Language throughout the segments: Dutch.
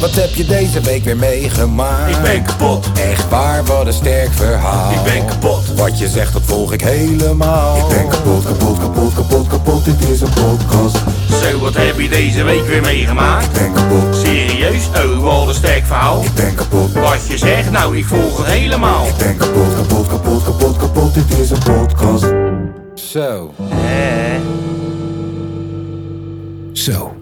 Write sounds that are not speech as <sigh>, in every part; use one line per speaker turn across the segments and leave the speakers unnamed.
Wat heb je deze week weer meegemaakt?
Ik ben kapot.
Echt waar, wat een sterk verhaal.
Ik ben kapot.
Wat je zegt, dat volg ik helemaal.
Ik ben kapot, kapot, kapot, kapot, kapot, dit is een podcast.
Zo, wat heb je deze week weer meegemaakt?
Ik ben kapot,
Serieus? Oh, wat een sterk verhaal.
ik ben kapot,
Wat je zegt, nou, ik volg het helemaal.
ik ben kapot, kapot, kapot, kapot, kapot, dit is een podcast.
Zo.
Zo.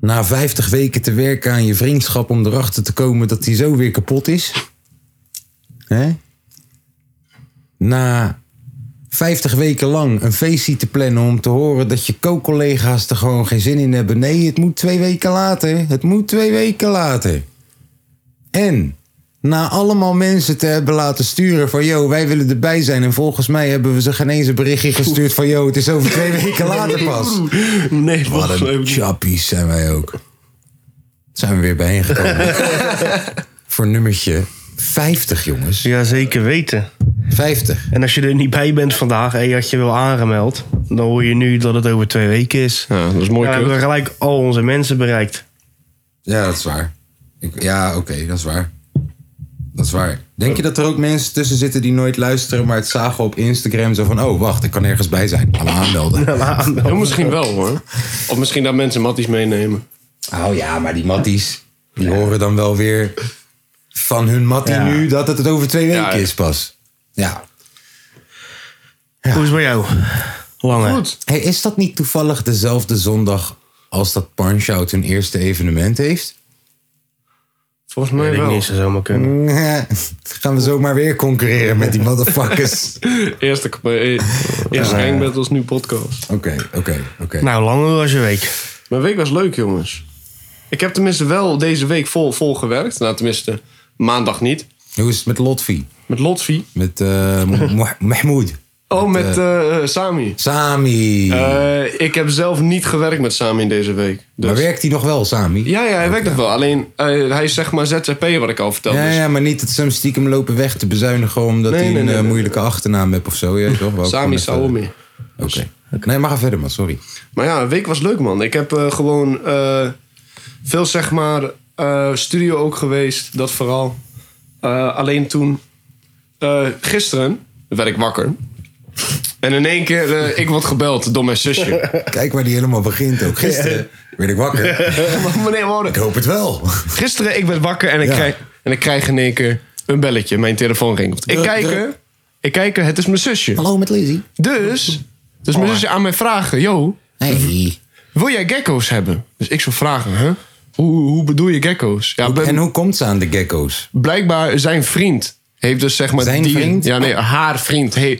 Na 50 weken te werken aan je vriendschap om erachter te komen dat die zo weer kapot is. Hè? Na 50 weken lang een feestje te plannen om te horen dat je co-collega's er gewoon geen zin in hebben. Nee, het moet twee weken later. Het moet twee weken later. En na allemaal mensen te hebben laten sturen van... yo, wij willen erbij zijn. En volgens mij hebben we ze geen eens een berichtje gestuurd van... yo, het is over twee weken later pas.
Nee,
Wat een chappies zijn wij ook. Zijn we weer bijeengekomen. Voor nummertje 50, jongens.
Ja, zeker weten.
50.
En als je er niet bij bent vandaag en je had je wel aangemeld, dan hoor je nu dat het over twee weken is.
Ja, dat is mooi.
Dan hebben we
kut.
gelijk al onze mensen bereikt.
Ja, dat is waar. Ik- ja, oké, dat is waar. Dat is waar. Denk je dat er ook mensen tussen zitten die nooit luisteren, maar het zagen op Instagram zo van: oh, wacht, ik kan ergens bij zijn. Laat me aanmelden.
Ja, misschien wel hoor. Of misschien dat mensen matties meenemen.
Oh ja, maar die matties, die horen dan wel weer van hun mattie
Ja.
nu dat het het over twee weken
Ja.
is pas. Ja.
Hoe is het bij jou? Lange.
Goed.
Hey, is dat niet toevallig dezelfde zondag als dat Punch-Out hun eerste evenement heeft?
Volgens mij
Weet ik
wel.
niet, zou zomaar kunnen.
<laughs> Gaan we zomaar weer concurreren <laughs> met die motherfuckers.
Eerste, kap- eh, eerste Gang Battles, nu podcast.
Oké, oké, oké.
Nou, lange was je week.
Mijn week was leuk, jongens. Ik heb tenminste wel deze week vol, vol gewerkt. Nou, tenminste, maandag niet.
Hoe is het met Lotfi?
Met Lotfi.
Met eh, Mo- Mahmoud?
Oh, met eh, eh, Sami.
Sami.
Eh, ik heb zelf niet gewerkt met Sami deze week. Dus.
maar werkt hij nog wel, Sami?
Ja, ja, hij werkt nog wel. Alleen, eh, hij is zeg maar ZZP'er, wat ik al vertelde.
Ja,
Dus
ja, maar niet dat ze hem stiekem lopen weg te bezuinigen omdat
Nee,
hij
nee,
een
nee,
eh,
nee.
moeilijke achternaam heeft of
<laughs>
zo. Ja, toch? Wou ik gewoon
Dus Sami
even-
Saomi.
Oké. Nee, maar ga verder, man. Sorry.
Maar ja, een week was leuk, man. Ik heb eh, gewoon eh, veel, zeg maar, eh, studio ook geweest. Dat vooral. Eh, alleen toen, eh, gisteren, werd ik wakker. En in één keer, eh, ik word gebeld door mijn
<laughs>
zusje.
Kijk waar die helemaal begint ook. Gisteren werd ik
<laughs>
wakker.
Maar Oh, Meneer
Ik
Wouden,
hoop het wel.
gisteren, ik werd wakker en ik,
Ja.
krijg, en ik krijg in één keer een belletje. Mijn telefoon rinkelt. Ik
Druk,
kijk er,
druk.
ik kijk er, het is mijn zusje.
Hallo met Lizzie.
Dus, dus
Oh.
mijn zusje aan mij vragen, yo,
Hey.
wil jij gecko's hebben? Dus ik zou vragen, hè? Hoe, hoe bedoel je gecko's? Ja, ben-
En hoe komt ze aan de gecko's?
blijkbaar zijn vriend heeft dus zeg maar
Zijn
dieren-
vriend?
Ja, nee, haar vriend he-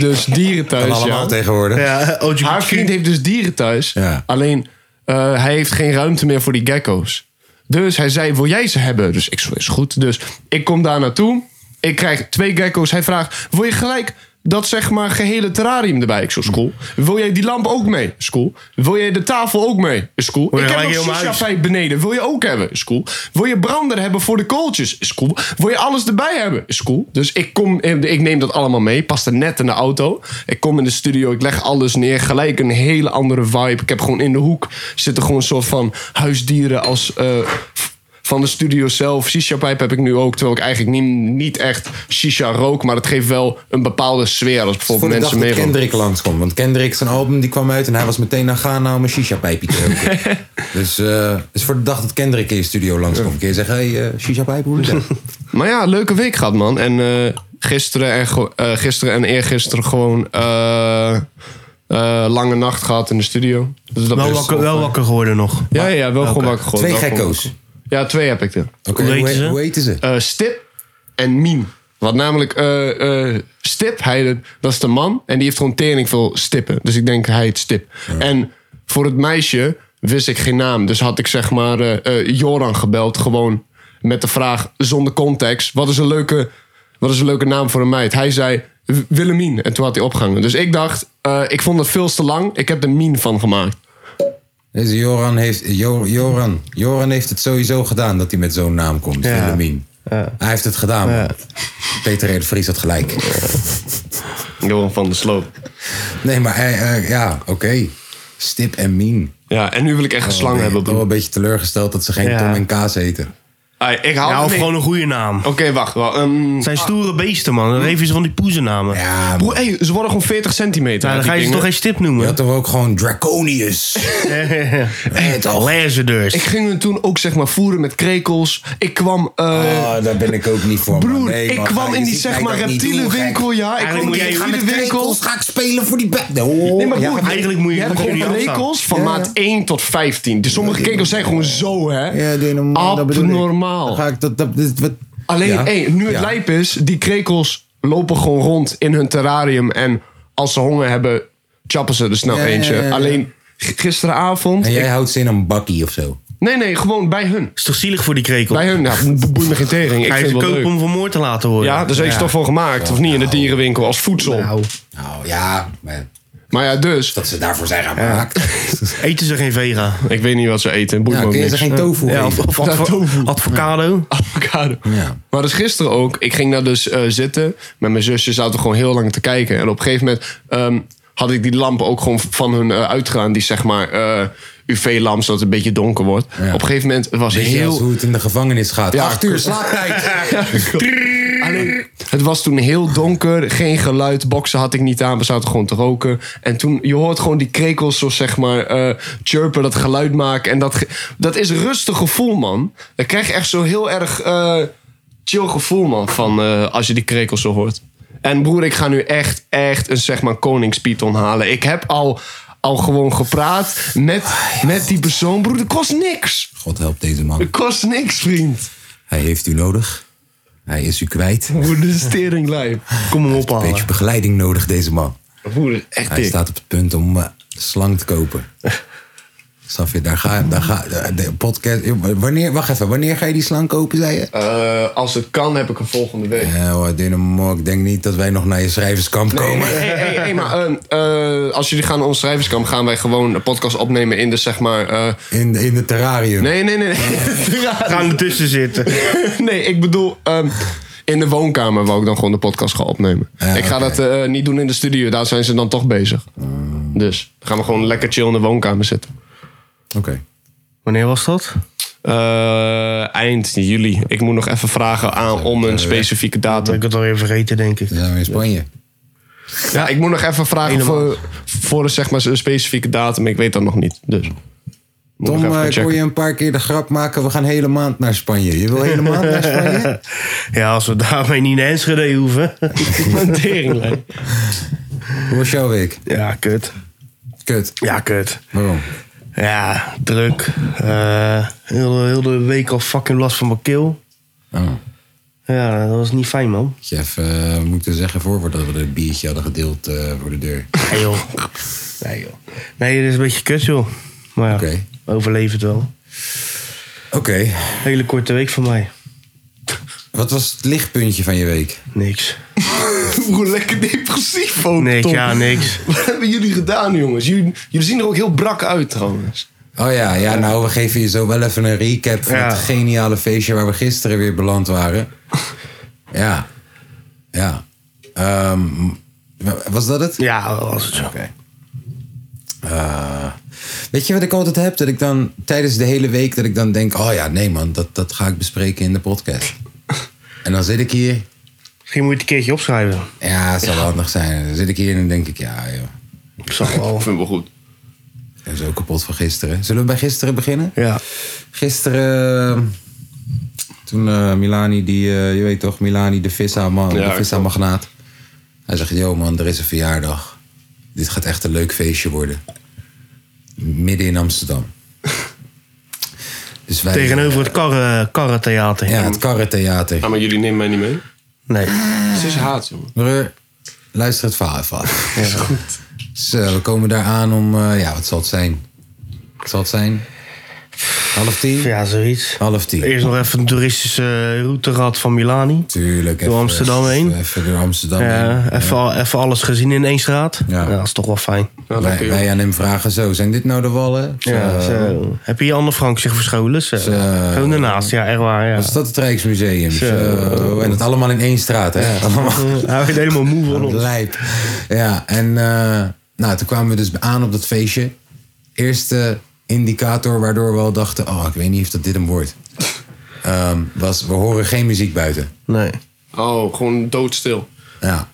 <laughs>
dus dieren
Kan
thuis.
allemaal
Ja.
tegenwoordig.
Ja, eh, oh, OG
Haar vriend heeft dus dieren thuis.
Ja.
Alleen eh, hij heeft geen ruimte meer voor die gecko's. Dus hij zei: Wil jij ze hebben? Dus ik zo is goed. Dus ik kom daar naartoe. Ik krijg twee gecko's. Hij vraagt: Wil je gelijk dat zeg maar gehele terrarium erbij? Ik zo school. Wil jij die lamp ook mee? School. Wil jij de tafel ook mee? School.
je
Ik heb
gelijk
nog
heel mijn
shisha
huis?
pijp beneden. Wil je ook hebben? Is cool. Wil je brander hebben voor de kooltjes? Is cool. Wil je alles erbij hebben? Is cool. Dus ik, kom, ik neem dat allemaal mee. Past er net in de auto. Ik kom in de studio. Ik leg alles neer. Gelijk een hele andere vibe. Ik heb gewoon in de hoek zitten gewoon een soort van huisdieren als... eh, van de studio zelf. Shisha-pijp heb ik nu ook. Terwijl ik eigenlijk niet, niet echt shisha rook. Maar dat geeft wel een bepaalde sfeer.
Voor
Als bijvoorbeeld
de dag
mensen
dat
mee
Kendrick langskomt. Want Kendrick, zijn album, die kwam uit en hij was meteen naar Ghana om een shisha-pijpje te roken.
<laughs>
dus, eh, dus voor de dag dat Kendrick in je studio langskomt, kun je zeggen... Hé, hey, eh, shisha-pijp, hoe is
<laughs>
dat?
Maar ja, leuke week gehad, man. En eh, gisteren, en go- eh, gisteren en eergisteren gewoon eh, eh, lange nacht gehad in de studio. Dus dat
Wel
is-
wakker, Ah, wel wakker geworden nog.
Ja, ja, ja, wel gewoon wakker. geworden,
Twee
wel gewoon
gekko's.
wakker. Ja, twee heb ik er.
Oké,
Hoe
hoe,
heten
he-
ze?
hoe heten ze?
Eh, Stip en Mien. Wat namelijk eh, eh, Stip, hij, dat is de man. En die heeft gewoon tering veel stippen. Dus ik denk, hij heet Stip. En voor het meisje wist ik geen naam. Dus had ik zeg maar eh, eh, Joran gebeld. Gewoon met de vraag, zonder context. Wat is een leuke, wat is een leuke naam voor een meid? Hij zei W- Willemien. En toen had hij opgehangen. Dus ik dacht, eh, ik vond het veel te lang. Ik heb er Mien van gemaakt.
Deze Joran heeft, Jo- Joran, Joran heeft het sowieso gedaan dat hij met zo'n naam komt.
Ja.
Willemien. Hij heeft het gedaan. man. Peter R. de Vries had gelijk.
Joran van de Sloop.
Nee, maar eh, eh, ja, oké. Stip en Mien.
Ja, en nu wil ik echt een slang
Ik
hebben,
ben wel
broer.
een beetje teleurgesteld dat ze geen
Ja.
Tom en Kaas eten.
Ai, ik hou
Ja, of
nee.
gewoon een goede naam.
Oké, wacht. Wel, ehm,
Het zijn stoere beesten, man.
Hm.
Dan geef je ze van die poezennamen. Ja,
Ja, maar
broer, hey, ze worden gewoon 40 centimeter.
dan
uit die
ga je ze
dingen.
toch geen stip
je
noemen.
had toch ook gewoon
<laughs>
Draconius. Eh, toch?
Lezen dus.
Ik ging hun toen ook zeg maar voeren met krekels. Ik kwam... eh,
Oh, daar ben ik ook niet voor. man.
broer,
Nee,
ik
man, ga
kwam
je
in die
ziet mij
zeg maar
dat niet doen,
reptiele
gek.
winkel, ja. Ik kwam in
Eigenlijk
die
moet jij-
Met
reptiele winkel.
krekels ga ik spelen voor die bed.
Nee, maar broer,
ja,
eigenlijk moet je-
je hebt
moet je
gewoon
niet afstaan.
krekels van
Ja, ja.
maat 1 tot 15. Dus sommige krekels zijn gewoon zo, hè.
ja, doe je normaal. dat bedoel ik. Dan
Abnormaal.
Ga ik dat, dat, dit- wat,
Alleen,
Ja.
hey, nu het
Ja.
lijp is, die krekels lopen gewoon rond in hun terrarium. En als ze honger hebben, chappen ze er snel
Ja, ja,
eentje.
ja, ja.
Alleen g- gisteravond.
En jij
ik-
houdt ze in een bakkie of zo.
nee, nee, gewoon bij hun.
is toch zielig voor die krekel?
Bij hun, nou, bo- boeit me geen tering. Ik
Ga je
vind
ze
het wel
kopen
leuk.
om vermoord te laten worden?
Ja, daar zijn ze toch voor gemaakt. Of niet in de dierenwinkel, als voedsel.
Nou,
Nou ja, maar
Maar ja, dus.
dat ze daarvoor zijn gaan <laughs> maken.
eten ze geen vega?
Ik weet niet wat ze eten. Boeit
Ja,
me
Nou,
ook
kun je
niks.
ze geen tofu
Ja, of,
eten?
of
Ja,
advo-
tofu.
avocado?
<laughs> avocado.
Ja.
Maar dus gisteren ook. Ik ging daar dus eh, zitten. Met mijn zusje zaten we gewoon heel lang te kijken. En op een gegeven moment ehm, had ik die lampen ook gewoon van hun eh, uitgaan. Die zeg maar eh, UV-lamp, zodat het een beetje donker wordt.
Ja.
Op een gegeven moment het was
Weet je wel eens
heel...
hoe het in de gevangenis gaat?
Ja.
Acht uur <laughs> slaaptijd.
<laughs> Alleen, het was toen heel donker. Geen geluid. Boksen had ik niet aan. We zaten gewoon te roken. En toen, je hoort gewoon die krekels zo zeg maar eh chirpen. Dat geluid maken. En dat, ge- dat is een rustig gevoel, man. Dan krijg je echt zo heel erg eh, chill gevoel, man. Van eh, als je die krekels zo hoort. En broer, ik ga nu echt, echt een zeg maar koningspython halen. Ik heb al, al gewoon gepraat met, met die persoon. Broer, dat kost niks.
God help deze
Dat
man.
kost niks, vriend.
Hij heeft u nodig. Hij is u kwijt.
Broer, dit is teringlijp.
Kom hem
Een beetje
ophalen.
begeleiding nodig, deze man.
Broer, echt
Hij
dik.
staat op het punt om eh, slang te kopen. <laughs> Snap je, daar ga daar ga de- de podcast. Wanneer, wacht even, wanneer ga je die slang kopen, zei je?
Eh, als het kan, heb ik hem volgende week.
Ja, hoor, Dynamo, ik denk niet dat wij nog naar je schrijverskamp komen.
Hey, hey, hey, maar eh, eh, als jullie gaan naar ons schrijverskamp, gaan wij gewoon een podcast opnemen in de zeg maar. eh,
In, in het terrarium.
nee, nee, nee. Nee, <laughs>
Gaan ertussen zitten.
nee ik bedoel. ehm, in de woonkamer wou ik dan gewoon de podcast gaan opnemen.
Ja,
ik ga
oké.
dat eh, niet doen in de studio, daar zijn ze dan toch bezig. Dus dan gaan we gewoon lekker chill in de woonkamer zitten.
Oké.
Wanneer was dat?
Eh, eind juli. Ik moet nog even vragen aan om een specifieke
Dat
datum.
ik het alweer vergeten, denk ik.
Dan zijn we in Spanje.
Ja, ik moet nog even vragen
Helemaal.
voor, voor een, zeg maar, een specifieke datum. Ik weet dat nog niet. Dus. Moet nog
Tom,
even
eh,
checken.
kon je een paar keer de grap maken, we gaan hele maand naar Spanje. Je wil hele maand naar <laughs> Spanje?
Ja, als we daarmee niet naar Enschede <laughs> hoeven.
Een teringlijn.
Hoe was jouw week?
Ja, kut.
Kut.
Ja, kut.
Waarom?
Ja, druk. Eh, heel, de- heel de week al fucking last van mijn keel.
Oh,
Ja, dat was niet fijn, man.
had je even eh, moeten zeggen voor dat we het biertje hadden gedeeld eh, voor de deur.
Nee, joh. Nee, joh. Nee, dit is een beetje kut, joh. Maar ja,
Oké.
overleef het wel.
Oké,
Hele korte week voor mij.
wat was het lichtpuntje van je week?
Niks.
<laughs> Hoe lekker depressief ook,
Niks,
Tom.
ja, niks.
<laughs> Wat hebben jullie gedaan, jongens? Jullie, jullie zien er ook heel brak uit, trouwens.
Oh ja, ja, nou, we geven je zo wel even een recap van
Ja.
het geniale feestje waar we gisteren weer beland <laughs> waren. Ja. Ja. Ehm, was dat het?
Ja, dat was het zo.
Eh, weet je wat ik altijd heb? Dat ik dan tijdens de hele week dat ik dan denk... Oh ja, nee man, dat, dat ga ik bespreken in de podcast. En dan zit ik hier...
Misschien moet je het een keertje opschrijven.
Ja, het zal wel handig zijn. Dan zit ik hier en dan denk ik... Ja joh,
Ik zag wel.
vind het wel goed.
ik ben zo kapot van gisteren. Zullen we bij gisteren beginnen?
Ja.
Gisteren... eh, Toen eh, Milani, die, eh, je weet toch, Milani, de Vissa-man,
Ja,
de Vissa-magnaat. Hij zegt, yo man, er is een verjaardag. Dit gaat echt een leuk feestje worden. Midden in
<laughs>
Amsterdam. Dus wij,
Tegenover het karren, karrentheater.
Ja, het karrentheater.
maar jullie nemen mij niet mee.
Nee.
Ze is Oh, haat, jongen.
Broer, luister het verhaal even af. Ja. Dus, eh, we komen daar aan om... eh, ja, wat zal het zijn? Wat zal het zijn? Half tien?
Ja, zoiets.
Half tien.
Eerst nog even een toeristische route gehad van Milani.
Tuurlijk.
Door Amsterdam heen.
Even door Amsterdam heen.
Ja, even, al- even alles gezien in één straat.
Ja.
Ja. dat is toch wel fijn.
Wij, wij aan hem vragen zo, zijn dit nou de wallen?
Ja,
Zo. eh,
zo. Heb je Anne Frank zich verscholen? Zo.
Zo. eh,
Gewoon daarnaast, ja, echt waar. Ja.
Wat is dat het Rijksmuseum? Zo. En dat allemaal in één straat, hè? Allemaal
<laughs> Hij werd helemaal
<laughs>
moe van ons.
lijp. Ja, en eh, nou, toen kwamen we dus aan op dat feestje. eerste indicator waardoor we al dachten... oh, ik weet niet of dat dit hem wordt. Ehm, was, we horen geen muziek buiten.
Nee.
Oh, gewoon doodstil.
Ja.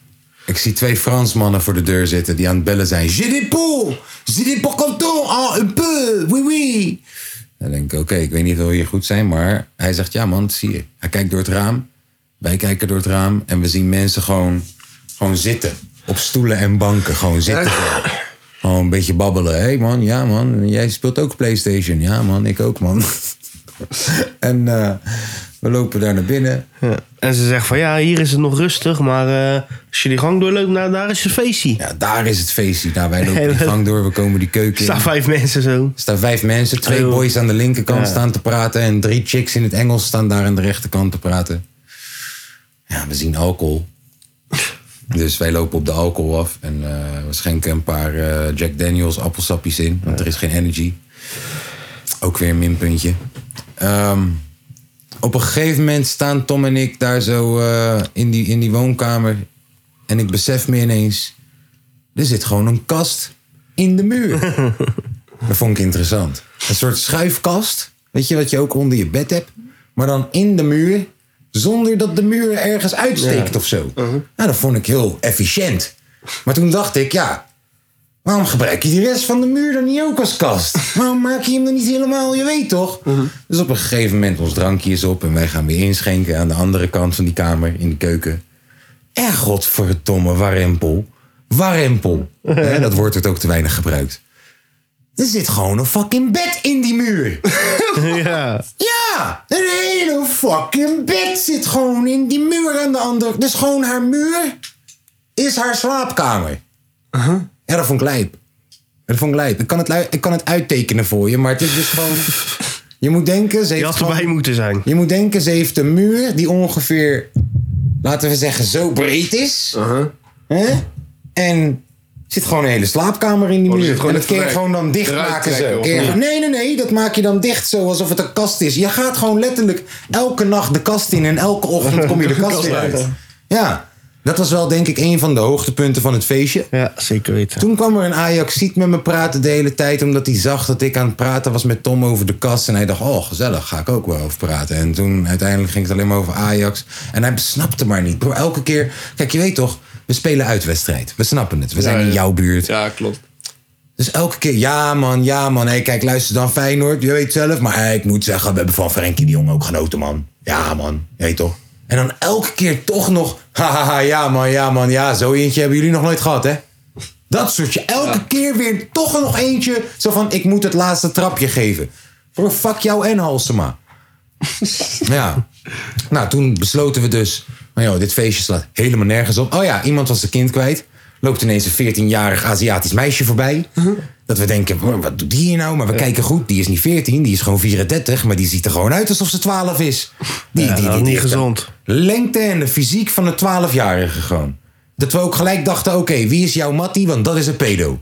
Ik zie twee Fransmannen voor de deur zitten die aan het bellen zijn. Je des pots! Je des pots canton! Ah, un peu! Oui, oui! Dan denk ik, oké, ik weet niet of we hier goed zijn, maar hij zegt, ja man, dat zie je. Hij kijkt door het raam, wij kijken door het raam en we zien mensen gewoon, gewoon zitten. Op stoelen en banken, gewoon zitten. Gewoon een beetje babbelen. Hé hey man, ja man, jij speelt ook Playstation. Ja man, ik ook man. <laughs> en eh, we lopen daar naar binnen.
Ja. En ze zegt van ja, hier is het nog rustig, maar eh, als je die gang doorloopt, nou, daar is het feestje.
Ja, daar is het feestje. Nou, wij lopen
Hey,
die
wat-
gang door, we komen die keuken
Er
in.
staan vijf mensen
<laughs>
zo.
Er staan vijf mensen, twee
Oh.
boys aan de linkerkant
Ja.
staan te praten en drie chicks in het Engels staan daar aan de rechterkant te praten. Ja, we zien alcohol. Dus wij lopen op de alcohol af en eh, we schenken een paar eh, Jack Daniels appelsappies in, want er is geen energy. Ook weer een minpuntje. Ehm, op een gegeven moment staan Tom en ik daar zo eh, in, die, in die woonkamer en ik besef me ineens, er zit gewoon een kast in de muur. Dat vond ik interessant. Een soort schuifkast. Weet je, wat je ook onder je bed hebt. Maar dan in de muur. Zonder dat de muur ergens uitsteekt of zo. Nou, dat vond ik heel efficiënt. Maar toen dacht ik, ja... Waarom gebruik je de rest van de muur dan niet ook als kast? Waarom maak je hem dan niet helemaal, je weet toch? Dus op een gegeven moment, ons drankje is op... en wij gaan weer inschenken aan de andere kant van die kamer, in de keuken. En godverdomme, warempel. Warempel. Hè, dat woord wordt ook te weinig gebruikt. Er zit gewoon een fucking bed in die muur.
ja.
Ja, een hele fucking bed zit gewoon in die muur aan de andere. Dus gewoon haar muur is haar slaapkamer.
Uh-huh.
Ja, dat vond ik lijp. Dat vond ik lijp. Ik kan het, lui- ik kan het uittekenen voor je, maar het is dus gewoon...
<laughs>
Je moet denken, ze
Je
heeft
had erbij
gewoon-
moeten zijn.
je moet denken, ze heeft een muur die ongeveer, laten we zeggen, zo breed is.
Uh-huh.
Hè? En er zit gewoon een hele slaapkamer in die
Oh, er
muur.
zit gewoon
En dat
even
kun je
eruit-
gewoon dan dicht
eruit
maken.
trekken
Zo.
of
Kun je
niet?
gewoon- nee, nee, nee, dat maak je dan dicht zo, alsof het een kast is. Je gaat gewoon letterlijk elke nacht de kast in en elke ochtend kom je de
<laughs>
kast weer uit. Ja, dat was wel denk ik een van de hoogtepunten van het feestje.
Ja, zeker weten.
Toen kwam er een Ajaxiet met me praten de hele tijd. Omdat hij zag dat ik aan het praten was met Tom over de kast. En hij dacht, oh gezellig, ga ik ook wel over praten. En toen uiteindelijk ging het alleen maar over Ajax. En hij snapte maar niet. Bro, elke keer... Kijk, je weet toch, we spelen uitwedstrijd. We snappen het. We zijn in
ja.
jouw buurt.
Ja, klopt.
Dus elke keer, ja man, ja man. Hey, kijk, luister dan Feyenoord, je weet zelf. Maar hey, ik moet zeggen, we hebben van Frenkie de Jong ook genoten, man. Ja man, je weet toch. En dan elke keer toch nog, <laughs> hahaha, ja man, ja man. Ja, zo eentje hebben jullie nog nooit gehad, hè? Dat soortje. Elke keer weer toch nog eentje. Zo van, ik moet het laatste trapje geven. Bro, fuck jou en Halsema. <laughs> ja. Nou, toen besloten we dus... Maar joh, dit feestje slaat helemaal nergens op. Oh ja, iemand was zijn kind kwijt. Loopt ineens een 14-jarig Aziatisch meisje voorbij.
Uh-huh.
Dat we denken, "Bro, wat doet die hier nou? Maar we kijken goed, die is niet 14, die is gewoon 34. Maar die ziet er gewoon uit alsof ze 12 is. Die,
Ja, dat is niet
heeft een
gezond.
Lengte en de fysiek van een 12-jarige gewoon. Dat we ook gelijk dachten, oké, wie is jouw mattie? Want dat is een pedo.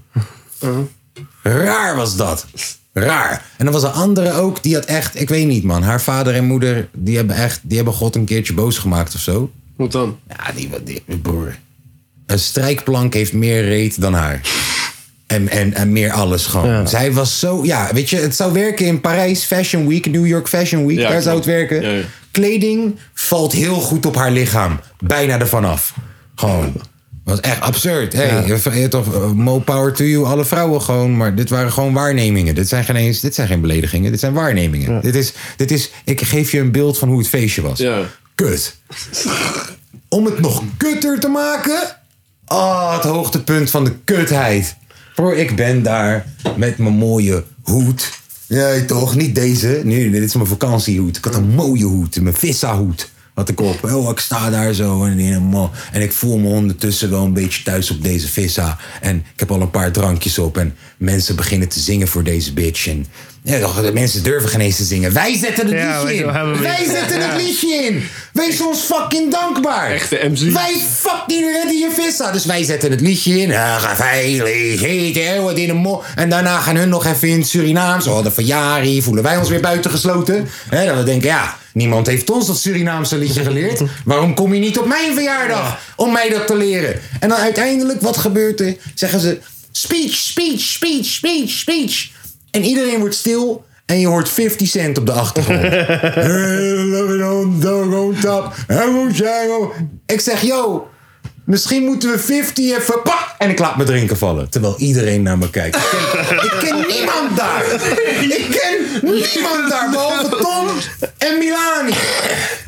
Raar was dat. Raar. En er was een andere ook, die had echt, ik weet niet man. Haar vader en moeder, die hebben echt, die hebben God een keertje boos gemaakt of zo.
Wat dan?
Ja, die, die broer. Een strijkplank heeft meer reet dan haar. En, en, en meer alles gewoon. Zij was zo, ja, weet je, het zou werken in Parijs Fashion Week, New York Fashion Week,
Ja,
daar zou het
klopt.
werken.
Ja, ja.
Kleding valt heel goed op haar lichaam. Bijna ervan af. Gewoon. Was echt absurd. Hey, je vergeet toch, eh, more power to you, alle vrouwen gewoon. Maar dit waren gewoon waarnemingen. Dit zijn geen, eens, dit zijn geen beledigingen, dit zijn waarnemingen. Dit, is, dit is, ik geef je een beeld van hoe het feestje was.
Ja.
Kut om het nog kutter te maken. Ah, het hoogtepunt van de kutheid. Bro, ik ben daar met mijn mooie hoed. Nee, toch? Niet deze. Nee, dit is mijn vakantiehoed. Ik had een mooie hoed. Mijn vissahoed had ik op. Oh, ik sta daar zo en helemaal. En ik voel me ondertussen wel een beetje thuis op deze vissa. En ik heb al een paar drankjes op. En mensen beginnen te zingen voor deze bitch. En ja, toch, de mensen durven geen eens te zingen. Wij zetten het
Ja,
liedje
weet je,
in.
we hebben hem.
Wij zetten het liedje in. Wees ons fucking dankbaar.
Echte MC.
Wij fucking redden je vissa. Dus wij zetten het liedje in. Ah, ga veilig eten, wat in de mo. En daarna gaan hun nog even in het Surinaams. Oh, de verjaardag voelen wij ons weer buitengesloten. Hè, dat we denken, ja, niemand heeft ons dat Surinaamse liedje geleerd. Waarom kom je niet op mijn verjaardag om mij dat te leren? En dan uiteindelijk, wat gebeurt er? Zeggen ze, speech, speech, speech, speech, speech. En iedereen wordt stil. En je hoort 50 cent op de achtergrond. oh? ik zeg, yo, misschien moeten we 50 even... pak en ik laat mijn drinken vallen. Terwijl iedereen naar me kijkt. Ik ken, ik ken niemand daar. Ik ken niemand daar, behalve Tom en Milani.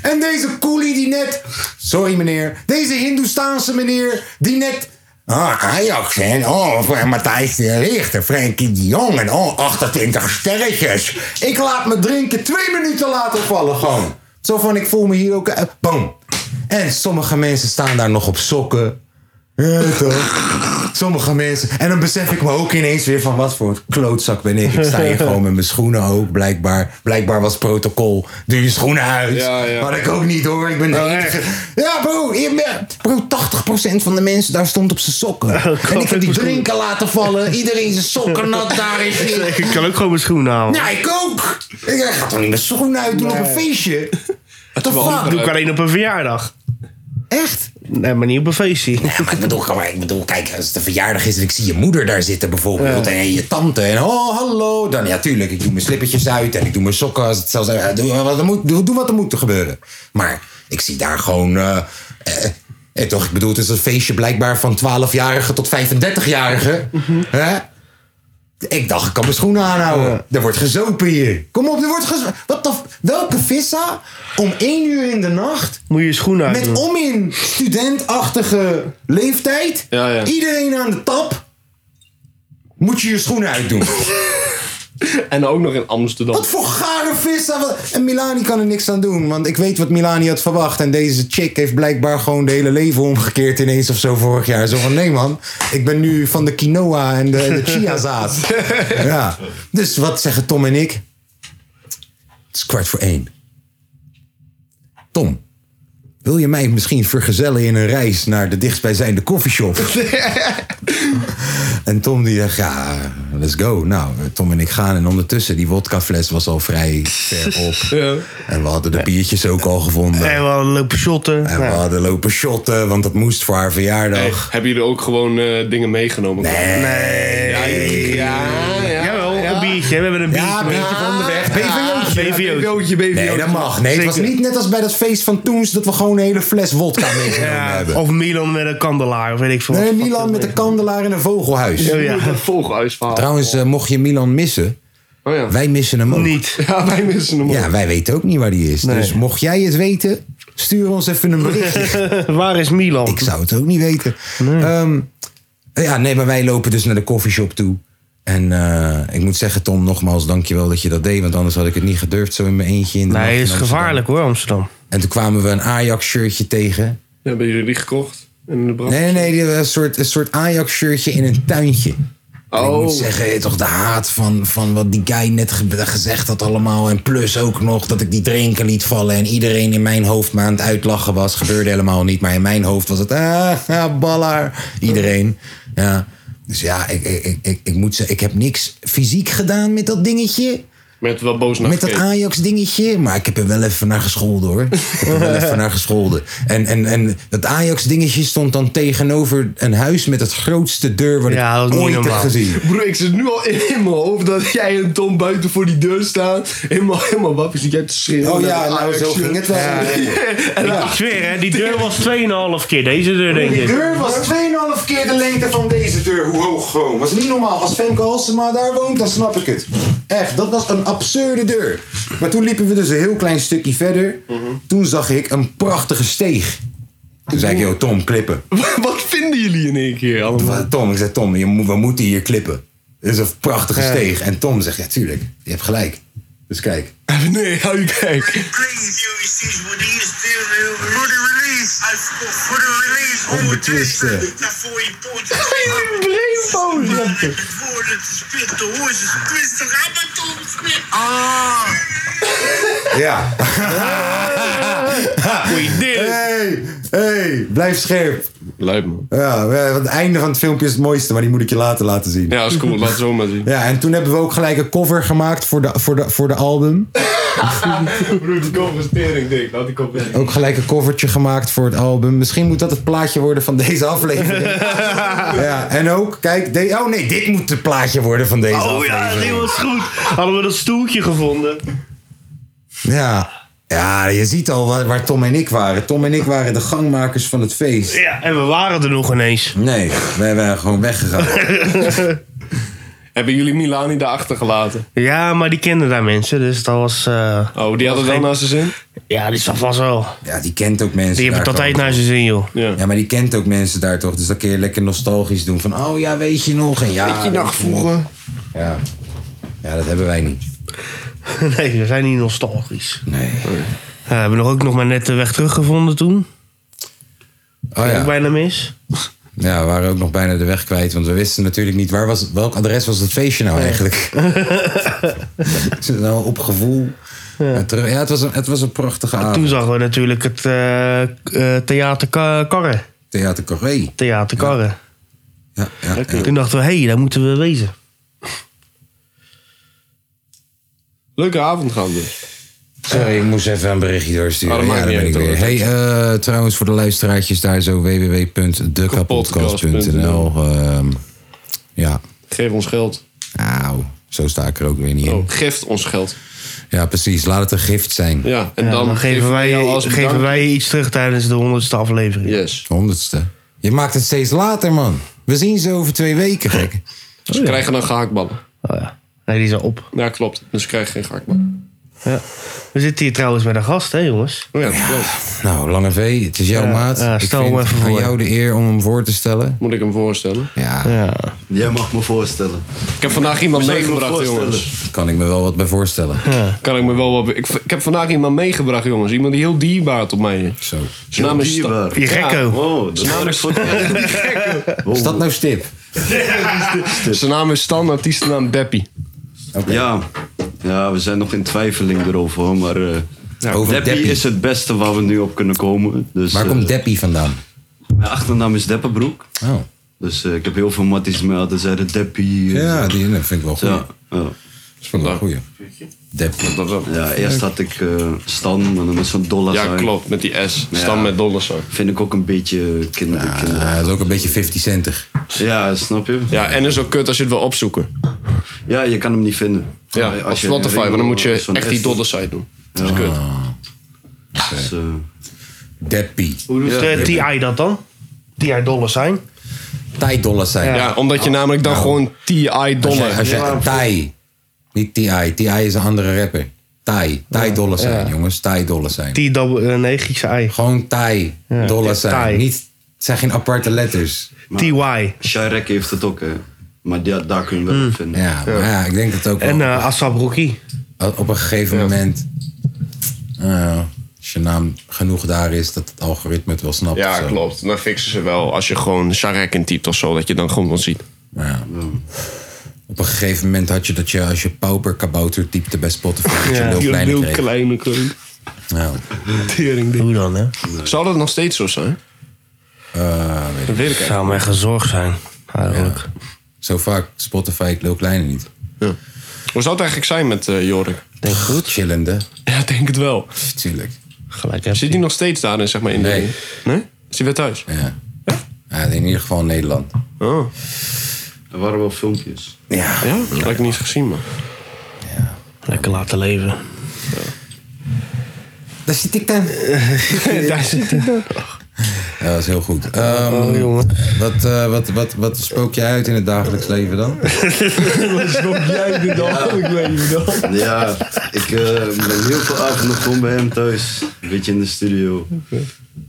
En deze coolie die net... Sorry meneer. Deze Hindoestaanse meneer die net... Ah, Ajax, hè? Oh, voor Matthijs de Richter, Frenkie de Jong en oh, 28 sterretjes. Ik laat me drinken twee minuten later vallen, gewoon. Zo van, ik voel me hier ook... eh, Bam. En sommige mensen staan daar nog op sokken. Ja, toch? Sommige mensen. En dan besef ik me ook ineens weer van wat voor klootzak ben ik. Ik sta
<laughs>
hier gewoon met mijn schoenen ook, blijkbaar. Blijkbaar was protocol. Doe je schoenen uit.
Ja, ja.
Had ik ook niet hoor. Ik ben de enige. Ja, bro. hier ben- Bro, 80% van de mensen daar stond op zijn sokken. en ik heb die drinken laten vallen. Iedereen zijn sokken nat daar is.
Ik kan ook gewoon mijn schoenen halen.
Ja, ik ook. Ik ga toch niet mijn schoenen uit doen op een feestje? What the fuck?
Doe ik alleen op een verjaardag.
Echt?
Nee, maar niet op een feestje.
Ja, maar ik bedoel, kom maar, ik bedoel, kijk, als het een verjaardag is en ik zie je moeder daar zitten bijvoorbeeld. En je tante. En oh, hallo. Dan ja, tuurlijk, ik doe mijn slippertjes uit en ik doe mijn sokken. Als het zelfs, eh, doe, wat er moet, doe, doe wat er moet gebeuren. Maar ik zie daar gewoon... eh, eh, eh, toch, ik bedoel, het is een feestje blijkbaar van 12-jarige tot 35-jarige. Hè? Ik dacht, ik kan mijn schoenen aanhouden. Er wordt gezopen hier. Kom op, er wordt gezopen. Wat de, f- welke vissa om 1 uur in de nacht
Moet je je schoenen uit
met
doen.
om in studentachtige leeftijd.
Ja, ja.
Iedereen aan de tap. Moet je je schoenen
<laughs>
uitdoen.
En ook nog in Amsterdam.
Wat voor gare vissa. wat- En Milani kan er niks aan doen. Want ik weet wat Milani had verwacht. En deze chick heeft blijkbaar gewoon de hele leven omgekeerd ineens of zo vorig jaar. Zo van, nee man. Ik ben nu van de quinoa en de, en de chiazaad.
<laughs>
ja. Dus wat zeggen Tom en ik? Het is kwart voor één. Tom, wil je mij misschien vergezellen in een reis naar de dichtstbijzijnde <laughs> koffieshop? en Tom die dacht, ja, let's go. Nou, Tom en ik gaan. En ondertussen, die wodkafles was al vrij ver op. En we hadden de biertjes ook al gevonden.
En we hadden lopen shotten. Nou.
En we
Ja.
hadden lopen shotten, want dat moest voor haar verjaardag.
Hebben jullie ook gewoon eh, dingen meegenomen?
Nee.
Ja, ja.
Jawel, een biertje. We hebben een biertje.
Ja,
mee.
beetje van de weg.
BVO's. BVO's.
Joodje, baby.
Nee, dat mag. Nee, het was
Zeker.
niet net als bij dat feest van Toens... dat we gewoon een hele fles wodka meegenomen
Ja,
hebben.
of Milan met een kandelaar, of weet ik veel.
Nee,
wat.
Milan met een kandelaar in een vogelhuis.
Oh ja,
<laughs> Een vogelhuisverhaal.
Trouwens, eh, mocht je Milan missen,
Oh ja.
wij missen hem ook.
niet.
Ja, wij missen hem
Ja, wij weten ook niet waar die is. Dus mocht jij het weten, stuur ons even een berichtje.
<laughs> Waar is Milan?
Ik zou het ook niet weten. Ehm, ja, nee, maar wij lopen dus naar de koffieshop toe. En eh, ik moet zeggen, Tom, nogmaals, dankjewel dat je dat deed. Want anders had ik het niet gedurfd zo in mijn eentje. In de nacht
Nee,
in
het is
Amsterdam.
gevaarlijk hoor, Amsterdam.
En toen kwamen we een Ajax-shirtje tegen.
Hebben jullie die gekocht? In de brand?
Nee, nee, nee, die hadden een soort, een soort Ajax-shirtje in een tuintje. Ik moet
Oh,
zeggen, eh, toch de haat van, van wat die guy net ge- gezegd had allemaal. En plus ook nog dat ik die drinken liet vallen. En iedereen in mijn hoofd me aan het uitlachen was. Gebeurde helemaal niet. Maar in mijn hoofd was het, ah, ah, ballaar. Iedereen. Ja. Dus ja, ik, ik, ik- ik, ik moet zeggen, ik heb niks fysiek gedaan met dat dingetje.
met wel boos naar
Met dat
gekeken.
Ajax-dingetje. Maar ik heb er wel even naar gescholden hoor. Ik heb er wel even naar gescholden. En, en, en dat Ajax-dingetje stond dan tegenover een huis met het grootste deur wat
Ja, dat
ik
is niet
ooit heb
normaal.
gezien.
Broer, ik zit nu al in mijn hoofd dat jij en Tom buiten voor die deur staan. Helemaal, helemaal wappie, zit jij te schreeuwen.
Oh
naar
ja,
de
nou
Ajax
zo
shirt.
ging het wel.
Ik zweer hè, die
<laughs>
deur was 2,5 keer deze deur denk
De
ik.
deur was 2,5 keer de lengte van deze deur. Hoe hoog gewoon. Was niet normaal. Als Femke Halsema daar woont, dan snap ik het. Echt, dat was een absurde deur. Maar toen liepen we dus een heel klein stukje verder. Toen zag ik een prachtige steeg. Toen zei ik, yo Tom, klippen.
<laughs> Wat vinden jullie in één keer
<laughs>
allemaal?
Wat- Tom, ik zei, Tom, je moet- we moeten hier klippen. Dit is een prachtige steeg. En Tom zegt, ja tuurlijk, je hebt gelijk. Dus kijk.
Nee, hou je
Please,
kijk.
you excuse me. Do you still for the release? I for the release.
eh,
Onbetwiste.
Daarvoor je poot. Het woorden te spit, de hoor ze spit, de rabaton spit. Ah.
Ja.
Goeie deur.
Hey, hey, blijf scherp.
Luid man.
Ja, ja, want het einde van het filmpje is het mooiste, maar die moet ik je later laten zien. Ja.
Ja, is cool, laat het zo maar zien.
en toen hebben we ook gelijk een cover gemaakt voor de, voor de, voor de album.
<laughs> Broer, die kop is tering dik. Laat die kop weg.
Ook gelijk een covertje gemaakt voor het album. Misschien moet dat het plaatje worden van deze
<laughs>
aflevering. ja, en ook, kijk, de- oh nee, dit moet het plaatje worden van deze
Oh
aflevering.
ja, die was goed. Hadden we dat stoeltje gevonden.
Ja. Ja, je ziet al waar, waar Tom en ik waren. Tom en ik waren de gangmakers van het feest.
Ja, en we waren er nog ineens.
Nee, wij waren gewoon
<laughs>
weggegaan.
Hebben jullie Milani daar achtergelaten?
Ja, maar die kenden daar mensen, dus dat was... eh,
Oh, die hadden
geen-
dan naast zijn zin?
ja, die zat vast wel.
Ja, die kent ook mensen
Die hebben
daar
het altijd
gewoon.
naar zijn zin, joh.
Ja.
Ja, maar die kent ook mensen daar toch? Dus dan kun je lekker nostalgisch doen. Van, oh ja, weet je nog? En ja, Ja. ja, dat hebben wij niet.
<laughs> Nee, we zijn niet nostalgisch.
Nee.
Oh,
Ja, we hebben nog ook nog maar net de weg teruggevonden toen.
Oh
Ook
ja.
bijna mis.
ja, we waren ook nog bijna de weg kwijt. Want we wisten natuurlijk niet, waar was, welk adres was het feestje nou
<laughs>
eigenlijk? Is het nou op gevoel? Ja, terug- ja het, was een, het was een prachtige
Toen
avond.
zagen we natuurlijk het eh eh, theater Ka- Karren.
Theater Corée.
Theater Karren.
Ja, ja, Eh, ja.
Toen dachten we, hé, hey, daar moeten we wezen.
Leuke avond gaan we.
Sorry, ik moest even een berichtje doorsturen.
Oh, dat
ja,
maakt
daar
niet
ben ik
uit,
weer.
hoor.
Hey, eh, trouwens voor de luisteraartjes daar zo www.dekapodcast.nl. ehm, ja,
Geef ons geld.
auw. Zo sta ik er ook weer niet in.
Oh, gift ons geld.
Ja, precies. Laat het een gift zijn.
Ja, en
Ja,
dan,
geven,
jou
wij,
als
geven
bedankt-
wij iets terug tijdens de honderdste aflevering.
Yes.
Honderdste. Je maakt het steeds later, man. We zien ze over twee weken, gek.
Ze krijgen dan gehaktballen.
Oh, ja. Nee, die is al op.
Ja, klopt. Dus ze krijgen geen gehaktballen.
Ja. We zitten hier trouwens met een gast, hè jongens.
Oh ja, dat klopt.
<laughs> Nou, Lange V, het is jouw
Ja,
maat.
ja, stel
ik
hem
vind
even
aan
voor.
jou de eer om hem voor te stellen.
Moet ik hem voorstellen?
Ja,
Ja.
Jij mag me voorstellen.
Ik heb vandaag iemand
Moet je me
meegebracht,
voorstellen?
jongens.
daar kan ik me wel wat bij voorstellen.
Kan ik me wel wat... Ik, ik heb vandaag iemand meegebracht, jongens. Iemand die heel dierbaar tot mij is.
Zo.
Zijn naam is... Sta-
Dierbaar.
Die gekko.
Oh, dat hoor ik voor het eerst.
Is dat nou stip?
Zijn naam is Stan, artiestennaam Beppie.
Ja. ja, we zijn nog in twijfeling erover hoor, maar eh
Over
Deppie
Nou, Deppie.
is het beste waar we nu op kunnen komen. Dus,
Waar
eh,
komt Deppie vandaan?
Mijn achternaam is Deppenbroek,
Oh.
dus eh, ik heb heel veel matties mee altijd zeiden Deppie. eh,
Ja, die vind ik wel goed.
ja, ja.
Dat is wel een goeie. Deppie.
Ja, eerst had ik eh, Stan, maar dan met zo'n dollar
Ja,
sign.
klopt. Met die S. Stan
Ja.
met dollarsign.
Vind ik ook een beetje kinder. kinder-
Ah, dat is ook een beetje 50 centig.
Ja, snap je?
Ja, en is ook kut als je het wil opzoeken.
Ja, je kan hem niet vinden.
Ja, op
Als je
Spotify, want dan moet je
zo'n
echt die
S-
dollarsign doen. Dat is kut.
Dus, eh,
Deppie.
Hoe doet eh, TI dat dan? TI dollars zijn.
Thai dollars zijn.
Ja, omdat je namelijk dan gewoon TI
Als jij,
dollar...
als jij- Thai. Niet TI. TI is een andere rapper. Thai. Thai dollars zijn, jongens. Thai dollars zijn.
T double, eh, nee, Griekse I.
Gewoon Thai dollars zijn.
Thai.
Niet, het zijn geen aparte letters.
TY.
Shirek heeft het ook, hè. Maar ja, daar kun je hem wel op vinden.
Ja, maar ja, ik denk dat ook wel.
En eh Assab Rocky.
op een gegeven moment... eh, als je naam genoeg daar is, dat het algoritme het wel snapt.
Ja,
zo.
klopt. Dan fixen ze wel als je gewoon Sharek intypt of zo, dat je dan gewoon wat ziet.
Maar ja. Op een gegeven moment had je dat je als je pauper kabouter typte bij Spotify... dat je
Ja.
een heel kleine kreeg. Nou,
kleine klein.
Ja.
Hoe dan, hè?
Zou dat nog steeds zo zijn?
Eh, weet ik.
Dat weet ik eigenlijk.
Zou mij gezorgd zijn, eigenlijk.
Zo vaak Spotify ik Lil Kleine niet.
Hoe zou het eigenlijk zijn met eh, Jorik?
Denk goed. Chillende.
Ja, ik denk het wel.
Tuurlijk.
Gelijk heb
Zit hij nog steeds daar in, zeg maar, in de...
Nee.
Nee? Is hij weer thuis?
Ja. ja. In ieder geval in Nederland.
Oh,
Er waren wel filmpjes.
Ja.
ja? Dat heb ik niet gezien, man.
Lekker laten leven.
Daar zit ik dan.
Daar zit hij.
Ja, dat is heel goed. Ehm, wat, eh, wat, wat, wat spook je uit in het dagelijks leven dan?
Ja, ik eh, ben heel veel avonden gewoon bij hem thuis. Een beetje in de studio.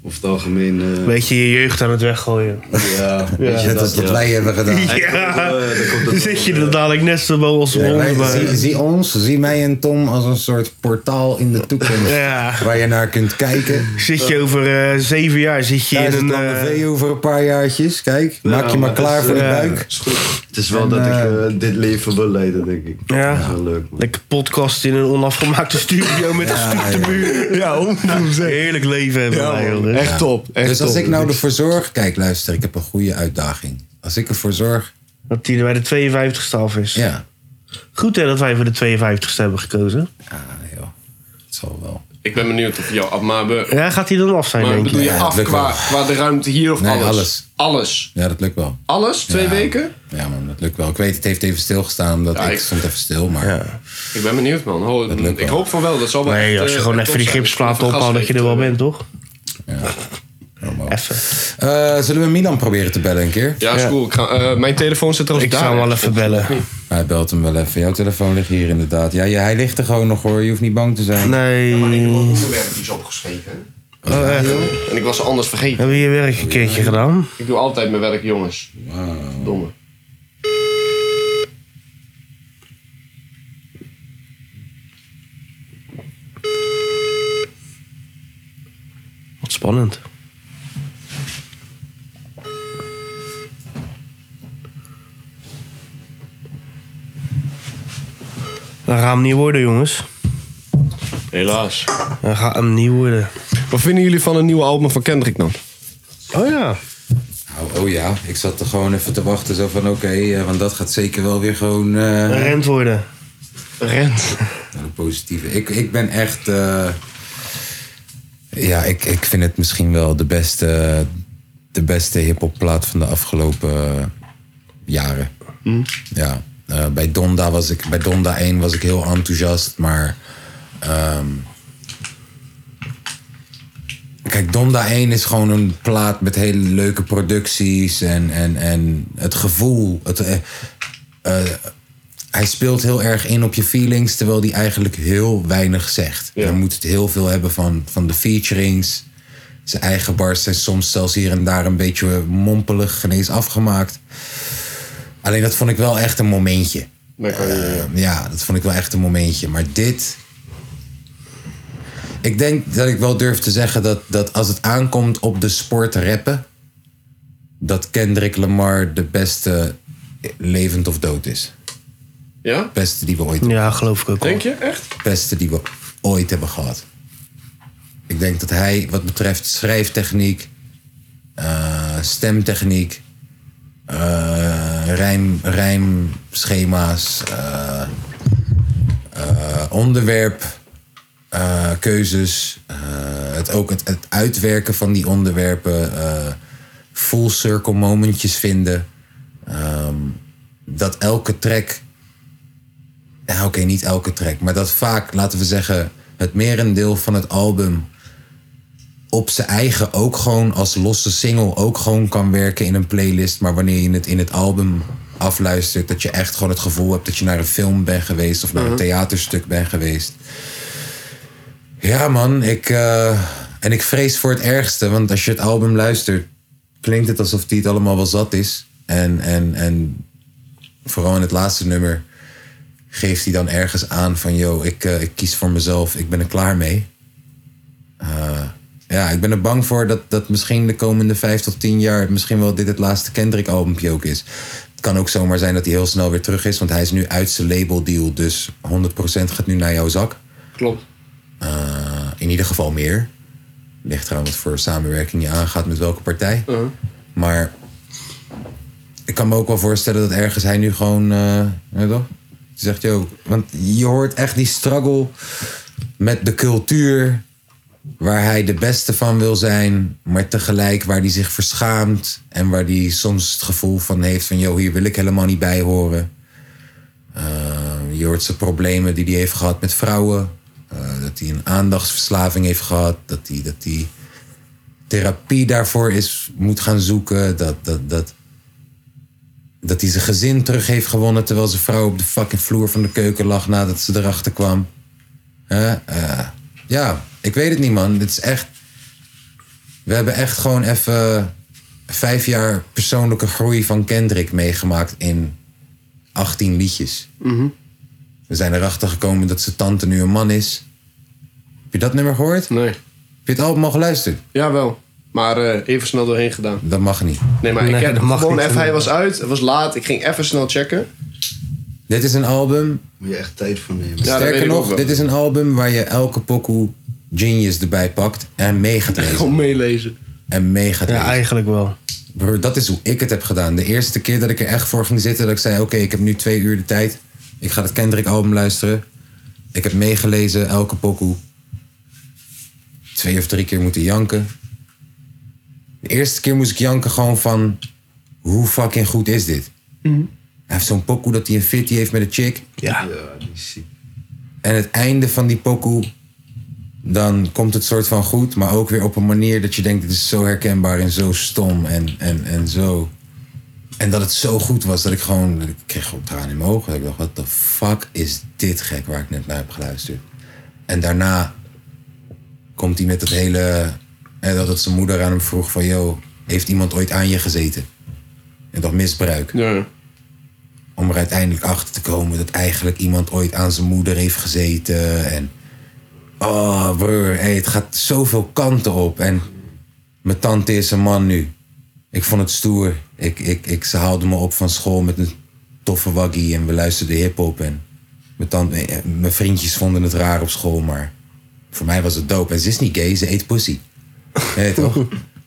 Of het algemeen. eh,
Beetje je jeugd aan het weggooien.
ja, weet je
Net als
dat,
wat
ja.
wij hebben gedaan.
Hij komt ook, eh, daar komt
Dan
ook
zit je
wel,
er dadelijk net zo boven als
Ja, wij-
honden
zie,
bij.
zie ons, zie mij en Tom als een soort portaal in de toekomst.
Ja.
Waar je naar kunt kijken.
Zit je over eh, zeven jaar zit je
Daar
in
is het
een...
lange
eh,
V over een paar jaartjes. Kijk, maak je maar
maar
klaar
dat is,
voor de
eh,
buik.
eh, Het is wel dat ik eh, dit leven wil leiden, denk ik.
Ja.
Dat is wel leuk, man.
Lekker podcast in een onafgemaakte studio met een stuk
ja.
te muur. Ja, <laughs> Heerlijk leven hebben wij, joh.
Echt top. Echt
Dus als
top.
ik nou ervoor zorg... Kijk, luister, ik heb een goede uitdaging. Als ik ervoor zorg...
Dat hij er bij de 52ste af is.
Ja,
Goed hè, dat wij voor de 52ste hebben gekozen.
Ah, joh. zal wel.
Ik ben benieuwd of jou af, maar, we,
Ja, gaat hij dan af zijn,
maar
denk
bedoel
je?
je
Ja,
af
dat lukt
qua,
wel.
qua de ruimte hier of
Nee,
alles?
alles.
Alles?
Ja, dat lukt wel.
Alles? Twee
Ja.
weken?
Ja, man, dat lukt wel. Ik weet, het heeft even stilgestaan omdat
Ja,
ik,
ik-
stond even stil, maar
Ik ben benieuwd, man. Ho-
lukt wel.
ik hoop van wel. Dat zal wel
Nee,
echt,
als je
eh,
gewoon
top
even die
zijn.
gipsplaat
Even gas
ophoudt, dat je er wel
geven.
bent, toch?
kom op.
Even.
Eh, zullen we Milan proberen te bellen een keer?
Ja, is
Ja.
cool. Ik ga- eh, mijn telefoon zit trouwens
Ik
daar.
zou hem wel even bellen.
Hij belt hem wel even. Jouw telefoon ligt hier inderdaad. Ja, ja, hij ligt er gewoon nog hoor. Je hoeft niet bang te zijn.
Nee. Mm.
onderwerpjes opgeschreven.
Oh, echt?
En ik was ze anders vergeten.
Hebben we je werk een keertje gedaan?
Ik doe altijd mijn werk, jongens. Domme.
Wat spannend. Dat gaat hem niet worden, jongens.
Helaas.
Dat gaat hem niet worden.
Wat vinden jullie van een nieuwe album van Kendrick dan?
Oh ja.
Oh, oh ja, ik zat er gewoon even te wachten. Zo van oké, eh, want dat gaat zeker wel weer gewoon eh,
Rent worden. Rent.
een positieve. Ik, ik ben echt. eh, ja, ik, ik vind het misschien wel de beste, de beste hip-hop plaat van de afgelopen eh, jaren. Ja, eh, bij, Donda was ik, bij Donda 1 was ik heel enthousiast, maar. ehm, Kijk, Donda 1 is gewoon een plaat met hele leuke producties en, en, en het gevoel. Het, eh, eh, hij speelt heel erg in op je feelings, terwijl hij eigenlijk heel weinig zegt. Hij moet het heel veel hebben van, van de featurings. Zijn eigen bars zijn soms zelfs hier en daar een beetje mompelig, ineens afgemaakt. Alleen dat vond ik wel echt een momentje. Eh, ja, dat vond ik wel echt een momentje. Maar dit. Ik denk dat ik wel durf te zeggen dat, dat als het aankomt op de sport rappen. dat Kendrick Lamar de beste levend of dood is.
Ja?
Beste die we ooit,
Ja, geloof ik ook wel.
Denk je? Echt?
beste die we ooit hebben gehad. Ik denk dat hij, wat betreft schrijftechniek, eh, stemtechniek, eh rijm, rijmschema's, eh, eh, onderwerp, eh, keuzes, eh, het, ook het, het uitwerken van die onderwerpen, eh, full circle momentjes vinden. Ehm, dat elke track ja, oké, niet elke track. Maar dat vaak, laten we zeggen, het merendeel van het album op zijn eigen ook gewoon als losse single ook gewoon kan werken in een playlist. Maar wanneer je het in het album afluistert, dat je echt gewoon het gevoel hebt dat je naar een film bent geweest of naar een theaterstuk bent geweest. Ja, man, ik. eh, en ik vrees voor het ergste, want als je het album luistert, klinkt het alsof hij het allemaal wel zat is. En, en, en vooral in het laatste nummer geeft hij dan ergens aan van... yo, ik, eh, ik kies voor mezelf, ik ben er klaar mee. Eh, ja, ik ben er bang voor dat, dat misschien de komende vijf tot tien jaar... misschien wel dit het laatste Kendrick-albumpje ook is. Het kan ook zomaar zijn dat hij heel snel weer terug is... want hij is nu uit zijn labeldeal, dus 100% gaat nu naar jouw zak.
Klopt.
Eh, in ieder geval meer. Ligt trouwens wat voor samenwerking je aangaat met welke partij. Maar ik kan me ook wel voorstellen dat ergens hij nu gewoon. eh weet je toch? Die Zegt joh. Want je hoort echt die struggle met de cultuur. Waar hij de beste van wil zijn, maar tegelijk waar hij zich verschaamt. En waar hij soms het gevoel van heeft: van joh, hier wil ik helemaal niet bij horen. Eh, je hoort zijn problemen die hij heeft gehad met vrouwen. Eh, dat hij een aandachtsverslaving heeft gehad. Dat hij, dat hij therapie daarvoor is, moet gaan zoeken. Dat, dat, dat, dat hij zijn gezin terug heeft gewonnen... terwijl zijn vrouw op de fucking vloer van de keuken lag... nadat ze erachter kwam. Hè? Eh, ja, ik weet het niet, man. Het is echt... We hebben echt gewoon even vijf jaar persoonlijke groei van Kendrick meegemaakt... in 18 liedjes. We zijn erachter gekomen dat zijn tante nu een man is. Heb je dat nummer gehoord?
Nee.
Heb je het album al geluisterd?
Jawel. Maar eh, even snel doorheen gedaan.
Dat mag niet.
Nee, maar
Nee,
ik heb
dat mag
gewoon
niet.
even... Hij was uit. Het was laat. Ik ging even snel checken.
Dit is een album,
Moet je echt tijd voor nemen.
Ja, dat weet
sterker
ik ook
nog,
wel.
dit is een album waar je elke pokoe genius erbij pakt en mee gaat lezen.
Gewoon meelezen.
En mee gaat
Ja,
lezen.
eigenlijk wel.
Broer, dat is hoe ik het heb gedaan. De eerste keer dat ik er echt voor ging zitten, dat ik zei: Oké, ik heb nu twee uur de tijd. Ik ga het Kendrick album luisteren. Ik heb meegelezen, elke pokoe. twee of drie keer moeten janken. De eerste keer moest ik janken gewoon van... Hoe fucking goed is dit? Hij heeft zo'n pokoe dat hij een fitty heeft met een chick.
Ja.
die is ziek.
En het einde van die pokoe... Dan komt het soort van goed, maar ook weer op een manier dat je denkt... Dit is zo herkenbaar en zo stom en, en, en zo... En dat het zo goed was dat ik gewoon... Ik kreeg gewoon tranen in mijn ogen. Ik dacht, wat de fuck is dit gek waar ik net naar heb geluisterd? En daarna komt hij met dat hele... En dat het zijn moeder aan hem vroeg van... Yo, heeft iemand ooit aan je gezeten? En dat misbruik.
Ja.
Om er uiteindelijk achter te komen dat eigenlijk iemand ooit aan zijn moeder heeft gezeten. En oh, broer, hey, het gaat zoveel kanten op. En mijn tante is een man nu. Ik vond het stoer. Ik, ik, ik, ze haalde me op van school met een toffe waggie en we luisterden hip-hop. En mijn, tante, eh, mijn vriendjes vonden het raar op school, maar voor mij was het dope. En ze is niet gay, ze eet pussy. Hé, toch?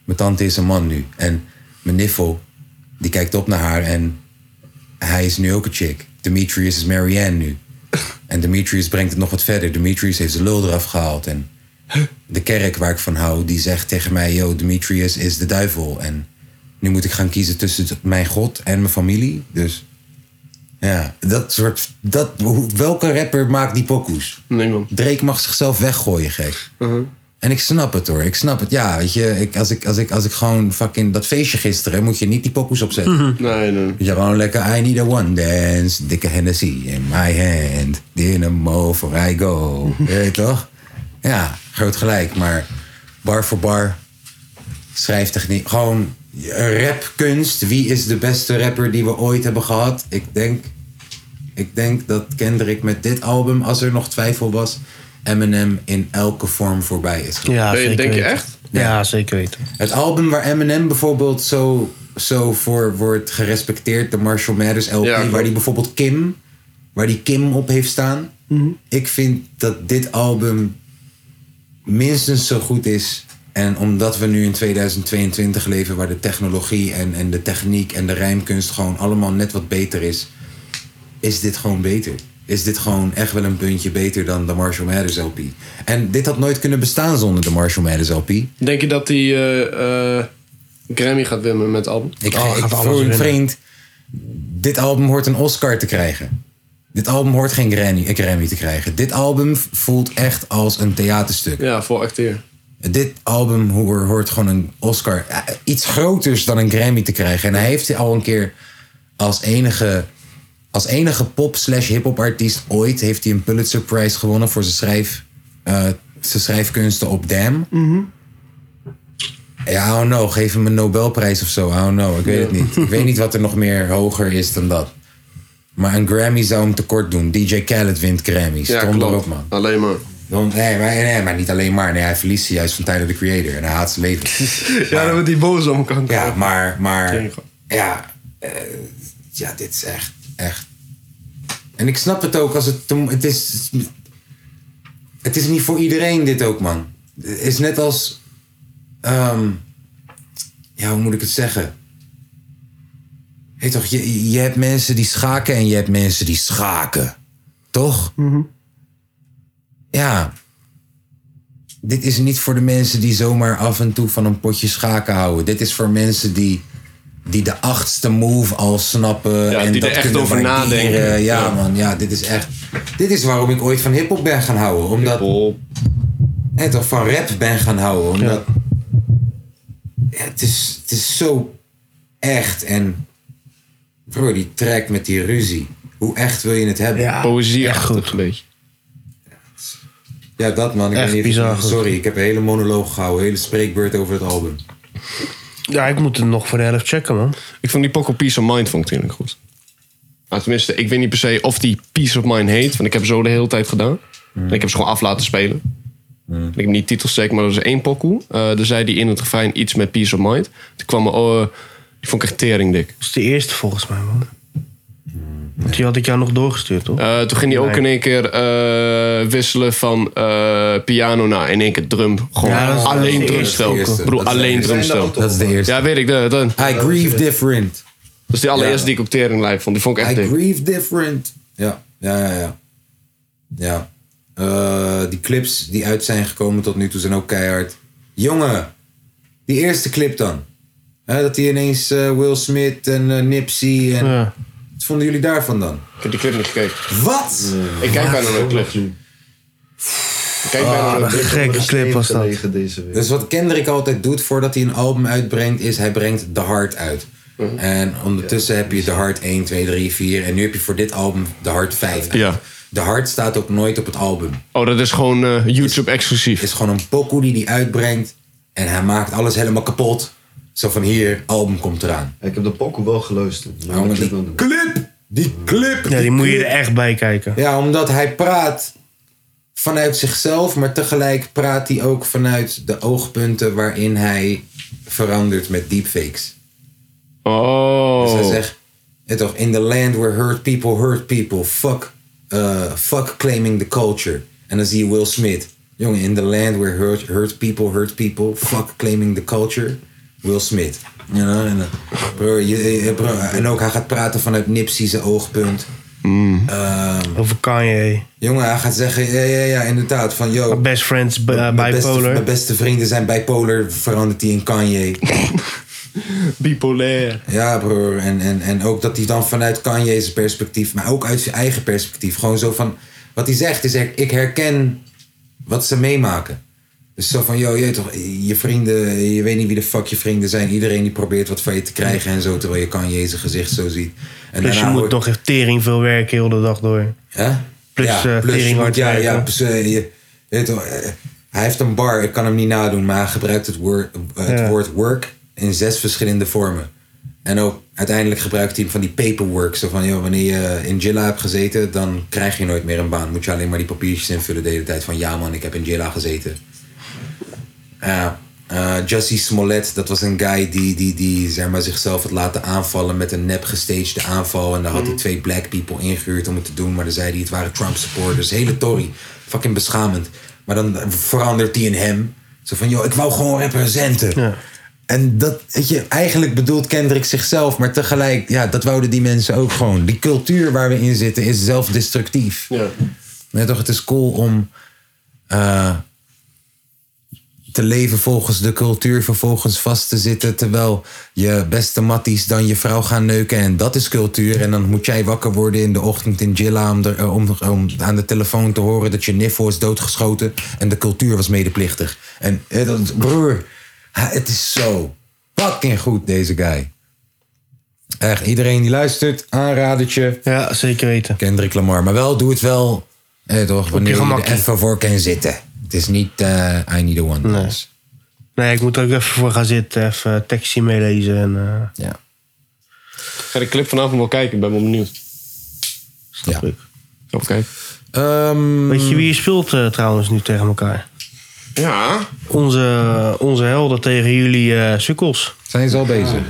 Mijn tante is een man nu. En mijn niffel, die kijkt op naar haar en hij is nu ook een chick. Demetrius is Marianne nu. En Demetrius brengt het nog wat verder. Demetrius heeft zijn lul eraf gehaald. En de kerk waar ik van hou, die zegt tegen mij... Yo, Demetrius is de duivel. En nu moet ik gaan kiezen tussen mijn god en mijn familie. Dus ja, dat soort... Dat, hoe- welke rapper maakt die pokoes?
Nee, man.
Drake mag zichzelf weggooien, gek. En ik snap het hoor, ik snap het. Ja, weet je, ik, als, ik, als, ik, als ik gewoon fucking... Dat feestje gisteren, moet je niet die pokoes opzetten.
Hm.
Nee, nee.
Ja, gewoon lekker. I need a one dance. Dikke Hennessy in my hand. Dynamo for I go. Weet je toch? Ja, groot gelijk. Maar bar voor bar. Schrijftechniek. Gewoon rapkunst. Wie is de beste rapper die we ooit hebben gehad? Ik denk, ik denk dat Kendrick met dit album, als er nog twijfel was... Eminem in elke vorm voorbij is. gekomen.
Ja,
Nee,
zeker
denk je
weten.
echt?
Ja, zeker weten.
Het album waar Eminem bijvoorbeeld zo, zo voor wordt gerespecteerd, de Marshall Mathers LP,
Ja, klopt.
waar die bijvoorbeeld Kim, waar die Kim op heeft staan. Ik vind dat dit album minstens zo goed is. En omdat we nu in 2022 leven, waar de technologie en, en de techniek en de rijmkunst gewoon allemaal net wat beter is, is dit gewoon beter. Is dit gewoon echt wel een puntje beter dan de Marshall Mathers LP? En dit had nooit kunnen bestaan zonder de Marshall Mathers LP.
Denk je dat hij eh, eh, Grammy gaat winnen met het album?
Ik,
Oh,
ik
gaat alles
voor een
winnen.
vriend. Dit album hoort een Oscar te krijgen. Dit album hoort geen Grammy, een Grammy te krijgen. Dit album voelt echt als een theaterstuk.
Ja, voor acteer.
Dit album hoor- hoort gewoon een Oscar. eh, Iets groters dan een Grammy te krijgen. En hij heeft al een keer als enige, als enige pop slash hip-hop artiest ooit heeft hij een Pulitzer Prize gewonnen voor zijn, schrijf, eh, zijn schrijfkunsten op Damn. Ja, I don't know. Geef hem een Nobelprijs of zo. I don't know. Ik weet het niet. Ik weet niet wat er nog meer hoger is dan dat. Maar een Grammy zou hem tekort doen. DJ Khaled wint Grammys.
Ja,
Kom
klopt.
erop, man.
Alleen maar.
Want, nee, maar, nee, maar niet alleen maar. Nee, hij verliest ze juist van Tyler, the Creator. En hij haat zijn leven.
Ja, dan wordt hij boos om kan
Ja, maar... maar
Tegen.
ja, eh, ja, dit is echt, echt... En ik snap het ook als het... te- Het is, het is niet voor iedereen dit ook, man. Het is net als... ehm, ja, hoe moet ik het zeggen? Hé toch, je, je hebt mensen die schaken en je hebt mensen die schaken. Toch? Ja. Dit is niet voor de mensen die zomaar af en toe van een potje schaken houden. Dit is voor mensen die, die de achtste move al snappen.
Ja,
en
die
dat
er echt
kunnen
over
waarderen.
nadenken.
Ja,
Ja.
man, ja, dit is echt. Dit is waarom ik ooit van hip-hop ben gaan houden. Omdat. Nee, toch van rap ben gaan houden. Omdat. Ja, het, is, het is zo echt. En. Bro, die track met die ruzie. Hoe echt wil je het hebben?
Ja.
Poëzie
Echt goed.
een beetje.
Ja, dat man. Ik
Echt
ben even-
bizar goed.
Sorry, ik heb een hele monoloog gehouden. Een hele spreekbeurt over het album.
Ja, ik moet het nog voor de helft checken, man.
Ik vond die Poco Peace of Mind vond ik eigenlijk goed. Nou, tenminste, ik weet niet per se of die Peace of Mind heet. Want ik heb zo de hele tijd gedaan.
Mm.
En ik heb ze gewoon af laten spelen. Ik heb niet titels zeker, maar er was één pokoe. Eh er zei die in het refrein iets met Peace of Mind. Toen kwam er... oh, die vond ik echt teringdik.
Dat is de eerste volgens mij, man. Want die had ik jou nog doorgestuurd, toch?
Eh, toen ging hij ook
Nee.
in één keer eh, wisselen van eh, piano naar in één keer drum. Gewoon
Ja, dat is- dat is
alleen
de
drumstel.
eerste.
Ik bedoel,
Dat is de
alleen
eerste.
drumstel.
Dat is de eerste.
Ja, weet ik. Dat, dat.
I grieve different.
dat is die allereerste die ik op tering live vond. Die vond ik
I
echt dik.
grieve different. Ja, ja, ja, ja. Ja. Eh, die clips die uit zijn gekomen tot nu toe zijn ook keihard. Jongen, die eerste clip dan. Hè, dat hij ineens eh, Will Smith en eh, Nipsey en...
Ja.
Wat vonden jullie daarvan dan?
Ik heb die clip niet gekeken.
Wat?
Ik kijk bijna nooit clips. Ik kijk bijna nooit clips.
Gekke clip was dat.
Gelegen deze week.
Dus wat Kendrick altijd doet voordat hij een album uitbrengt, is hij brengt The Heart uit. En ondertussen heb je The Heart 1, 2, 3, 4. En nu heb je voor dit album The Heart 5. uit.
Ja.
The Heart staat ook nooit op het album.
Oh, dat is gewoon eh, YouTube exclusief.
Het is gewoon een pokoe die hij uitbrengt. En hij maakt alles helemaal kapot. Zo van hier, album komt eraan.
Ik heb de pokoe wel geluisterd. Maar
Jongen,
ik
die
heb wel-
clip! Die clip!
Ja, die moet je
clip.
er echt bij kijken.
Ja, omdat hij praat vanuit zichzelf, maar tegelijk praat hij ook vanuit de oogpunten waarin hij verandert met deepfakes. Dus hij
Oh.
zegt, ja, toch, in the land where hurt people hurt people, fuck, eh, fuck claiming the culture. En dan zie je Will Smith. Jongen, in the land where hurt, hurt people hurt people, fuck claiming the culture, Will Smith. You know, en, dan- bro, je- je- bro, en ook hij gaat praten vanuit Nipsey's oogpunt. Ehm,
Over Kanye.
Jongen, hij gaat zeggen, ja, ja, ja, inderdaad. Van, yo,
Mijn best friends bi- eh,
mijn beste-
bipolar.
mijn beste vrienden zijn bipolar, verandert hij in Kanye.
Bipolair.
ja, broer. En, en, en ook dat hij dan vanuit Kanye's perspectief, maar ook uit zijn eigen perspectief. Gewoon zo van, wat hij zegt is, ik herken wat ze meemaken. Dus zo van, yo, je, weet toch, je vrienden, je weet niet wie de fuck je vrienden zijn. Iedereen die probeert wat van je te krijgen en zo, terwijl je Kanye zijn gezicht zo ziet. En
Dus je
daarna
moet
nou, hoor-
nog echt tering veel werken heel de dag door.
Hè?
Plus, eh,
je
tering
moet-
hard
ja,
werken.
ja, plus, eh, je, je weet toch, eh, hij heeft een bar, ik kan hem niet nadoen, maar hij gebruikt het, woord, eh, het
Ja.
woord work in zes verschillende vormen. En ook uiteindelijk gebruikt hij van die paperwork. Zo van, joh, wanneer je in Jilla hebt gezeten, dan krijg je nooit meer een baan. Moet je alleen maar die papiertjes invullen de hele tijd. Van, ja man, ik heb in Jilla gezeten. Ja. eh Jussie Smollett, dat was een guy die, die, die zeg maar, zichzelf had laten aanvallen met een nep gestagede aanval. En daar had hij twee black people ingehuurd om het te doen. Maar dan zei hij het waren Trump supporters. Hele Tory. Fucking beschamend. Maar dan verandert hij in hem. Zo van, joh, ik wou gewoon representen. En dat, weet je, eigenlijk bedoelt Kendrick zichzelf. Maar tegelijk, ja, dat wouden die mensen ook gewoon. Die cultuur waar we in zitten is zelfdestructief.
Ja.
Nee, toch, het is cool om eh, te leven volgens de cultuur, vervolgens vast te zitten. Terwijl je beste matties dan je vrouw gaan neuken. En dat is cultuur. En dan moet jij wakker worden in de ochtend in Jilla om, er, eh, om, om aan de telefoon te horen dat je niffel is doodgeschoten. En de cultuur was medeplichtig. En eh, dat, broer, ha, het is zo fucking goed, deze guy. Echt, iedereen die luistert, aanradertje.
Ja, zeker weten.
Kendrick Lamar. Maar wel, doe het wel eh, toch, wanneer je, er
gemakkie.
even voor kan zitten. Het is niet eh, I need a one. dance.
Nee, ik moet er ook even voor gaan zitten. Even eh, tekstje meelezen. En, eh,
Ja.
Ik ga de clip vanavond wel kijken, ik ben wel benieuwd.
ja.
Oké.
Ehm,
Weet je wie je speelt eh, trouwens nu tegen elkaar?
Ja.
Onze, onze helden tegen jullie eh sukkels.
zijn ze al bezig?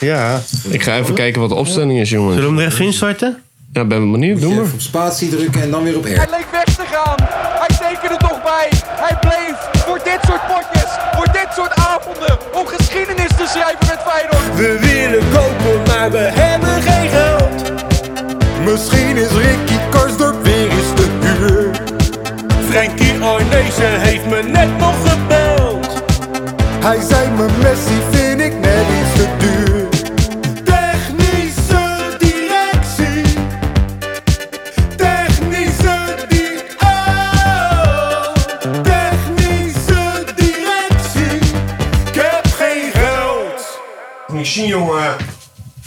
Ja.
Ik ga even kijken wat de opstelling is, jongens.
Zullen we hem er even instarten?
Ja, ben wel benieuwd. Doe maar.
Even op spatie drukken en dan weer op R.
Hij leek weg te gaan. Hij tekende toch bij. Hij bleef voor dit soort potjes, voor dit soort avonden, om geschiedenis te schrijven met Feyenoord.
We willen kopen, maar we hebben geen geld. Misschien is Ricky Karsdorp weer eens te duur. Frankie Arnezen heeft me net nog gebeld. Hij zei me Messi vind ik net iets te duur. Technische directie. Technische di- oh. Technische directie. Ik heb geen geld.
Misschien jongen.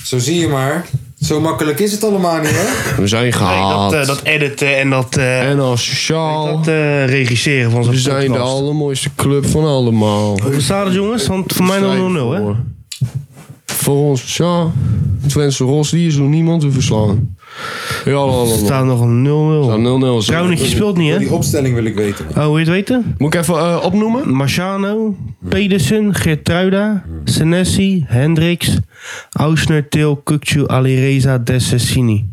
Zo zie je maar. Zo makkelijk is het allemaal niet, hè?
We zijn gehaald.
dat, eh, dat editen en dat, eh,
en als sociaal.
dat eh, regisseren van zo'n
We zijn de
podcast.
allermooiste club van allemaal.
Hoe staat het jongens? Want voor mij nog 0-0 hè?
Voor ons, ja. Twente Ros, die is door niemand te verslaan. Ja, la, la,
Er
la.
staat nog een 0-0.
Nou, 0-0.
Trouwnetje speelt niet hè?
Die opstelling wil ik weten. man.
Oh, wil je het weten?
Moet ik even eh, opnoemen?
Marciano, Pedersen, Geertruida, Senesi, Hendricks, Ausner, Til, Kukcu, Alireza, Dessessini.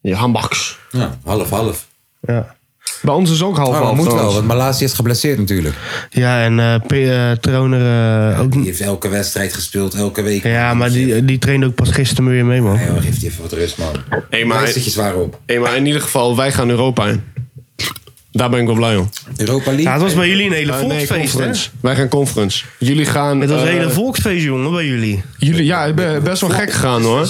Ja, handbaks.
Ja, half, half.
Ja.
Bij ons is ook half
Ah,
Maar
half.
moet wel,
trouwens.
want Malasia is geblesseerd natuurlijk.
Ja, en eh P- eh, Troner eh, ook
Die
niet.
heeft elke wedstrijd gespeeld, elke week.
Ja, maar die, die trainde ook pas gisteren weer mee, man.
Ja, joh, geeft hij even wat rust, man.
Hey,
Maar
maar,
zit je zwaar op.
hey, maar in ieder geval, wij gaan Europa in. Daar ben ik wel blij om.
Europa League?
Ja, het was bij jullie een hele
Eh, nee,
volksfeest, hè?
conference. Wij gaan conference. Jullie gaan...
Het was een
eh,
hele volksfeest, jongen, bij jullie.
jullie, ja, ik ben best wel gek gegaan, hoor.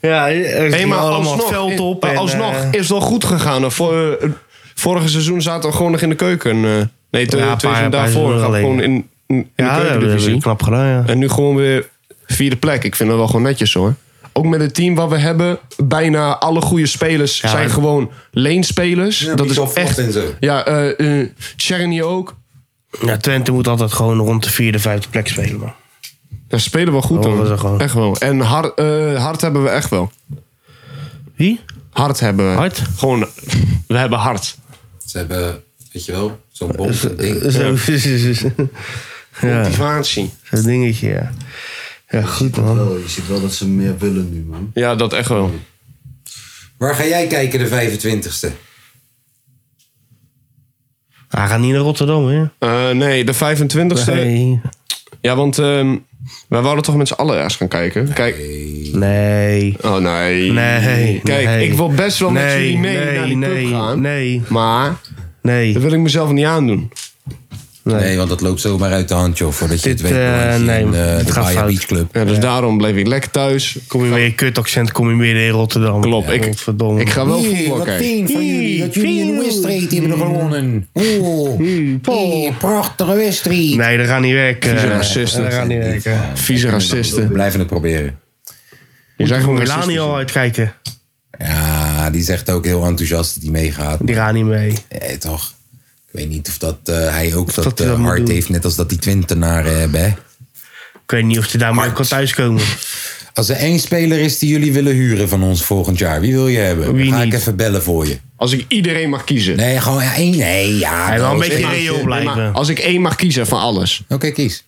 Ja, er
Hey,
gingen
maar
allemaal
alsnog,
het veld op.
maar
en,
alsnog
eh,
is het wel goed gegaan. Vor, eh, vorige seizoen zaten we gewoon nog in de keuken. eh. Nee, twee
Ja,
ja,
een paar-
seizoen
een paar
daarvoor.
seizoenen
zaten we Gewoon in, in
ja,
de
dat hebben
keukendivisie.
we knap gedaan, ja.
En nu gewoon weer vierde plek. Ik vind dat wel gewoon netjes hoor. Ook met het team wat we hebben, bijna alle goede spelers
Ja,
zijn
en-
gewoon leenspelers. dat is echt.
en zo.
Ja, eh eh, Tjerni ook.
Ja, Twente moet altijd gewoon rond de vierde, vijfde plek spelen, man.
Ja, ze spelen wel goed
Oh, Dat
hoor.
was er gewoon.
Echt wel. En hard, eh, hard hebben we echt wel.
Wie?
Hard hebben we.
Hard?
Gewoon, we hebben hard.
Ze hebben, weet je wel, zo'n
Eh,
bom.
<laughs>
ding.
Zo, ja,
Motivatie.
zo'n dingetje, ja. Ja, goed, man.
Wel, je ziet wel dat ze meer willen nu, man.
Ja, dat echt wel.
Waar ga jij kijken de 25e?
Hij gaat niet naar Rotterdam, hè?
Eh, nee, de 25e.
Nee.
Ja, want ehm, wij wouden toch met z'n allen ergens gaan kijken. Kijk,
Nee.
Oh nee.
Nee.
Kijk,
nee.
ik wil best wel met
Nee,
jullie mee naar die
nee,
club gaan.
Nee,
Maar
nee,
dat wil ik mezelf niet aandoen.
nee.
Nee, want dat loopt zomaar uit de hand, joh. Voordat je
Dit,
het weet,
eh,
beland je
nee,
in, eh,
het
de
gaat
Bayer
fout.
Beach Club.
Ja, dus daarom bleef ik lekker thuis.
Kom je weer je kutaccent, kom je weer in Rotterdam.
Klopt,
Ja,
ik-
godverdomme.
Ik ga wel voetbal
wat
kijken.
fijn van jullie dat jullie in de wedstrijd hebben gewonnen. Oh, die prachtige wedstrijd.
Nee, dat gaat niet werken.
Vieze
Eh,
racisten.
Dat gaat niet werken.
Vieze
We
racisten.
blijven het proberen.
Je zijn gewoon
Melani al
racisten.
uitkijken.
Ja, die zegt ook heel enthousiast dat hij meegaat.
Die gaat niet mee.
Eh, toch? Ik weet niet of dat eh, hij ook dat,
dat hij
eh,
dat moet
hart
doen.
heeft, net als dat die Twentenaren hebben. Hè?
Ik weet niet of hij daar maar kan thuiskomen.
Als er één speler is die jullie willen huren van ons volgend jaar, wie wil je hebben?
Wie
Ga ik
niet?
even bellen voor je.
Als ik iedereen mag kiezen.
Nee, gewoon ja, één. Nee, ja.
Hij wil
nou,
een
is
beetje
eentje.
reëel
Maar
blijven.
als ik één mag kiezen van alles.
Oké, kies.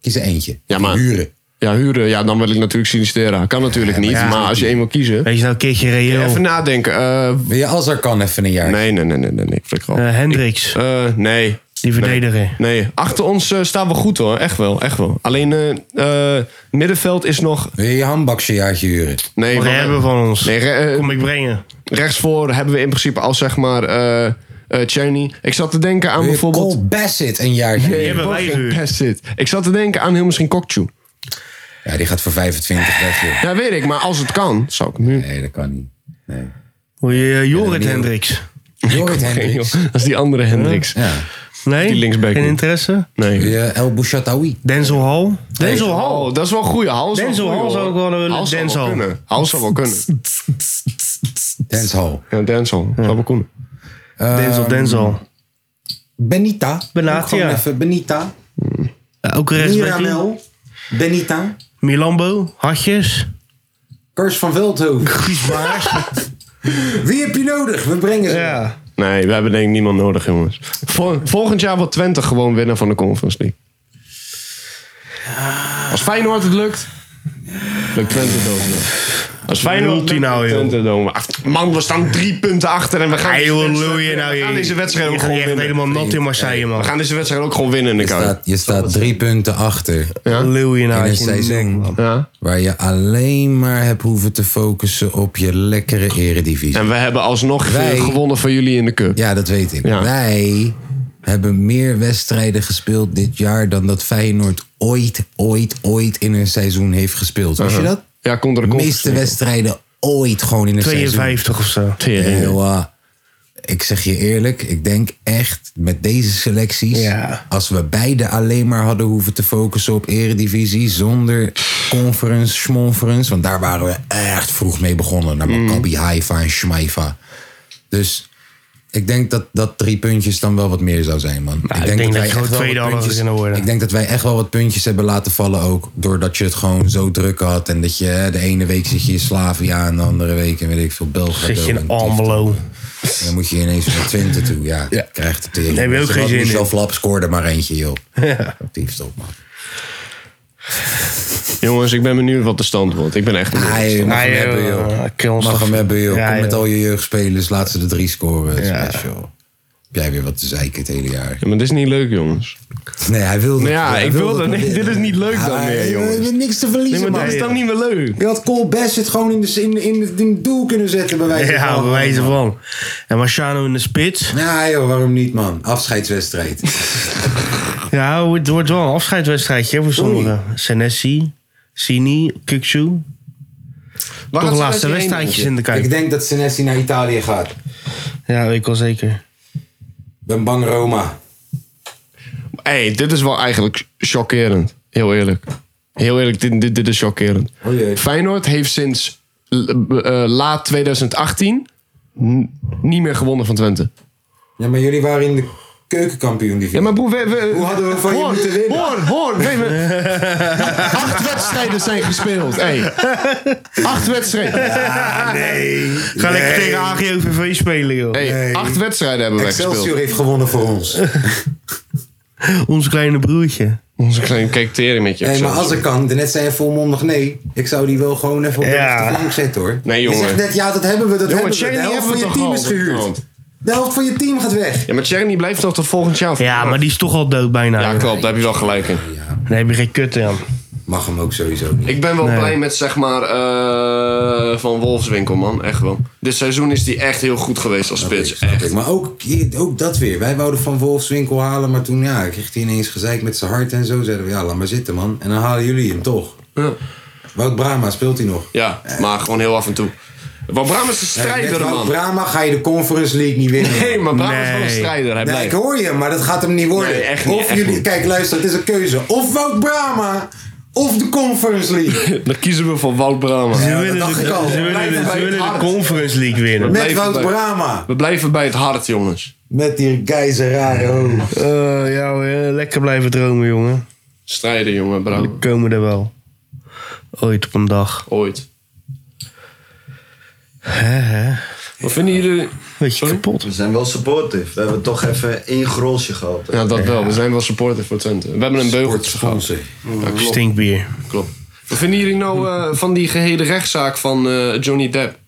Kies er eentje.
Ja, maar-
Huren.
Ja, huren. Ja, dan wil ik natuurlijk Sinistera. Kan natuurlijk niet.
ja.
Maar als je één wil kiezen.
Wees nou een keertje reëel.
Even nadenken. Eh,
Wil je als er kan even een jaar?
nee, nee, nee, nee, nee. nee. Flik erop.
Eh, Hendricks,
Eh, nee.
die verdediger.
Nee, achter ons eh, staan we goed hoor. Echt wel, echt wel. Alleen eh, eh, middenveld is nog...
Wil je je handbaksjaartje huren?
Nee,
Wat
want-
hebben we van ons?
Nee, re- eh,
Kom ik brengen.
rechtsvoor hebben we in principe al zeg maar eh eh, Tierney. Ik zat te denken aan
Wil je
bijvoorbeeld...
Cole Bassett een jaartje
Die
huren?
hebben wij gehuurd.
That's it. Ik zat te denken aan heel misschien Kokchu.
Ja, die gaat voor 25 weg, joh.
Ja, weet ik, maar als het kan, zou ik hem
<laughs>
huren.
Nee, dat kan niet.
<laughs>
Nee.
Hoe je eh, Jorrit
niet.
Hendricks.
Jorrit
<laughs>
Hendricks.
Joh, Dat is die andere Hendricks.
Ja.
Nee?
Die linksback
Geen
niet.
interesse?
Wil
Nee.
je El Bouchataoui?
Denzel Hall? Denzel Hall?
Oh, dat is wel een goeie. Hals
Denzel Hall zou ik wel willen. Denzel.
Hals zou wel kunnen.
<laughs>
Dancehall.
Ja, Denzel. Zou wel kunnen. Eh,
Denzel, Denzel.
Benita.
Benatia.
Ook gewoon even Benita.
eh,
Ja, ook een rechtsback.
Miramel. Benita.
Milambo? Hartjes?
Kurs van
<laughs>
Veldhoven. <laughs> Wie heb je nodig? We brengen ze.
Ja.
Nee, we hebben denk ik niemand nodig, jongens. Vol- volgend jaar wordt Twente gewoon winnen van de Conference League. Als Feyenoord het lukt, lukt Twente het ook nog. Als Feyenoord
lult hij
lukt,
nou,
lukt
joh?
Twente het ook nog. Ach, Man, we staan drie punten achter en we gaan,
Hey,
deze,
joh,
wedstrijd-
lul je nou,
we gaan
je-
deze wedstrijd
je
ook
gaat
gewoon
echt
winnen.
helemaal nat in Marseille, man.
We gaan deze wedstrijd ook gewoon winnen in de
Je
kuip.
staat, je staat drie punten achter.
Ja? Lul je nou
In een
uit je
seizoen.
nek, man.
Ja.
Waar je alleen maar hebt hoeven te focussen op je lekkere eredivisie.
En we hebben alsnog
Wij-
eh, gewonnen van jullie in de cup.
Ja, dat weet ik.
Ja.
Wij hebben meer wedstrijden gespeeld dit jaar dan dat Feyenoord ooit, ooit, ooit in een seizoen heeft gespeeld. Wist je dat?
Ja, komt er
De
een
meeste wedstrijden ooit gewoon in een seizoen.
52 of zo.
wedstrijd.
Heel, eh, ik zeg je eerlijk, ik denk echt met deze selecties.
Ja.
Als we beide alleen maar hadden hoeven te focussen op Eredivisie. zonder conference, schmonference. Want daar waren we echt vroeg mee begonnen. Naar Maccabi, Haifa en Schmaifa. Dus ik denk dat dat drie puntjes dan wel wat meer zou zijn, man.
Nou, ik denk dat je
echt
gewoon
wel
tweede
wat
hadden
puntjes-
kunnen worden.
Ik denk dat wij echt wel wat puntjes hebben laten vallen ook. Doordat je het gewoon zo druk had. En dat je hè, de ene week zit je in Slavia. En de andere week, en weet ik veel, België.
Zit je
en
in
Tief-
Almelo.
en dan moet je ineens naar Twente toe. Ja, krijgt het tegen.
Daar heb je ook geen zin in.
Michel Flap scoorde maar eentje, joh. Ja. op, man.
Jongens, ik ben benieuwd wat de stand wordt. Ik ben echt benieuwd.
Hij mag hem
Nee,
hebben,
joh.
joh.
Kill ons
Mag
toch.
hem hebben, joh.
Ja,
Kom met
joh.
al je jeugdspelers, laat ze de drie scoren. Het is
Ja.
best, joh. jij weer wat te zeiken het hele jaar.
Ja, maar dit is niet leuk, jongens.
Nee, hij wilde.
Nou ja,
hij
ik wilde.
het
Nee, dit
proberen.
is niet leuk dan
Hij-
meer,
hij-
jongens.
hij heeft niks te verliezen,
Nee, maar dit is dan niet meer leuk.
Je had Cole Bassett gewoon in, de, in, in, het- in het doel kunnen zetten, bij wijze van.
Ja, wijze van. En Marciano in de spits.
Ja, joh, waarom niet, man? Afscheidswedstrijd.
Ja, het wordt wel een afscheidswedstrijdje voor sommigen. Senesi, Sini, Kukchu. Toch de laatste wedstrijdjes in de kijk.
Ik denk dat Senesi naar Italië gaat.
Ja, weet ik wel zeker.
Ben bang Roma.
hey, dit is wel eigenlijk chockerend. Heel eerlijk. Heel eerlijk, dit, dit, dit is chockerend.
Oh jee.
Feyenoord heeft sinds l- eh, laat 2018 n- niet meer gewonnen van Twente.
Ja, maar jullie waren in de keukenkampioen divisie.
Ja, maar broer, we, we-
Hoe hadden we van je
hoor,
moeten winnen?
Hoor, hoor,
<laughs>
nee, maar- Acht wedstrijden zijn gespeeld. Hey. Acht wedstrijden.
nee.
Ga lekker tegen AGOVV spelen, joh.
Hey,
Nee.
Acht wedstrijden hebben wij
Excelsior
gespeeld.
heeft gewonnen voor ons.
Ons kleine broertje.
Onze kleine kijk tering met je.
Nee, maar
Excelsior.
als ik kan, net zei je volmondig nee. Ik zou die wel gewoon even op de
Ja.
flank zetten hoor.
Nee,
Je
jongen.
zegt net, ja, dat hebben we, dat
Jongen,
hebben we. De
Tjerni
helft
hebben
van
we
je
toch
team
al
is gehuurd.
onderhand.
De helft van je team gaat weg.
Ja, maar Tjerni blijft toch tot volgend jaar?
Ja, maar die is toch al dood bijna.
Ja, klopt, daar heb je wel gelijk in.
Daar heb je geen kut aan.
Mag hem ook sowieso niet.
Ik ben wel blij met zeg maar eh, van Wolfswinkel, man. Echt wel. Dit seizoen is die echt heel goed geweest als spits.
Snap ik.
Echt.
Maar ook, ook dat weer. Wij wouden Van Wolfswinkel halen, maar toen ja, kreeg hij ineens gezeik met zijn hart en zo. Zeiden we, ja, laat maar zitten man. En dan halen jullie hem toch.
Ja.
Wout Brama, speelt hij nog?
Ja, maar gewoon heel af en toe. Want Bram is een
Met
strijder,
Wout
man.
Brama ga je de Conference League niet winnen.
Nee, maar Bram is wel een
Nee.
strijder. Hij
Nee, ik
blijft.
hoor je, maar dat gaat hem niet worden.
Nee, echt niet,
of
echt
jullie,
niet.
kijk, luister, het is een keuze. Of Wout Brama, of de Conference League.
Dan kiezen we voor Wout Brama.
Ze
dat
willen
dacht ik al.
de- ze willen
Blijven
de-
bij
ze
het
willen de
hart.
Conference League winnen.
Met
<laughs> Blijf
Wout
erbij.
Brama.
We blijven bij het hart, jongens.
Met die Geizeraro.
Eh, ja, hoor, lekker blijven dromen, jongen.
Strijden, jongen,
We
Bram.
komen er wel. Ooit op een dag.
Ooit.
Hè, hè?
Wat vinden jullie...
Beetje
Sorry?
kapot.
We zijn wel supportive. We hebben toch even één grolsje gehad. hè.
Ja, dat wel. We zijn wel supporter voor Twente. We hebben een beugeltje gehad.
Sponsor.
Ja, klopt.
Oh,
Oh,
Stinkbier.
Klopt. Wat vinden jullie nou eh, van die gehele rechtszaak van eh, Johnny Depp?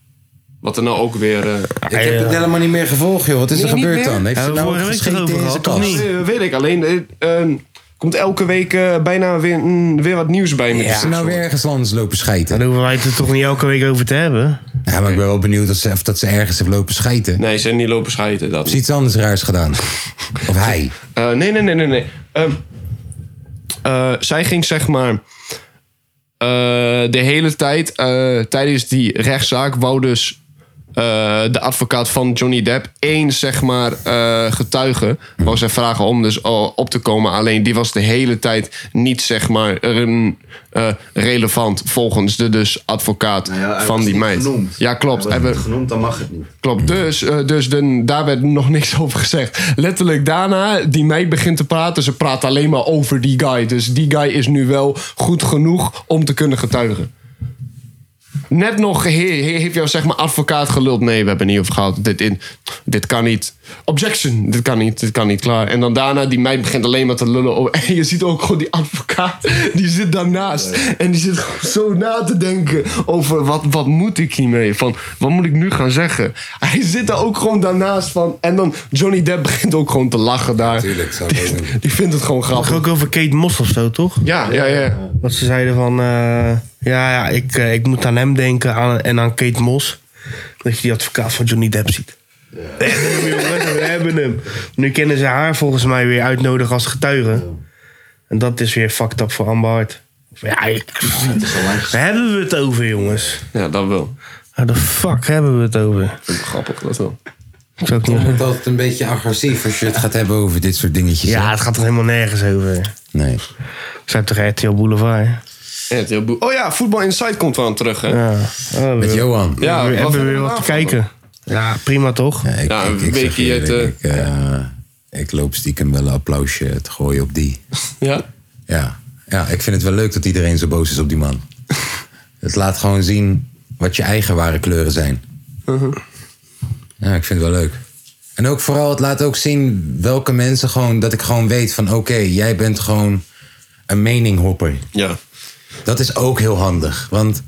Wat er nou ook weer... eh,
Ik heb
Ja.
het helemaal niet meer gevolgd, joh. Wat is
Nee,
er
niet
gebeurd
meer?
dan? Heeft ze
Hebben we
nou
vorige week
gescheten
erover
in zijn
gehad, of
kast?
niet?
Eh, weet ik. Alleen eh, eh, komt elke week eh, bijna weer mm, weer wat nieuws bij met
Heeft ze
dit
nou
soort-
weer ergens anders lopen schijten?
Daar hoeven wij het er toch niet elke week over te hebben.
Ja, maar ik ben wel benieuwd of ze, of dat ze ergens heeft lopen schijten.
Nee, ze hebben niet lopen scheiden. Dat.
Ze iets anders raars gedaan. Of hij.
Eh, nee, nee, nee, nee. nee. Ehm, eh, zij ging zeg maar... eh, de hele tijd eh, tijdens die rechtszaak wou dus eh, de advocaat van Johnny Depp één zeg maar eh, getuige wou zij vragen om dus al op te komen. Alleen die was de hele tijd niet zeg maar ehm, eh, relevant volgens de dus advocaat
Nou ja, hij
van
was
die
niet
meid.
genoemd.
Ja, klopt.
Hij
Hij
wordt
werd-
niet genoemd, dan mag het niet.
Klopt, dus, eh, dus de, daar werd nog niks <laughs> over gezegd. Letterlijk daarna, die meid begint te praten. Ze praat alleen maar over die guy. Dus die guy is nu wel goed genoeg om te kunnen getuigen. Net nog he- he- heeft jouw zeg maar, advocaat geluld. Nee, we hebben niet over gehad. Dit, in, dit kan niet. Objection, dit kan niet, dit kan niet, klaar. En dan daarna, die meid begint alleen maar te lullen. over- <laughs> En je ziet ook gewoon die advocaat, die zit daarnaast. En die zit gewoon zo na te denken over wat, wat moet ik hiermee? Van, wat moet ik nu gaan zeggen? Hij zit daar ook gewoon daarnaast van. En dan, Johnny Depp begint ook gewoon te lachen daar.
Tuurlijk, zou ik ook doen.
Die vindt het gewoon
Het ging
grappig.
ook over Kate Moss of zo, toch?
Ja, ja, ja.
Dat ze zeiden van... eh, ja, ja ik, eh, ik moet aan hem denken aan, en aan Kate Moss. Dat je die advocaat van Johnny Depp ziet. <laughs> We hebben hem, jongen, we hebben hem. Nu kennen ze haar volgens mij weer uitnodigen als getuige. En dat is weer fucked up voor Amber Hart. Ja, ik, Waar hebben we het over, jongens?
Ja, dat wel.
Waar de fuck hebben we het over?
Vind ik grappig, dat wel.
Ik zou ook niet...
<laughs> Het is altijd een beetje agressief als je het gaat hebben over dit soort dingetjes.
Ja,
hè?
het gaat er helemaal nergens over.
Nee.
Ik zou toch RTL Boulevard. hè?
Ja, het heel boe- oh ja, Voetbal Insight komt wel aan terug, hè?
Ja. Oh,
Met
we-
Johan.
we
Ja,
hebben
wat
weer
vinden we
wat te
daarvan?
kijken. Ja, prima toch?
Ja, ik,
Ja,
ik,
een
ik, zeg
beetje
je
het,
eerlijk, ik, eh, ik loop stiekem wel een applausje te gooien op die.
Ja?
Ja. ja, ik vind het wel leuk dat iedereen zo boos is op die man. het laat gewoon zien wat je eigen ware kleuren zijn. Ja, ik vind het wel leuk. En ook vooral, het laat ook zien welke mensen gewoon... dat ik gewoon weet van, oké, jij bent gewoon een meninghopper.
Ja.
Dat is ook heel handig. Want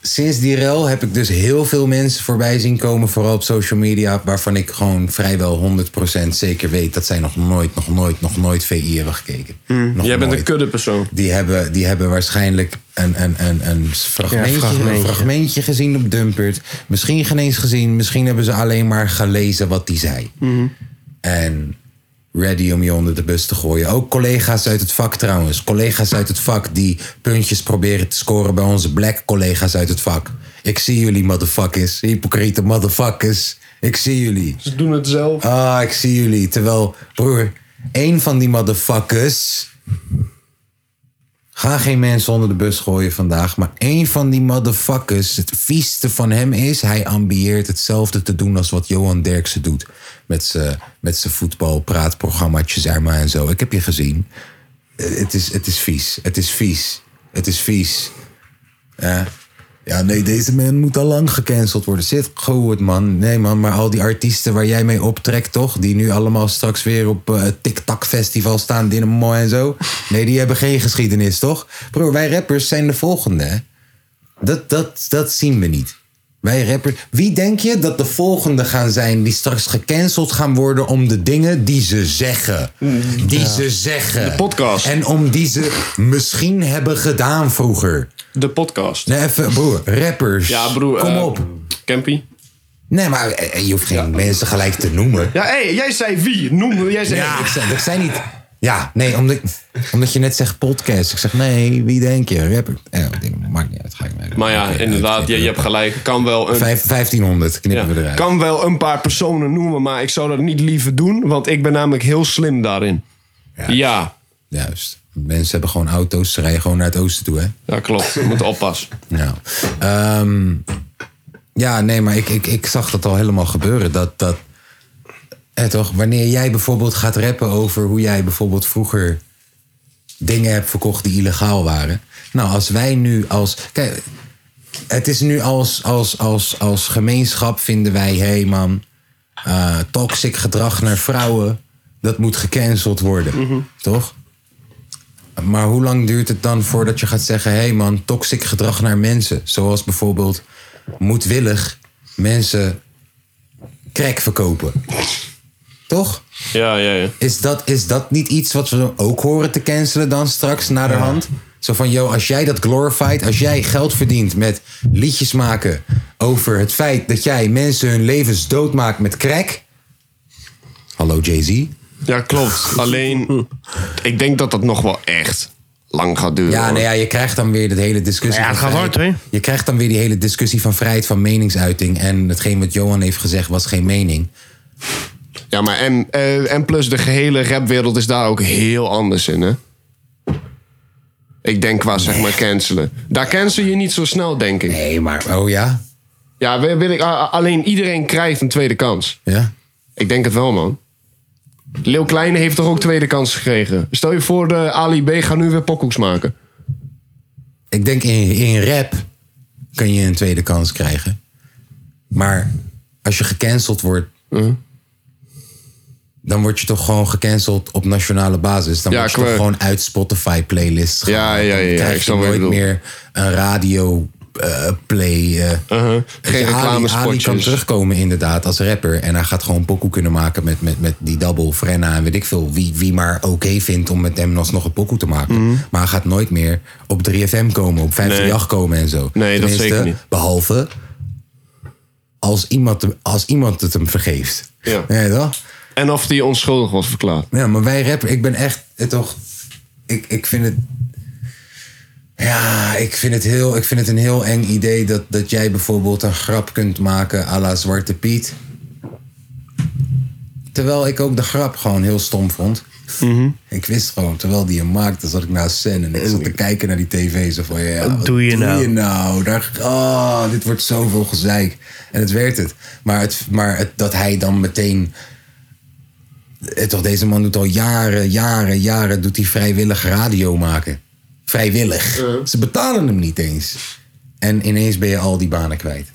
sinds die rel heb ik dus heel veel mensen voorbij zien komen, vooral op social media, waarvan ik gewoon vrijwel 100% zeker weet dat zij nog nooit, nog nooit, nog nooit VI hebben gekeken. Nog
Mm. Jij bent
nooit.
een kudde persoon.
Die hebben, die hebben waarschijnlijk een, een, een, een fragmentje,
Ja, fragmentje.
een fragmentje gezien op Dumpert. Misschien geen eens gezien, misschien hebben ze alleen maar gelezen wat die zei.
Mhm.
En ready om je onder de bus te gooien. Ook collega's uit het vak trouwens. Collega's uit het vak die puntjes proberen te scoren bij onze black collega's uit het vak. Ik zie jullie motherfuckers, hypocriete motherfuckers. Ik zie jullie.
Ze doen het zelf.
Ah, ik zie jullie. Terwijl, broer, één van die motherfuckers. Ga geen mensen onder de bus gooien vandaag. Maar één van die motherfuckers, het vieste van hem is... hij ambieert hetzelfde te doen als wat Johan Derksen doet. Met zijn met zijn voetbalpraatprogrammaatje, zeg maar, en zo. Ik heb je gezien. Eh, Het is, het is vies. Het is vies. Het is vies. Ja. Ja, nee, deze man moet al lang gecanceld worden. Zit goed, man. Nee, man, maar al die artiesten waar jij mee optrekt, toch? Die nu allemaal straks weer op eh, het TikTok-festival staan, Dynamo en zo. Nee, die hebben geen geschiedenis, toch? Bro, wij rappers zijn de volgende, hè? Dat, dat, dat zien we niet. Wij rappers. Wie denk je dat de volgende gaan zijn die straks gecanceld gaan worden om de dingen die ze zeggen? Die
Mm. Ja.
ze zeggen.
De podcast.
En om die ze misschien hebben gedaan vroeger.
De podcast.
Nee, even, broer. Rappers.
Ja, broer.
Kom
eh,
op.
Campy.
Nee, maar eh, je hoeft geen mensen gelijk te noemen.
Ja, hé, jij zei wie? Noem, jij zei
Ja, ik zei, ik zei niet. Ja, nee, omdat, omdat je net zegt podcast. Ik zeg, nee, wie denk je? Rapper. Ja, ik denk, maakt niet uit. Ga ik mee.
Maar ja, inderdaad, je, je hebt gelijk. Kan wel een...
Vijf- 1500 knippen we eruit.
Kan wel een paar personen noemen, maar ik zou dat niet liever doen, want ik ben namelijk heel slim daarin. Ja,
Juist. Mensen hebben gewoon auto's. Ze rijden gewoon naar het oosten toe, hè?
dat klopt. We moeten oppassen.
Nou. ehm, ja, nee, maar ik, ik, ik zag dat al helemaal gebeuren. Dat, dat, eh, toch, wanneer jij bijvoorbeeld gaat rappen over hoe jij bijvoorbeeld vroeger dingen hebt verkocht die illegaal waren. Nou, als wij nu als. Kijk, het is nu als, als, als, als gemeenschap vinden wij, hé hey man, eh, toxic gedrag naar vrouwen, dat moet gecanceld worden. Toch? Maar hoe lang duurt het dan voordat je gaat zeggen: hé hey man, toxic gedrag naar mensen? Zoals bijvoorbeeld moedwillig mensen crack verkopen. Toch?
Ja, ja, ja.
Is dat, is dat niet iets wat we ook horen te cancelen dan straks naar de hand? Zo van, yo, als jij dat glorified, als jij geld verdient met liedjes maken over het feit dat jij mensen hun levens doodmaakt met crack. Hallo Jay-Z.
Ja, klopt. Alleen, ik denk dat dat nog wel echt lang gaat duren.
Ja,
hoor.
nou ja, je krijgt dan weer de hele discussie.
Ja, het
van
gaat
vrijheid.
hard,
Je krijgt dan weer die hele discussie van vrijheid van meningsuiting. En hetgeen wat Johan heeft gezegd was geen mening.
Ja, maar en, eh, en plus de gehele rapwereld is daar ook heel anders in, hè? Ik denk qua, zeg maar, cancelen. Daar cancel je niet zo snel, denk ik.
Nee, maar... Oh ja?
Ja, wil wil ik, a- a- alleen iedereen krijgt een tweede kans.
Ja?
Ik denk het wel, man. Leeuw Kleine heeft toch ook tweede kans gekregen? Stel je voor, de Ali B gaat nu weer pokoeks maken.
Ik denk in, in rap kun je een tweede kans krijgen. Maar als je gecanceld wordt...
Mhm.
Dan word je toch gewoon gecanceld op nationale basis. Dan
Ja,
word je
qua-
toch gewoon uit Spotify playlists
Ja, ja, ja.
Dan
ja
krijg
ik
je
snap wat je
nooit
bedoelt.
meer een radio eh, play. eh. Weet je,
Geen
Ali- Ali,
reclamespotjes.
kan terugkomen inderdaad als rapper. En hij gaat gewoon pokoe kunnen maken met, met, met die double, Frenna en weet ik veel. Wie, wie maar oké vindt om met hem alsnog een pokoe te maken.
Mhm.
Maar hij gaat nooit meer op 3FM komen, op 538 komen en zo.
Nee, dat
Tenminste,
zeker niet.
Behalve als iemand, hem- als iemand het hem vergeeft.
Ja.
Ja, toch?
En of die onschuldig was verklaard.
Ja, maar wij rapper, ik ben echt eh, toch. Ik, ik vind het. Ja, ik vind het, heel, ik vind het een heel eng idee dat, dat jij bijvoorbeeld een grap kunt maken à la Zwarte Piet. Terwijl ik ook de grap gewoon heel stom vond.
Mhm.
Ik wist gewoon, terwijl die hem maakte, zat ik naast Sen en ik zat te kijken naar die tv. Zo van, ja, wat
Eh, doe je nou?
nou? Daar, oh, dit wordt zoveel gezeik. En het werd het. Maar, het, maar het, dat hij dan meteen eh, toch, deze man doet al jaren, jaren, jaren doet hij vrijwillig radio maken. Vrijwillig. Ze betalen hem niet eens. En ineens ben je al die banen kwijt.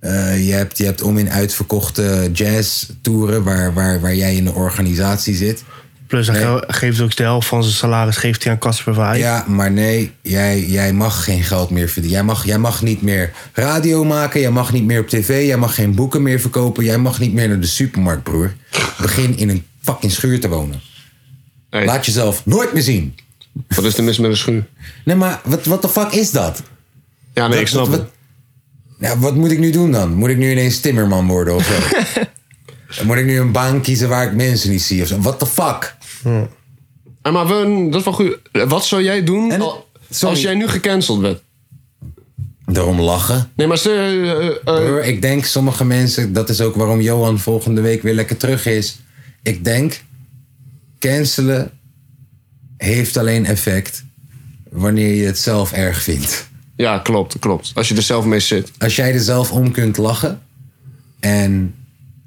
Eh, je, hebt, je hebt om in uitverkochte jazz-toeren waar, waar, waar jij in de organisatie zit.
Plus hij ge- geeft ook de helft van zijn salaris geeft hij aan Casper Verheij. <laughs>
Ja, maar nee, jij, jij mag geen geld meer verdienen. Jij mag, jij mag niet meer radio maken, jij mag niet meer op tv, jij mag geen boeken meer verkopen, jij mag niet meer naar de supermarkt, broer. Begin in een fucking schuur te wonen. Laat jezelf nooit meer zien.
Wat is er mis met een schuur?
Nee, maar wat, wat de fuck is dat?
Ja, nee, ik snap
wat,
het.
Ja, wat moet ik nu doen dan? Moet ik nu ineens timmerman worden of zo? En moet ik nu een baan kiezen waar ik mensen niet zie of zo? What the fuck?
Ah, maar we, dat is wel goed. Eh, Wat zou jij doen al- als jij nu gecanceld werd?
Daarom lachen.
Nee, maar ze, eh,
Broer, ik denk sommige mensen, dat is ook waarom Johan volgende week weer lekker terug is. Ik denk, cancelen heeft alleen effect wanneer je het zelf erg vindt.
Ja, klopt, klopt. Als je er zelf mee zit.
Als jij er zelf om kunt lachen en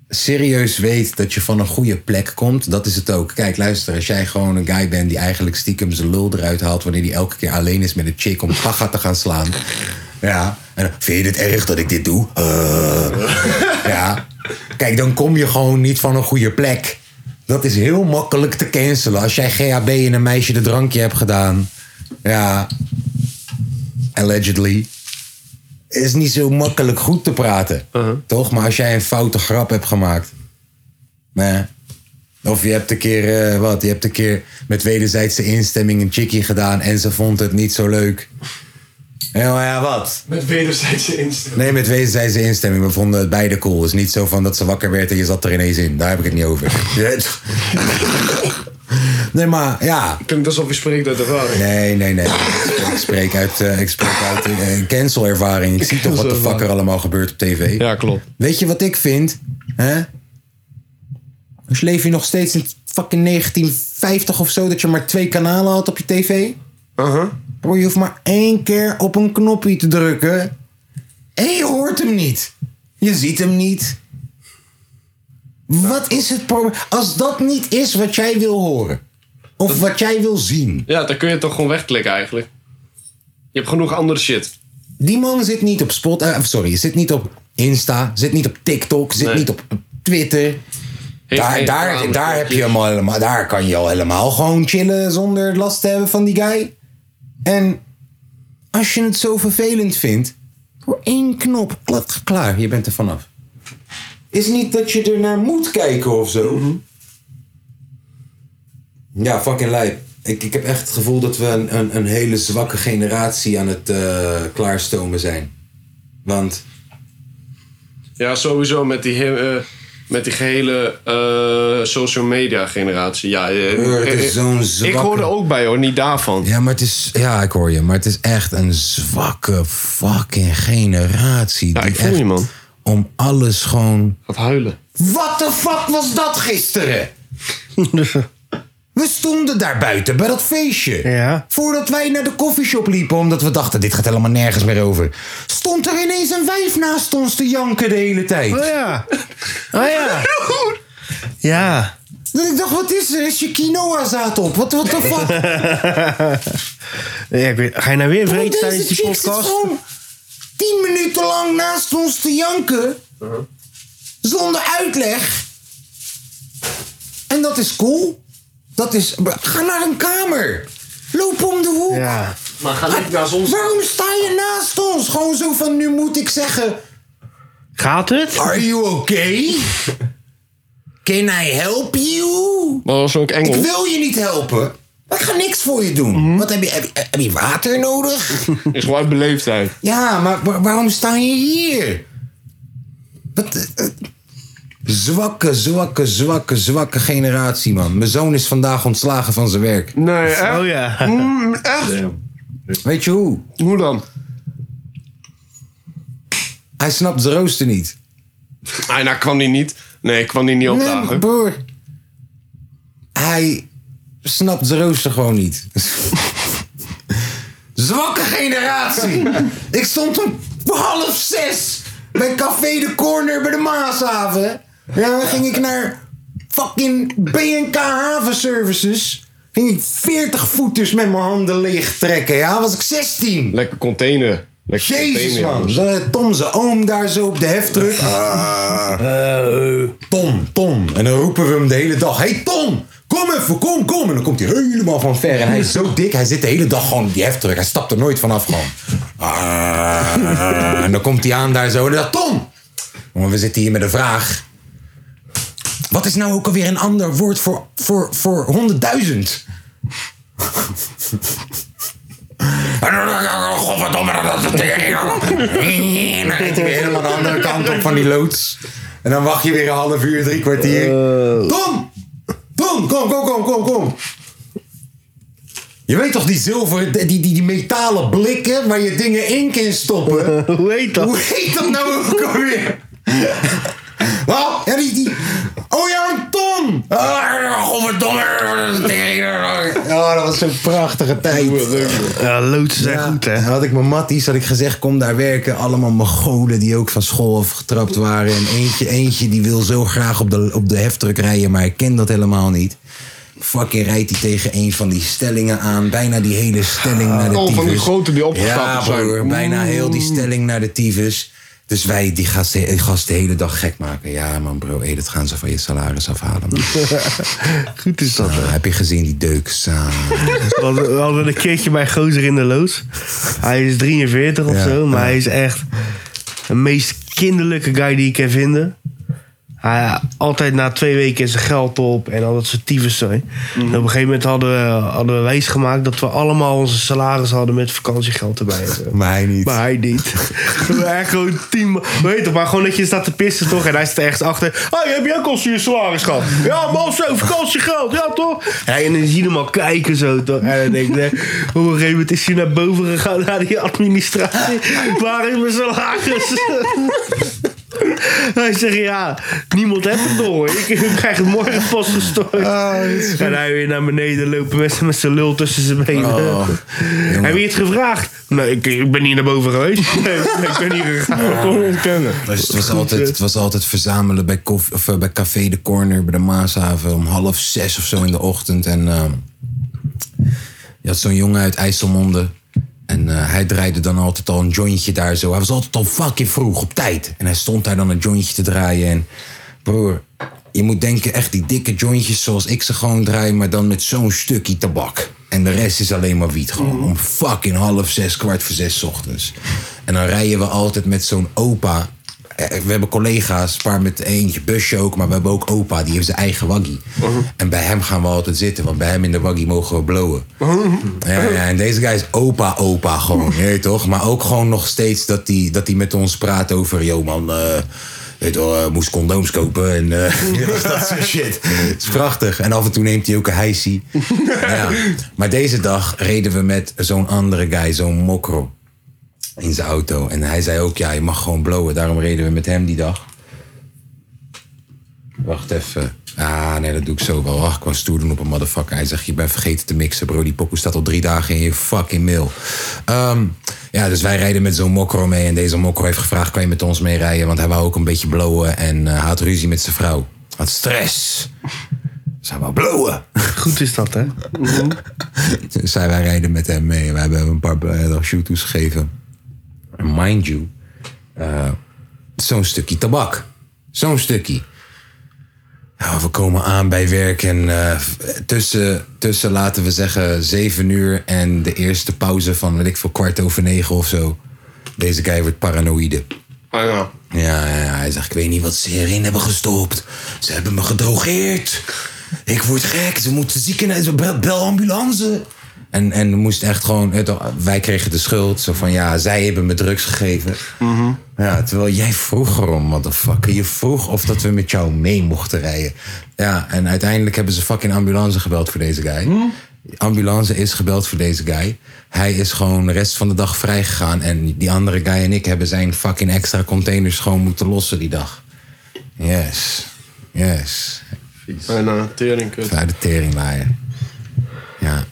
serieus weet dat je van een goede plek komt, dat is het ook. Kijk, luister, als jij gewoon een guy bent die eigenlijk stiekem zijn lul eruit haalt wanneer hij elke keer alleen is met een chick om gaga te gaan slaan. Ja, en dan, vind je dit erg dat ik dit doe? Eh. Ja. Kijk, dan kom je gewoon niet van een goede plek. Dat is heel makkelijk te cancelen. Als jij GHB en een meisje de drankje hebt gedaan. Ja. Allegedly. Is niet zo makkelijk goed te praten. Toch? Maar als jij een foute grap hebt gemaakt. Nee. Of je hebt een keer, eh, wat, je hebt een keer met wederzijdse instemming een chickie gedaan en ze vond het niet zo leuk. Ja, maar ja, wat?
Met wederzijdse instelling.
Nee, met wederzijdse instemming. We vonden het beide cool. Het is niet zo van dat ze wakker werd en je zat er ineens in. Daar heb ik het niet over. Nee, maar ja.
Klinkt alsof je spreekt uit ervaring.
Nee, nee, nee. Ik spreek uit, eh, ik spreek uit eh, cancelervaring. Ik zie toch wat de fuck er allemaal gebeurt op tv.
Ja, klopt.
Weet je wat ik vind? Hè? Dus leef je nog steeds in fucking 1950 of zo... dat je maar twee kanalen had op je tv?
Uh-huh.
Broer, je hoeft maar één keer op een knopje te drukken... en je hoort hem niet. Je ziet hem niet. Wat is het probleem? Als dat niet is wat jij wil horen... of wat jij wil zien...
Ja, dan kun je het toch gewoon wegklikken eigenlijk. Je hebt genoeg andere shit.
Die man zit niet op Spot. eh, sorry, zit niet op Insta, zit niet op TikTok, zit niet op Twitter. Daar,
geen
daar,
reclame,
daar heb je
filmpjes.
hem al helemaal. Daar kan je al helemaal gewoon chillen zonder last te hebben van die guy. En als je het zo vervelend vindt, voor één knop, klak, klaar, je bent er vanaf. Is niet dat je er naar moet kijken of zo. Ja, fucking lijp. Ik, ik heb echt het gevoel dat we een, een, een hele zwakke generatie aan het eh, klaarstomen zijn. Want
Ja, sowieso met die, he- eh, met die gehele eh, social media generatie. Ja, eh,
Broer, het is zo'n
Ik
zwakke-
hoorde ook bij hoor, niet daarvan.
Ja, maar het is. Ja, ik hoor je. Maar het is echt een zwakke fucking generatie. Ja, ik
voel je, man.
Om alles gewoon.
Gaat huilen.
What the fuck was dat gisteren?
Dus, eh.
We stonden daar buiten bij dat feestje.
Ja.
Voordat wij naar de koffieshop liepen, omdat we dachten: dit gaat helemaal nergens meer over. Stond er ineens een wijf naast ons te janken de hele tijd.
Oh ja. Oh ja. Ja.
Dat ik dacht: wat is er? Is je quinoa-zaad op? Wat, wat de fuck?
ja ik weet- ga je nou weer
Broer,
vreten tijdens
deze
die
chick zit
podcast?
gewoon tien minuten lang naast ons te janken.
Uh-huh.
Zonder uitleg. En dat is cool. Dat is... Ga naar een kamer. Loop om de hoek.
Ja.
Maar ga niet naar zon.
Waarom sta je naast ons? Gewoon zo van, nu moet ik zeggen...
Gaat het?
Are you okay? Can I help you?
Maar was ook
Ik
Engels.
wil je niet helpen. Maar ik ga niks voor je doen.
Mhm.
Wat heb je, heb, je- heb je water nodig?
Is gewoon uit beleefdheid.
Ja, maar wa- waarom sta je hier? Wat, eh, eh, zwakke, zwakke, zwakke, zwakke generatie, man. Mijn zoon is vandaag ontslagen van zijn werk.
Nee, echt?
Oh ja.
Mm, echt?
Weet je hoe?
Hoe dan?
Hij snapt de rooster niet.
Ah, nou kwam die niet. Nee, kwam die niet
Nee, maar
opdagen.
broer. Hij snapt de rooster gewoon niet. <laughs> Zwakke generatie. Ik stond om half zes bij Café de Corner bij de Maashaven. Ja, dan ging ik naar fucking BNK Havenservices. Ging ik 40 voeters met mijn handen leeg trekken. Ja, was ik 16.
Lekker container. Lekker
Jezus
container,
man,
jongens.
Zat Tom zijn oom daar zo op de <laughs>
Ah.
Eh, heftruck. Tom, Tom. En dan roepen we hem de hele dag. Hey Tom, Kom even, kom, kom. En dan komt hij helemaal van ver. En hij is
<laughs>
zo dik. Hij zit de hele dag gewoon op die heftruck. Hij stapt er nooit vanaf gewoon. Ah, en dan komt hij aan daar zo. En dan Tom! Jongen, we zitten hier met een vraag. Wat is nou ook alweer een ander woord voor, voor, voor 100.000? Godverdomme, dat is het En dan rijdt hij weer helemaal de andere kant op van die loods. En dan wacht je weer een half uur, drie kwartier. Tom! Tom, kom, kom, kom, kom, kom. Je weet toch die zilveren, die, die, die metalen blikken waar je dingen in kan <laughs> stoppen? Hoe heet dat? Hoe heet dat nou ook alweer? Wat? Ja, die, die... Oh ja, een ton! Ah, godverdomme. Ja, Oh, dat was zo'n prachtige tijd. Ja, loodsen zijn goed, hè? Had ik mijn matties, had ik gezegd, kom daar werken. Allemaal mogolen die ook van school afgetrapt waren. En eentje, eentje die wil zo graag op de, op de heftruck rijden, maar ik ken dat helemaal niet. Fucking rijdt hij tegen een van die stellingen aan. Bijna die hele stelling naar de
Oh, van die
tyfus.
grote die opgestapeld
ja,
zijn.
broer, bijna heel die stelling naar de tyfus. Dus wij die gast, die gast de hele dag gek maken. Ja man bro, hey, dat gaan ze van je salaris afhalen. man.
Goed is dat.
heb je gezien die deuk?
<laughs> We hadden, we hadden een keertje bij Gozer in de Loods. Hij is 43 of zo, maar hij is echt de meest kinderlijke guy die ik kan vinden. Hij, altijd na twee weken is zijn geld op en al dat soort tyfus. zo, hè. En op een gegeven moment hadden we, hadden we wijs gemaakt dat we allemaal onze salaris hadden met vakantiegeld erbij. en zo.
Maar hij niet.
Maar hij niet. Echt <laughs> gewoon tien ma- Weet je, maar gewoon dat je staat te pissen toch? En hij staat ergens achter. Oh, heb je ook al je salaris gehad? Ja, man, zo, vakantiegeld. Ja, toch? Ja, en dan zie je hem al kijken zo toch? En dan denk ik, nee, op een gegeven moment is hij naar boven gegaan naar die administratie. Waar is mijn salaris? <laughs> Hij zegt, ja, niemand heeft het door. Ik krijg het morgen pas gestort. en hij weer naar beneden lopen met, z'n- met zijn lul tussen zijn benen.
<laughs> Oh,
heb je het gevraagd? Nee, ik, ik ben niet naar boven geweest. <laughs> Nee, ik ben hier gegaan. Ik kon het kennen.
Dus het, was altijd, het was altijd verzamelen bij, koff- of, eh, bij Café de Corner, bij de Maashaven, om half zes of zo in de ochtend. En ehm, je had zo'n jongen uit IJsselmonde. En eh, hij draaide dan altijd al een jointje daar zo. Hij was altijd al fucking vroeg, op tijd. En hij stond daar dan een jointje te draaien. En broer, je moet denken echt die dikke jointjes zoals ik ze gewoon draai... maar dan met zo'n stukje tabak. En de rest is alleen maar wiet gewoon. Om fucking half zes, kwart voor zes 's ochtends. En dan rijden we altijd met zo'n opa. Eh, We hebben collega's, een paar met eentje busje ook... maar we hebben ook opa, die heeft zijn eigen waggie. En bij hem gaan we altijd zitten, want bij hem in de waggie mogen we blowen. Ja, ja, en deze guy is opa, opa gewoon, je weet toch? Maar ook gewoon nog steeds dat hij die, dat die met ons praat over... Yo man, eh, weet je wel, eh, moest condooms kopen en eh, <laughs> dat soort shit. Het is prachtig. En af en toe neemt hij ook een hijsie. ja. Maar deze dag reden we met zo'n andere guy, zo'n mokro... in zijn auto. En hij zei ook, ja, je mag gewoon blowen. Daarom reden we met hem die dag. Wacht even. Ah, nee, dat doe ik zo wel. Ach, ik was stoer doen op een motherfucker. Hij zegt, je bent vergeten te mixen, bro. Die pokoe staat al drie dagen in je fucking mail. Ehm, ja, dus wij rijden met zo'n mokro mee. En deze mokro heeft gevraagd, kan je met ons mee rijden? Want hij wou ook een beetje blowen. En eh, hij had ruzie met zijn vrouw. Had stress. Zou wel blowen.
Goed is dat, hè?
Toen zijn wij rijden met hem mee. We hebben hem een paar eh, shooters gegeven. En mind you, eh, zo'n stukje tabak. Zo'n stukje. Ja, we komen aan bij werk en eh, tussen, tussen, laten we zeggen, zeven uur en de eerste pauze van, weet ik veel, kwart over negen of zo. Deze guy wordt paranoïde.
Ah ja.
Ja, ja, ja, hij zegt, ik weet niet wat ze erin hebben gestopt. Ze hebben me gedrogeerd. Ik word gek. Ze moeten ziekenhuis, bel, bel ambulance. En, en moest echt gewoon, het- wij kregen de schuld. Zo van, ja, zij hebben me drugs gegeven. Ja, terwijl jij vroeg erom, motherfucker. Je vroeg of dat we met jou mee mochten rijden. Ja, en uiteindelijk hebben ze fucking ambulance gebeld voor deze guy. Ambulance is gebeld voor deze guy. Hij is gewoon de rest van de dag vrijgegaan. En die andere guy en ik hebben zijn fucking extra containers gewoon moeten lossen die dag. Yes. Yes.
En uh, teringkut.
Uit de teringlaaien. Ja.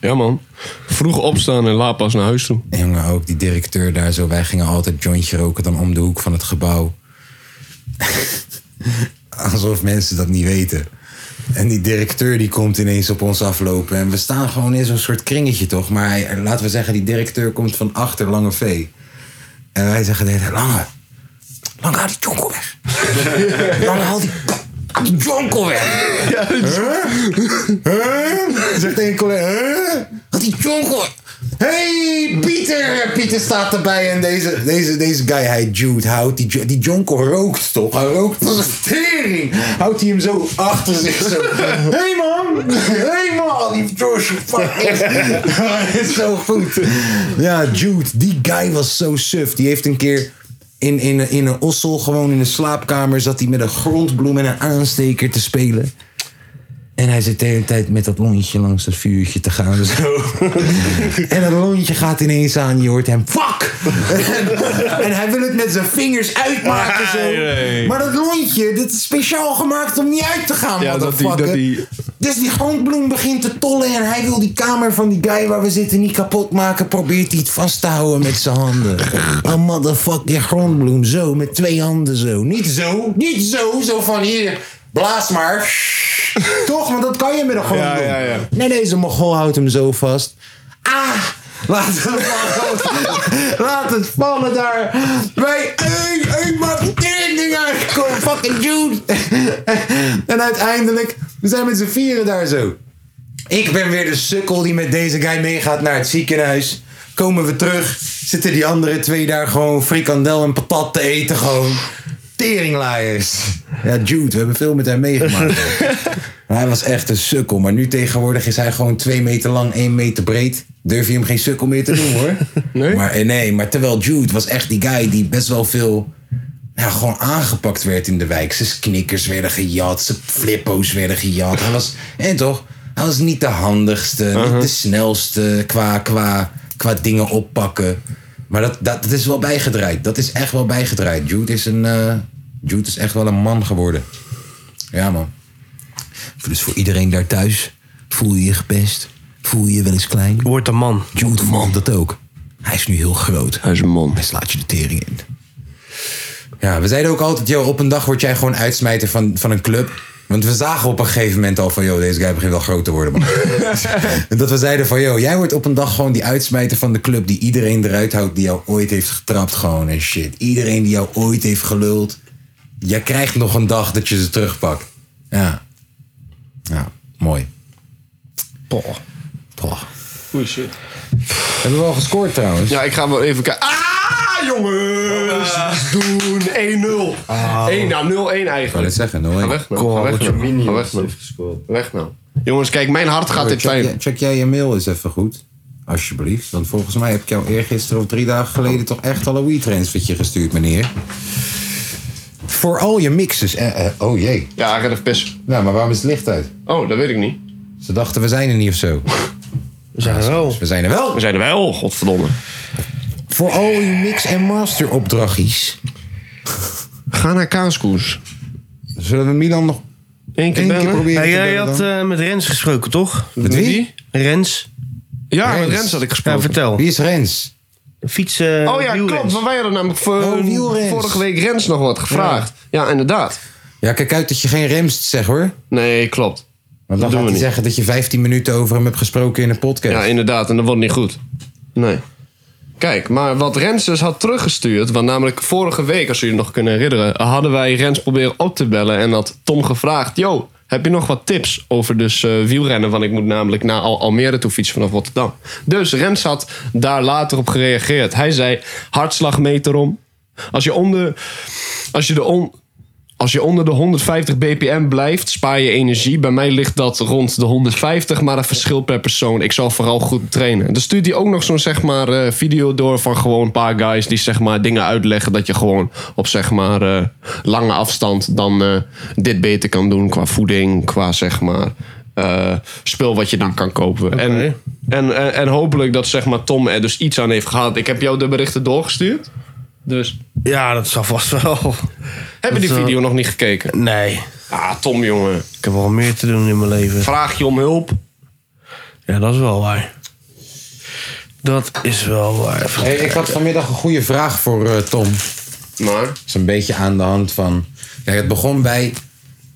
Ja man. Vroeg opstaan en laat pas naar huis toe.
Jongen, ook die directeur daar zo. Wij gingen altijd jointje roken dan om de hoek van het gebouw. <laughs> Alsof mensen dat niet weten. En die directeur die komt ineens op ons aflopen. En we staan gewoon in zo'n soort kringetje toch. Maar hij- laten we zeggen, die directeur komt van achter Lange V. En wij zeggen de hele tijd, <laughs> Lange, Lange haal die jonko weg. Lange haal die jonkelwerk.
Ja,
Zegt een collega, huh? Wat die jonkel. hey, Pieter! Pieter staat erbij en deze, deze, deze guy, hij Jude, houdt die, jo- die jonkel rookt toch? Hij rookt als een tering. Houdt hij hem zo achter zich zo. hey man! hey man! Die George, fuck Dat <laughs> is zo goed. Ja, Jude, die guy was zo suf. Die heeft een keer in, in, in een ossel, gewoon in een slaapkamer, zat hij met een grondbloem en een aansteker te spelen. En hij zit de hele tijd met dat lontje langs het vuurtje te gaan. Zo. en dat lontje gaat ineens aan. Je hoort hem, fuck! <laughs> en hij wil het met zijn vingers uitmaken. Zo. Maar dat lontje, dit is speciaal gemaakt om niet uit te gaan.
Ja, dat die-
motherfucker.
dat die-
Dus die grondbloem begint te tollen. En hij wil die kamer van die guy waar we zitten niet kapot maken. Probeert hij het vast te houden met zijn handen. Oh motherfucker, die grondbloem zo, met twee handen zo. Niet zo, niet zo, zo van hier, blaas maar. Toch, want dat kan je met een grondbloem.
ja, ja.
Nee, deze mogol houdt hem zo vast. Ah! Laat het vallen. Laat het vallen daar. Wij, hey, hey, maak een ding uit. Kom, fucking Jude. En uiteindelijk, we zijn met z'n vieren daar zo. Ik ben weer de sukkel die met deze guy meegaat naar het ziekenhuis. Komen we terug, zitten die andere twee daar gewoon frikandel en patat te eten gewoon. Teringlaaiers. Ja, Jude, we hebben veel met hem meegemaakt. Maar hij was echt een sukkel. Maar nu tegenwoordig is hij gewoon twee meter lang, één meter breed. Durf je hem geen sukkel meer te doen hoor. Nee? Maar, eh, nee, maar terwijl Jude was echt die guy die best wel veel ja, gewoon aangepakt werd in de wijk. Zijn knikkers werden gejat, zijn flippo's werden gejat. Hij was, en toch, hij was niet de handigste, niet de snelste qua, qua, qua dingen oppakken. Maar dat, dat, dat is wel bijgedraaid. Dat is echt wel bijgedraaid. Jude is, een, eh, Jude is echt wel een man geworden. Ja, man. Dus voor iedereen daar thuis, voel je je gepest? Voel je je wel eens klein?
Wordt een man.
Jude man dat ook. Hij is nu heel groot.
Hij is een man.
Hij slaat je de tering in. Ja, we zeiden ook altijd, joh, op een dag word jij gewoon uitsmijter van, van een club. Want we zagen op een gegeven moment al van, joh, deze guy begint wel groot te worden.
<laughs>
Man. En dat we zeiden van, joh, jij wordt op een dag gewoon die uitsmijter van de club die iedereen eruit houdt die jou ooit heeft getrapt gewoon en shit. Iedereen die jou ooit heeft geluld. Jij krijgt nog een dag dat je ze terugpakt. Ja. Ja, mooi. Poh. Poh.
Goeie shit.
Hebben we al gescoord trouwens?
Ja, ik ga wel even kijken. Ah, jongens! Doen 1-0. 1 nou, 0-1
Ik wou
eigenlijk.
net zeggen, no
Ga
way.
weg nou. Ga weg nou. Ga weg nou.
gescoord.
Weg nou. Jongens, kijk, mijn hart gaat dit
check,
fijn.
jij- check jij je mail eens even goed. Alsjeblieft. Want volgens mij heb ik jou eergisteren of drie dagen geleden toch echt al een WeTransfertje gestuurd, meneer. Voor al je mixes. Eh, eh, oh jee.
Ja, ik ga even pissen.
Nou, maar waarom is het licht uit?
Oh, dat weet ik niet.
Ze dachten, we zijn er niet of zo. Dus
We zijn er wel.
We zijn er wel.
We zijn er wel, godverdomme.
Voor al je mix- en masteropdrachtjes.
Ga naar Kaaskoes.
Zullen we Milan nog
Eén keer
één keer
bellen.
proberen
Hey,
te
jij
bellen
had
dan?
eh, met Rens gesproken, toch?
Met wie?
Rens.
Ja,
Rens.
met Rens had ik
Ja,
gesproken.
vertel.
Wie is Rens?
Fiets. eh,
Oh ja,
wielrens.
klopt. Want wij hadden namelijk voor-
Oh, wielrens.
vorige week Rens nog wat gevraagd. Ja, inderdaad.
Ja, kijk uit dat je geen remst zegt hoor.
Nee, klopt.
Want dan gaat
doen we
hij
niet.
zeggen dat je 15 minuten over hem hebt gesproken in een podcast.
Ja, inderdaad. En dat wordt niet goed. Nee. Kijk, maar wat Rens dus had teruggestuurd... want namelijk vorige week, als jullie nog kunnen herinneren... hadden wij Rens proberen op te bellen en had Tom gevraagd... yo, heb je nog wat tips over dus eh, wielrennen? Want ik moet namelijk naar Al Almere toe fietsen vanaf Rotterdam. Dus Rens had daar later op gereageerd. Hij zei, hartslagmeter om. Als je onder... Als je de on... Als je onder de 150 bpm blijft, spaar je energie. Bij mij ligt dat rond de 150, maar een verschil per persoon. Ik zal vooral goed trainen. Dan stuurt hij ook nog zo'n zeg maar, eh, video door van gewoon een paar guys die zeg maar, dingen uitleggen. Dat je gewoon op zeg maar, eh, lange afstand dan eh, dit beter kan doen qua voeding, qua zeg maar, eh, spul wat je dan kan kopen. En, en, en, en hopelijk dat zeg maar, Tom er dus iets aan heeft gehad. Ik heb jou de berichten doorgestuurd. Dus
Ja, dat zal vast wel.
hebben die
Dat, eh,
video nog niet gekeken?
Nee.
Ah, Tom jongen.
Ik heb wel meer te doen in mijn leven.
Vraag je om hulp.
Ja, dat is wel waar. Dat is wel waar. Even
Hey, ik had vanmiddag een goede vraag voor eh, Tom.
Maar.
is een beetje aan de hand van. Kijk, het begon bij.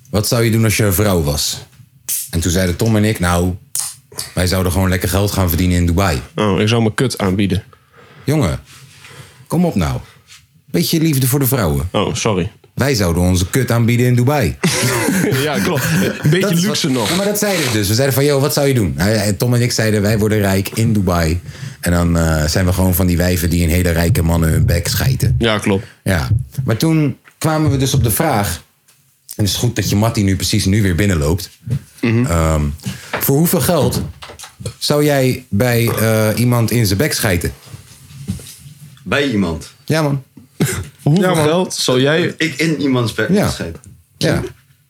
Wat zou je doen als je een vrouw was? En toen zeiden Tom en ik, nou. Wij zouden gewoon lekker geld gaan verdienen in Dubai.
Oh, ik zou mijn kut aanbieden.
Jongen, kom op nou. Beetje liefde voor de vrouwen.
Oh, sorry.
Wij zouden onze kut aanbieden in Dubai.
ja, klopt. Een beetje luxe nog.
Ja, maar dat zeiden we dus. We zeiden van, joh, wat zou je doen? Nou ja, Tom en ik zeiden, wij worden rijk in Dubai. En dan eh, zijn we gewoon van die wijven die een hele rijke mannen hun bek schijten.
Ja, klopt.
Ja. Maar toen kwamen we dus op de vraag... En het is goed dat je Mattie nu precies nu weer binnenloopt.
Mhm.
Ehm, voor hoeveel geld zou jij bij eh, iemand in zijn bek schijten?
Bij iemand.
Ja, man.
Hoeveel geld zou jij...
Ik in iemands bek
Ja.
schijten.
Ja.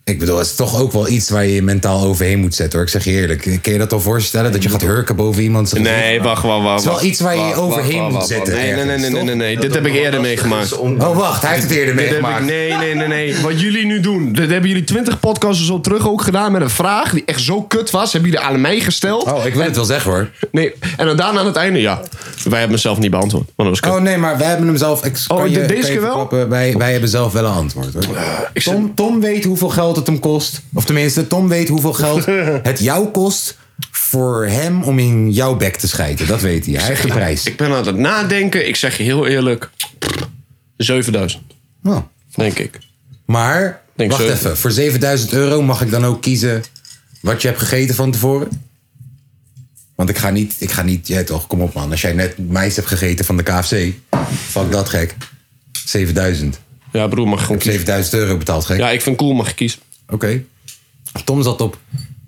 Ik bedoel, het is toch ook wel iets waar je je mentaal overheen moet zetten hoor. Ik zeg je eerlijk, kun je dat al voorstellen? Dat je gaat hurken boven iemand? zijn gezicht?
Nee, wacht, wacht,
Het is
wacht.
wel
wacht.
iets waar je je
Wacht, wacht,
overheen
wacht,
moet
wacht.
zetten.
Nee, nee, nee,
ergens,
nee, nee,
toch?
nee, nee. Dit heb ik eerder meegemaakt.
Oh, wacht, hij heeft het eerder
Dit heb ik,
meegemaakt.
nee, nee, nee, nee. Wat jullie nu doen. Dat hebben jullie twintig podcasts zo terug ook gedaan met een vraag die echt zo kut was. Hebben jullie aan mij gesteld.
Oh, ik wil het wel zeggen hoor.
Nee. En dan daarna aan het einde, ja. Wij hebben mezelf niet beantwoord. Want dat was kut.
Oh nee, maar wij hebben hem zelf. Ik,
Oh,
kan je-
de- deze
kan je
keer wel?
verklappen, Wij, wij hebben zelf wel een antwoord. Hoor.
Eh, ik zit-
Tom, Tom weet hoeveel geld het hem kost. Of tenminste, Tom weet hoeveel
<laughs>
geld het jou kost. voor hem om in jouw bek te schijten. Dat weet hij. Hij heeft de prijs.
Ik ben aan het nadenken. Ik zeg je heel eerlijk. 7000,
Nou,
denk ik.
maar,
Denk
wacht
zo.
even. Voor 7000 euro mag ik dan ook kiezen. wat je hebt gegeten van tevoren? Want ik ga niet. Ik ga niet ja, toch, kom op man. Als jij net meis hebt gegeten van de KFC. fuck dat gek. 7000.
Ja, broer, mag gewoon kiezen.
7000 euro betaald gek.
Ja, ik vind cool, mag je kiezen.
Oké. Tom zat op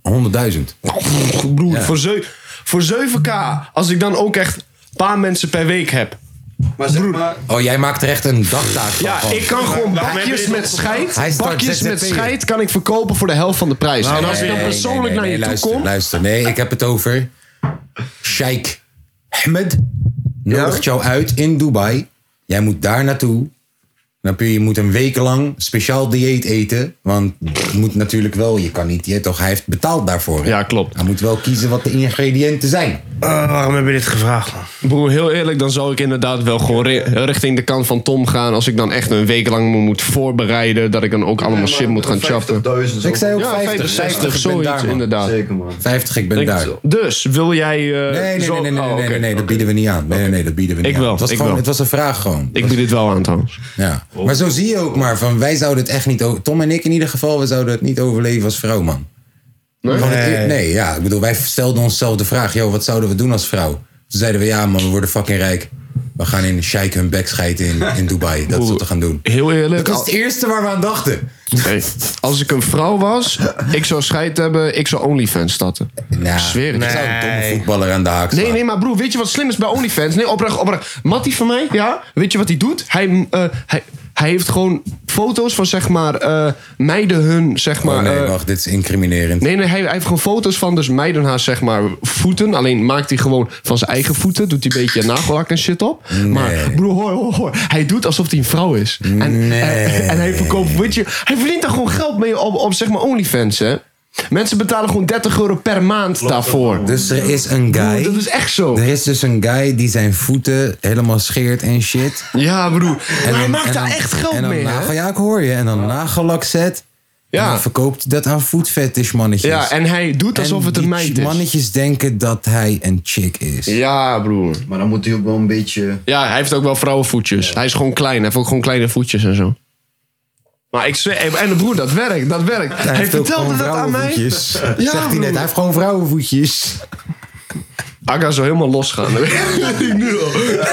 100.000.
Oh, Broer, voor, zeu- voor 7k. Als ik dan ook echt een paar mensen per week heb.
Maar zeg maar,
Oh, jij maakt er echt een dagtaak van.
Ja,
van.
ik kan gewoon bakjes met
Hij
scheid.
start
Bakjes met
ZZP'er.
scheid kan ik verkopen voor de helft van de prijs. en als ik dan persoonlijk naar je toe
luister,
kom.
Luister, nee, ik heb het over... Sheikh Ahmed nodigt jou uit in Dubai. Jij moet daar naartoe. Dan kun je, je moet een week lang speciaal dieet eten. Want het moet natuurlijk wel, je kan niet, je, toch, hij heeft betaald daarvoor. hè?
Ja, klopt.
Hij moet wel kiezen wat de ingrediënten zijn.
Eh, waarom heb je dit gevraagd, man?
Broer, heel eerlijk, dan zou ik inderdaad wel gewoon ri- richting de kant van Tom gaan. Als ik dan echt een week lang me moet voorbereiden. Dat ik dan ook allemaal shit moet gaan chappen.
50.000 zo.
Ik zei ook
Ja,
50,
50,
60,
60,
ik ben
zoiets
daar, man.
inderdaad.
Zeker man.
50, ik ben
Ik-
daar.
Dus, wil jij... eh,
Nee, nee,
zo-
nee, nee, nee,
Oh,
nee,
oké.
nee, nee, dat bieden we niet aan. Nee, nee, nee, dat bieden we niet
Ik
aan.
wel,
het, was
ik
gewoon,
wel.
het was een vraag gewoon.
Ik Oh. bied dit wel aan trouwens.
Ja. Maar zo zie je ook maar van, wij zouden het echt niet... o- Tom en ik in ieder geval, we zouden het niet overleven als vrouw, man. Nee? nee. ja, ik bedoel, wij stelden onszelf de vraag... joh, wat zouden we doen als vrouw? Toen zeiden we, ja man, we worden fucking rijk. We gaan in Sheikh hun bek schijten in, in Dubai. Dat is wat we gaan doen.
Heel eerlijk.
Dat was het eerste waar we aan dachten.
Hey, als ik een vrouw was, ik zou scheid hebben, ik zou OnlyFans starten.
Nou,
Zweer het.
Ik zou een domme voetballer aan de haak slaan.
Nee, nee, maar broer, weet je wat slim is bij OnlyFans? Nee, oprecht, oprecht. Mattie van mij, ja, weet je wat hij doet? Hij, mm, eh, hij, hij heeft gewoon foto's van, zeg maar, eh, meiden hun, zeg maar...
Oh, nee,
eh,
wacht, dit is incriminerend.
Nee, nee, hij, hij heeft gewoon foto's van dus meiden haar, zeg maar, voeten. Alleen maakt hij gewoon van zijn eigen voeten. Doet hij een beetje nagellak en shit op. Maar broer, hoor, hoor, hoor. Hij doet alsof hij een vrouw is. En, en- en, hij verkoopt, weet je... Hij verdient daar gewoon geld mee op, op zeg maar, OnlyFans, hè. Mensen betalen gewoon 30 euro per maand daarvoor.
Dus er is een guy...
Broer, dat is echt zo.
Er is dus een guy die zijn voeten helemaal scheert en shit.
Ja, broer.
En
<laughs> maar hij
dan-
maakt
en
daar
dan-
echt geld
en dan
mee, hè?
nagel- ja, ik hoor je. En dan nagellak zet.
Ja.
En dan verkoopt hij dat aan foodfetish mannetjes.
Ja, en hij doet
En
alsof het
die
een meid is.
mannetjes denken dat hij een chick is.
Ja, broer.
Maar dan moet hij ook wel een beetje...
<laughs> Ja, hij heeft ook wel vrouwenvoetjes. Hij is gewoon klein. Hij heeft ook gewoon kleine voetjes en zo. Maar ik zweer... En de broer, dat werkt. Dat werkt.
Hij
Hij, vertelde dat aan mij. <laughs>
Zegt hij net,
broer.
hij heeft gewoon vrouwenvoetjes.
Aga zou helemaal <laughs> losgaan. Dat weet ik nu al.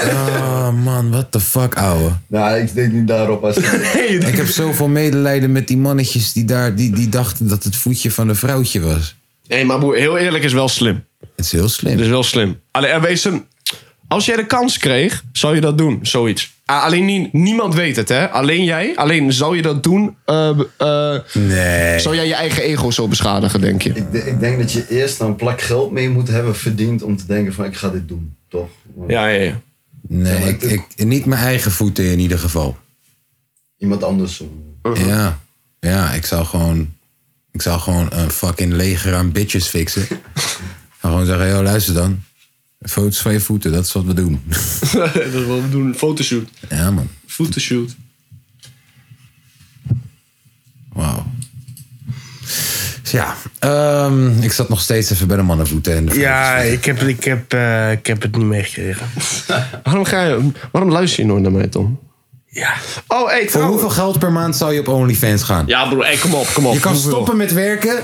Oh man, what the fuck, ouwe.
Nou, ik denk niet daarop als...
Ik heb zoveel medelijden met die mannetjes die daar... Die, die dachten dat het voetje van een vrouwtje was.
Nee, maar broer, heel eerlijk is wel slim.
Het is heel slim.
Het is wel slim. Alleen, er wees hem... Als jij de kans kreeg, zou je dat doen. Zoiets. Ah, Alleen nie- niemand weet het, hè? Alleen jij. Alleen zou je dat doen. eh, eh,
nee.
Zou jij je eigen ego zo beschadigen, denk je?
Ik, de- ik denk dat je eerst een plak geld mee moet hebben verdiend om te denken van ik ga dit doen, toch? Want
Ja, ja, ja.
Nee, ik, ik, niet mijn eigen voeten in ieder geval.
Iemand anders. om-
Ja, ja, ik zou gewoon, ik zou gewoon een fucking leger aan bitches fixen. En gewoon zeggen, joh, luister dan. Foto's van je voeten, dat is wat we doen. <laughs>
dat is wat we doen. Een fotoshoot.
Ja, man.
Fotoshoot.
Wauw. Dus Ja, ehm, ik zat nog steeds even bij de mannenvoeten. En de
Ja,
vrouwenvoeten.
ik heb, ik, heb, eh, ik heb het niet meegekregen.
Waarom, ga je, waarom luister je nooit naar mij, Tom? Oh, hey,
Voor hoeveel geld per maand zou je op OnlyFans gaan?
Ja, broer, hey, kom op, kom op.
Je kan
Hoeveel?
stoppen met werken.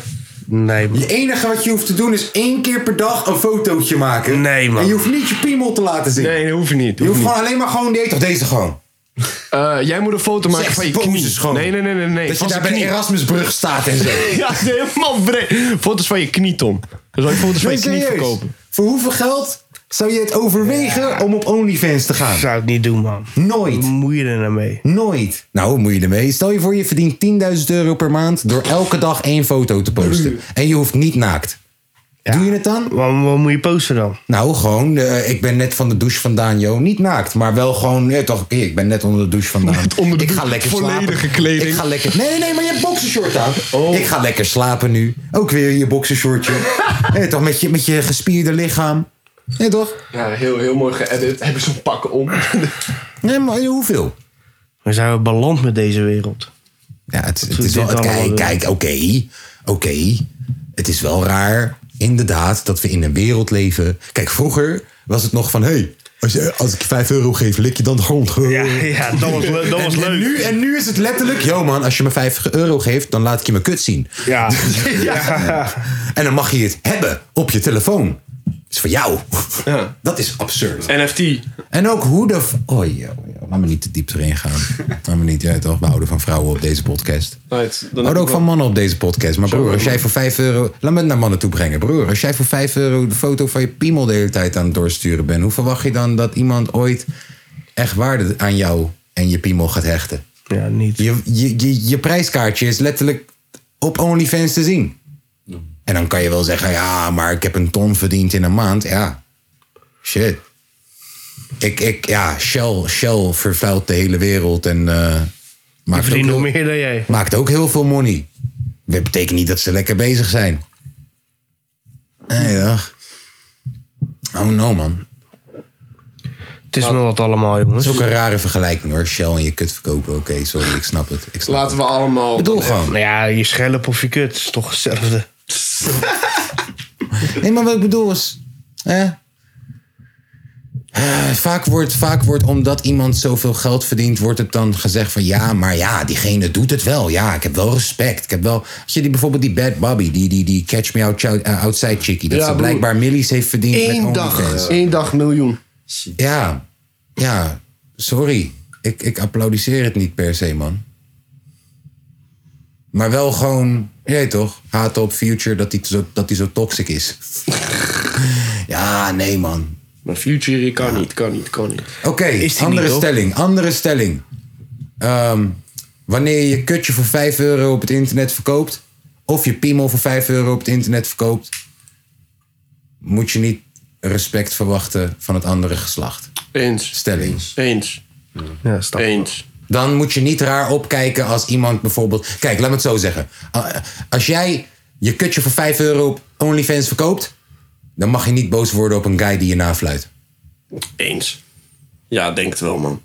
Nee, man.
Het enige wat je hoeft te doen is één keer per dag een fotootje maken.
Nee, man.
En je hoeft niet je piemel te laten zien.
Nee, dat hoef je niet.
je
hoef
hoeft
niet.
gewoon alleen maar gewoon die toch deze gewoon.
Eh, jij moet een foto maken
Seks
van je
poses
knie.
gewoon.
Nee, nee, nee, nee. nee.
dat je
Van
daar
zijn
bij de
knie.
Erasmusbrug staat <laughs> en zo.
<laughs> Ja, helemaal breed. Foto's van je knie, Tom. Dan zou je foto's van je
Nee,
knie
serieus.
verkopen.
Voor hoeveel geld zou je het overwegen om op OnlyFans te gaan?
zou ik niet doen, man.
Nooit.
Wat moet je er nou mee?
Nooit. Nou, hoe moet je ermee? Stel je voor, je verdient 10.000 euro per maand door elke dag één foto te posten. En je hoeft niet naakt. Doe je het dan?
Wat, wat moet je posten dan?
Nou, gewoon, eh, ik ben net van de douche vandaan, Jo. Niet naakt, maar wel gewoon, eh, toch, eh, ik ben net onder de douche vandaan.
onder de
ik ga
douche.
lekker
Volledige
slapen.
kleding. Oh.
Ik ga lekker, nee, nee, nee, maar je hebt boxershort aan. Ik ga lekker slapen nu. Ook weer je
<laughs>
boxershortje. Eh, toch, met je, met je gespierde lichaam. Nee, toch?
Ja, heel, heel mooi geëdit. Hebben ze een pak <laughs> om.
Nee, maar hoeveel?
We zijn beland met deze wereld.
Ja, het, het
doet
is wel.
dit allemaal
Kijk,
weer?
kijk, oké. oké. Het is wel raar, inderdaad, dat we in een wereld leven. Kijk, vroeger was het nog van: hé, hey, als, je- als ik je 5 euro geef, lik je dan de grond.
Ja, <laughs> ja dat was, le- dat was
En
leuk.
nu, en nu is het letterlijk: yo man, als je me 50 euro geeft, dan laat ik je mijn kut zien. <laughs> Dus-
Ja. ja.
En dan mag je het hebben op je telefoon. Dat is voor jou. Dat is absurd.
NFT.
En ook hoe de. v- Oh, joh, joh, laat me niet te diep erin gaan. laat me niet, ja, toch? We houden van vrouwen op deze podcast.
Right, dan
We
heb ik
houden ook
wel-
van mannen op deze podcast. Maar broer, als jij voor 5 euro. Laat me het naar mannen toe brengen, broer. Als jij voor 5 euro de foto van je piemel de hele tijd aan het doorsturen bent, hoe verwacht je dan dat iemand ooit echt waarde aan jou en je piemel gaat hechten?
Ja, niet.
Je, je, je, je prijskaartje is letterlijk op OnlyFans te zien. En dan kan je wel zeggen, ja, maar ik heb een ton verdiend in een maand. Ja, shit. Ik, ik, ja, Shell, Shell vervuilt de hele wereld en eh
Ik
maakt, ook
verdien nog
heel,
meer dan jij.
maakt ook heel veel money. Dat betekent niet dat ze lekker bezig zijn. Nee, dag. Oh no, man.
Het is me wat allemaal, jongens.
Dat is ook een rare vergelijking hoor. Shell en je kut verkopen. Oké, sorry, ik snap het. Ik snap
Laten
het.
we allemaal...
Ik bedoel gewoon.
Nou ja, je schelp of je kut is toch hetzelfde.
Nee, maar wat ik bedoel is. Hè? Eh, vaak, wordt, vaak wordt omdat iemand zoveel geld verdient, wordt het dan gezegd van ja, maar ja, diegene doet het wel. Ja, ik heb wel respect. Ik heb wel. Als je die, bijvoorbeeld die Bad Bobby, die, die, die Catch Me out, eh, Outside Chickie, dat
Ja,
ze
broer.
blijkbaar millies heeft verdiend
Eén
met
dag.
OnlyFans.
Eén dag miljoen.
Ja, ja, sorry. Ik, ik applaudisseer het niet per se, man. Maar wel gewoon, je weet toch, haat op Future dat hij zo, dat hij zo toxic is. <laughs> ja, nee, man.
Maar Future kan niet, kan niet, kan niet.
Oké,
Is die
andere
niet, hoor.
stelling, andere stelling. Ehm, wanneer je je kutje voor 5 euro op het internet verkoopt... of je piemel voor 5 euro op het internet verkoopt... moet je niet respect verwachten van het andere geslacht.
Eens.
Stelling.
Eens.
Ja, snap.
Eens.
Dan moet je niet raar opkijken als iemand bijvoorbeeld. Kijk, laat me het zo zeggen. A- Als jij je kutje voor 5 euro op OnlyFans verkoopt. dan mag je niet boos worden op een guy die je nafluit.
Eens. Ja, denk het wel, man.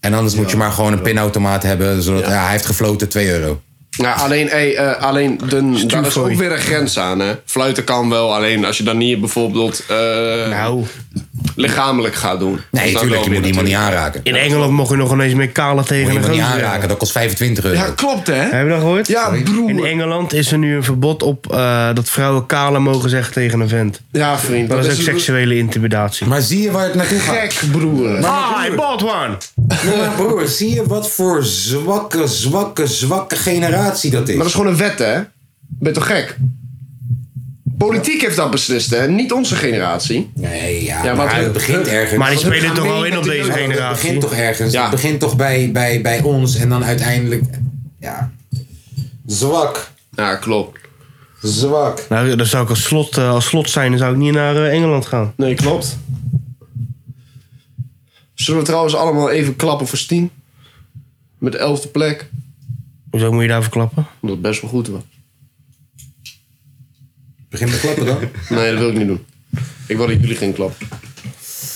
En anders moet je maar gewoon een pinautomaat hebben. Zodat, ja. hij heeft gefloten 2 euro.
Nou, alleen, hey, eh, alleen de, daar is ook weer een grens aan, hè. Fluiten kan wel, alleen als je dan niet bijvoorbeeld eh,
Nou,
lichamelijk gaat doen.
Nee,
Dat is
tuurlijk, je
dan wel
moet
weer
iemand niet aanraken.
in Engeland mocht je nog ineens met kale
Je moet
tegen een
iemand niet
gozer
aanraken,
zeggen.
dat kost 25 euro.
Ja, klopt, hè.
Heb je dat gehoord?
Ja, broer.
In Engeland is er nu een verbod op eh, dat vrouwen kale mogen zeggen tegen een vent.
Ja, vriend.
Dat, is ook seksuele intimidatie.
Maar zie je waar het naartoe gaat?
Gek, broer.
Ah, I bought one!
Nee, maar broer, zie je wat voor zwakke, zwakke, zwakke generatie dat is?
Maar dat is gewoon een wet, hè? Ben je toch gek? Politiek heeft dat beslist, hè? Niet onze generatie.
Nee, ja,
Ja,
maar
maar
het begint ergens.
Maar die
Want het
spelen
gaat
toch wel
mee
in op
met die
deze
jeugd.
Nou,
generatie.
Het begint toch ergens.
Ja.
Het begint toch bij, bij, bij ons en dan uiteindelijk. Ja. Zwak.
Ja, klopt.
Zwak.
Nou, dan zou ik als slot, eh, als slot zijn, dan zou ik niet naar eh, Engeland gaan.
Nee, klopt. Zullen we trouwens allemaal even klappen voor Steen? Met de elfde plek.
Hoezo moet je daarvoor klappen?
Omdat het best wel goed was.
Begin te klappen <laughs> dan.
Nee, dat wil ik niet doen. Ik wil dat jullie geen klap.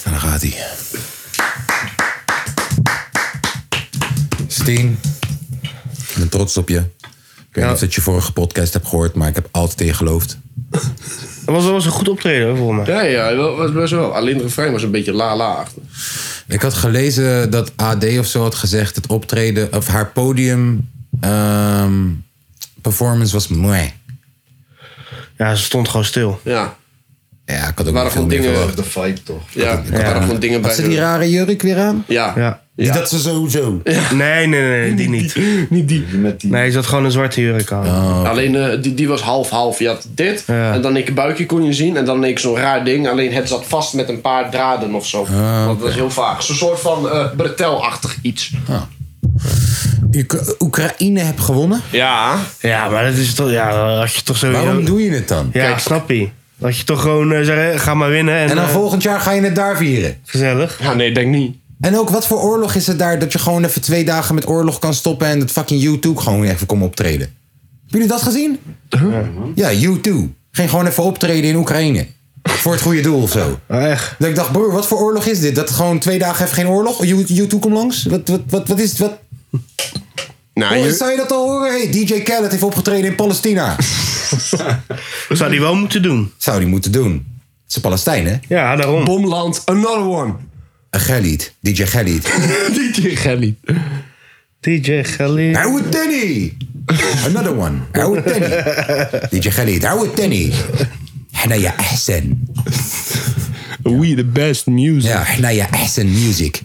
En dan gaat hij. Steen. Ik ben trots op je. Ik weet niet of dat je vorige podcast hebt gehoord, maar ik heb altijd in je geloofd.
Dat was, dat was een goed optreden, hoor, volgens mij.
Ja, ja, wel- was best wel. Alleen de refrein was een beetje la-la achter.
Ik had gelezen dat AD of zo had gezegd... het optreden of haar podium ehm, performance was mooi.
Ja, ze stond gewoon stil.
Ja.
Ja, ik had
Er
ook
waren
niet veel
gewoon
meer
dingen.
verwacht.
De fight toch? Ja, er waren gewoon dingen bij.
Had ze die rare jurk weer aan?
Ja.
Ja.
Ja.
Dus Dat ze sowieso.
Nee, nee, nee, nee, die niet.
Niet die.
Met die...
Nee, ze had gewoon een zwarte jurk aan.
Oh,
Alleen eh, die, die was half-half. Je had dit
Ja.
en dan een buikje kon je zien. En dan een zo'n raar ding. Alleen het zat vast met een paar draden of
Ah,
zo. Want dat is heel vaag. Zo'n soort van eh bretelachtig iets.
Oek- Oekraïne heb gewonnen?
Ja.
Ja, maar dat is toch... Ja, dan had je toch sowieso...
Waarom doe je het dan?
Ja,
Kijk.
snap je. Dat je toch gewoon eh, zeggen, ga maar winnen. En,
En dan
eh,
volgend jaar ga je het daar vieren.
gezellig.
Ja, nee, denk niet.
En ook, wat voor oorlog is het daar dat je gewoon even twee dagen met oorlog kan stoppen en dat fucking U2 gewoon even komt optreden? Hebben jullie dat gezien? Ja, U2. Ging gewoon even optreden in Oekraïne. Voor het goede doel of zo.
Ah, echt.
Dat ik dacht, broer, wat voor oorlog is dit? Dat gewoon twee dagen even geen oorlog? U- U2 komt langs? Wat, wat, wat, wat is het? Wat?
Nou,
Hoor-
je-
zou je dat al horen? Hey, DJ Khaled heeft opgetreden in Palestina.
Zou die wel moeten doen.
Zou die moeten doen. Het is een Palestijn, hè?
Ja, daarom.
Bomland, another one.
Een Khalid. DJ Khalid.
DJ Gelly.
DJ Gelly.
Oude Danny! Another one. Oude Danny. DJ Khalid. Oude Danny. Hnaya Ahsen.
We the best music.
Ja, Hnaya Ahsen Music.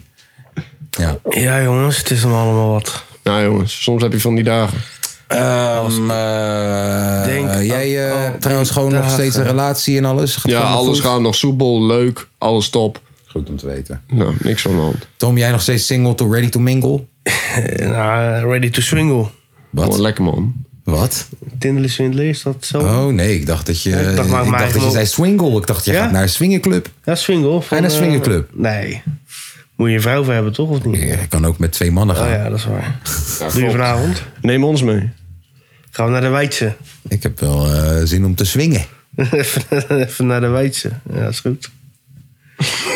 Ja.
Ja, jongens, het is hem allemaal wat.
Nou jongens, soms heb je van die dagen.
Ehm, eh,
Denk
jij eh,
aan
hebt
al
trouwens
die
gewoon nog
dagen.
steeds een relatie en alles? Gaat
Ja,
gewoon nog
alles
goed?
gaat nog soepel, leuk, alles top.
Goed om te weten.
Nou, niks aan de hand.
Tom, jij nog steeds single to ready to mingle?
Eh, Nou, ready to swingle.
Gewoon
Wat?
lekker man.
Wat?
Tindelen swindelen, is dat zo?
Oh nee, ik dacht dat je,
ik
ik
dacht, maak
dacht,
Eh, maar
dat je
gewoon-
zei swingle. Ik dacht, je
Ja?
gaat naar een swingerclub.
Ja, swingle. Van,
je naar
eh,
swingerclub?
nee. Moet je een vrouw voor hebben, toch? Of niet?
Je kan ook met twee mannen gaan.
Oh ja, dat is waar. Doe je
klopt.
vanavond?
Neem ons mee.
Gaan we naar de Weidse. <laughs>
Ik heb wel eh, zin om te swingen.
even, even naar de Weidse. Ja, is goed.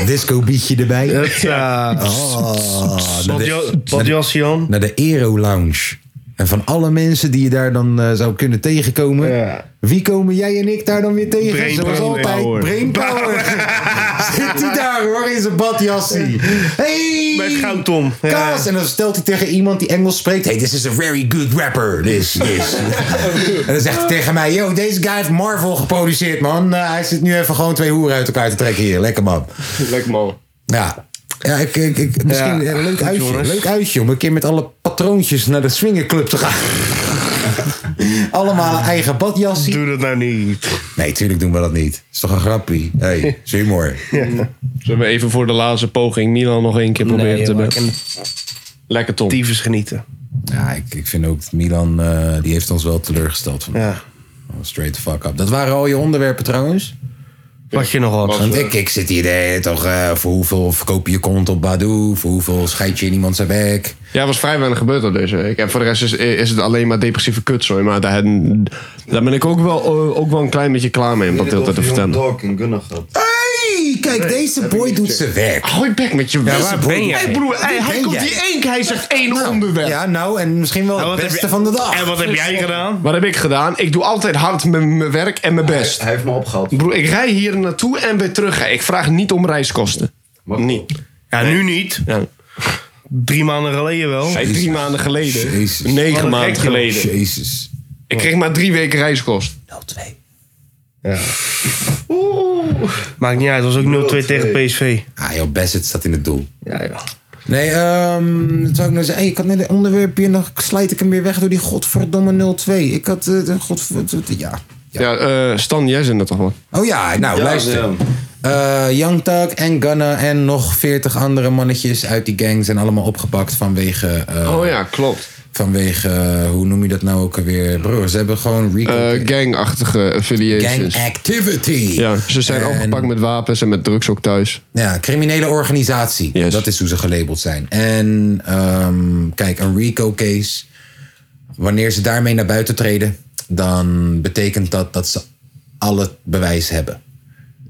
Disco beatje erbij.
Hupsa.
Oh, naar,
Wat
de,
jo- Wat Jossie aan?
naar de Aero Lounge. En van alle mensen die je daar dan eh, zou kunnen tegenkomen.
Ja.
Wie komen jij en ik daar dan weer tegen?
Brain
Zoals
power.
altijd. Brainpower.
<laughs>
Zit hij daar hoor in zijn badjassie. Hey!
Met goud, Tom. Ja.
Kaas. En dan stelt hij tegen iemand die Engels spreekt. Hey, this is a very good rapper. This,
<laughs>
this. en dan zegt hij tegen mij. Yo, deze guy heeft Marvel geproduceerd man. Nou, hij zit nu even gewoon twee hoeren uit elkaar te trekken hier. Lekker man.
Lekker man.
Ja. Ja, ik, ik, ik- misschien
Ja,
een leuk
goed,
uitje.
jongens.
Leuk uitje om een keer met alle patroontjes naar de swingerclub te
<laughs>
gaan. Allemaal een eigen badjassie.
Doe dat nou <laughs> niet.
Nee, tuurlijk doen we dat niet. is toch een grappie? hey, is humor.
Zullen we even voor de laatste poging Milan nog één keer proberen te
joh, ik
hebben?
kan
Lekker Tom.
tyfus genieten.
Ja, ik, ik vind ook Milan, eh, die heeft ons wel teleurgesteld. Van,
Ja.
Straight the fuck up. Dat waren al je onderwerpen trouwens.
Wat je nog had.
Want ik, ik zit hier de hele tijd toch eh, voor hoeveel verkoop je je kont op Badoe? Voor hoeveel scheid je in iemand zijn bek?
Ja, er was vrij weinig gebeurd al deze week. En voor de rest is, is het alleen maar depressieve kutzooi. Maar daar, daar ben ik ook wel, eh, ook wel een klein beetje klaar mee om dat de hele tijd te vertellen.
Dog en Gunnar gehad.
hey, kijk, deze boy doet zijn werk.
Hou je bek met je ja,
waar ben jij?
Hey, broer, hey, hij
Ben
komt
jij?
die één keer, hij zegt één onderwerp.
Ja, nou, en misschien wel het beste van de dag.
En wat heb jij gedaan?
Wat heb ik gedaan? Ik doe altijd hard mijn mijn werk en mijn best.
Hij heeft me opgehaald.
Broer, ik rij hier naartoe en weer terug. Ik vraag niet om reiskosten. Niet.
Ja, nu niet.
Ja.
Drie maanden geleden wel.
Hey, drie maanden geleden.
Jezus.
Negen
Wat
maanden
gek,
geleden.
Jezus.
Ik kreeg maar drie weken reiskost.
0-2.
Maakt niet uit, het was ook 0-2 tegen PSV.
Ah joh, Bassett staat in het doel.
Ja, ja.
Nee, ehm, wat zou ik nou zeggen? Hey, ik had net een onderwerpje en dan slijt ik hem weer weg door die godverdomme 0-2. Ik had, eh, de godverdomme, ja.
Ja, eh, Stan, jij zit er toch wel?
Oh ja, nou
Ja,
luister.
ja.
Eh, Young Thug en Gunna en nog 40 andere mannetjes uit die gang zijn allemaal opgepakt vanwege... eh,
Oh ja, klopt.
Vanwege, eh, hoe noem je dat nou ook alweer? Broer, ze hebben gewoon... Rico
Eh, gangachtige affiliations.
gang activity.
ja, ze zijn
En-
opgepakt met wapens en met drugs ook thuis.
Ja, criminele organisatie.
Yes.
Dat is hoe ze gelabeld zijn. En ehm, kijk, een RICO-case. Wanneer ze daarmee naar buiten treden, dan betekent dat dat ze al het bewijs hebben.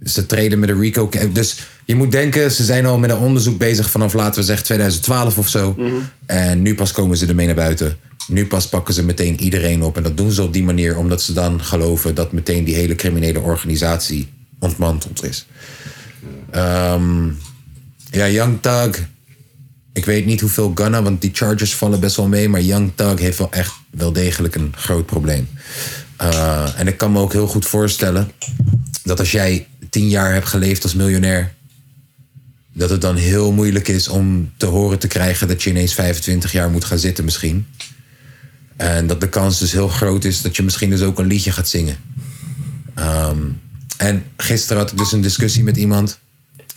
Dus Ze treden met een RICO. Dus je moet denken, ze zijn al met een onderzoek bezig vanaf laten we zeggen 2012 of zo. En nu pas komen ze ermee naar buiten. Nu pas pakken ze meteen iedereen op. En dat doen ze op die manier omdat ze dan geloven dat meteen die hele criminele organisatie ontmanteld is. Ehm, Ja, Young Thug. Ik weet niet hoeveel Ghana, want die Chargers vallen best wel mee. Maar Young Thug heeft wel echt wel degelijk een groot probleem. Eh, en ik kan me ook heel goed voorstellen dat als jij tien jaar hebt geleefd als miljonair, dat het dan heel moeilijk is om te horen te krijgen dat je ineens 25 jaar moet gaan zitten misschien. En dat de kans dus heel groot is dat je misschien dus ook een liedje gaat zingen. Ehm, en gisteren had ik dus een discussie met iemand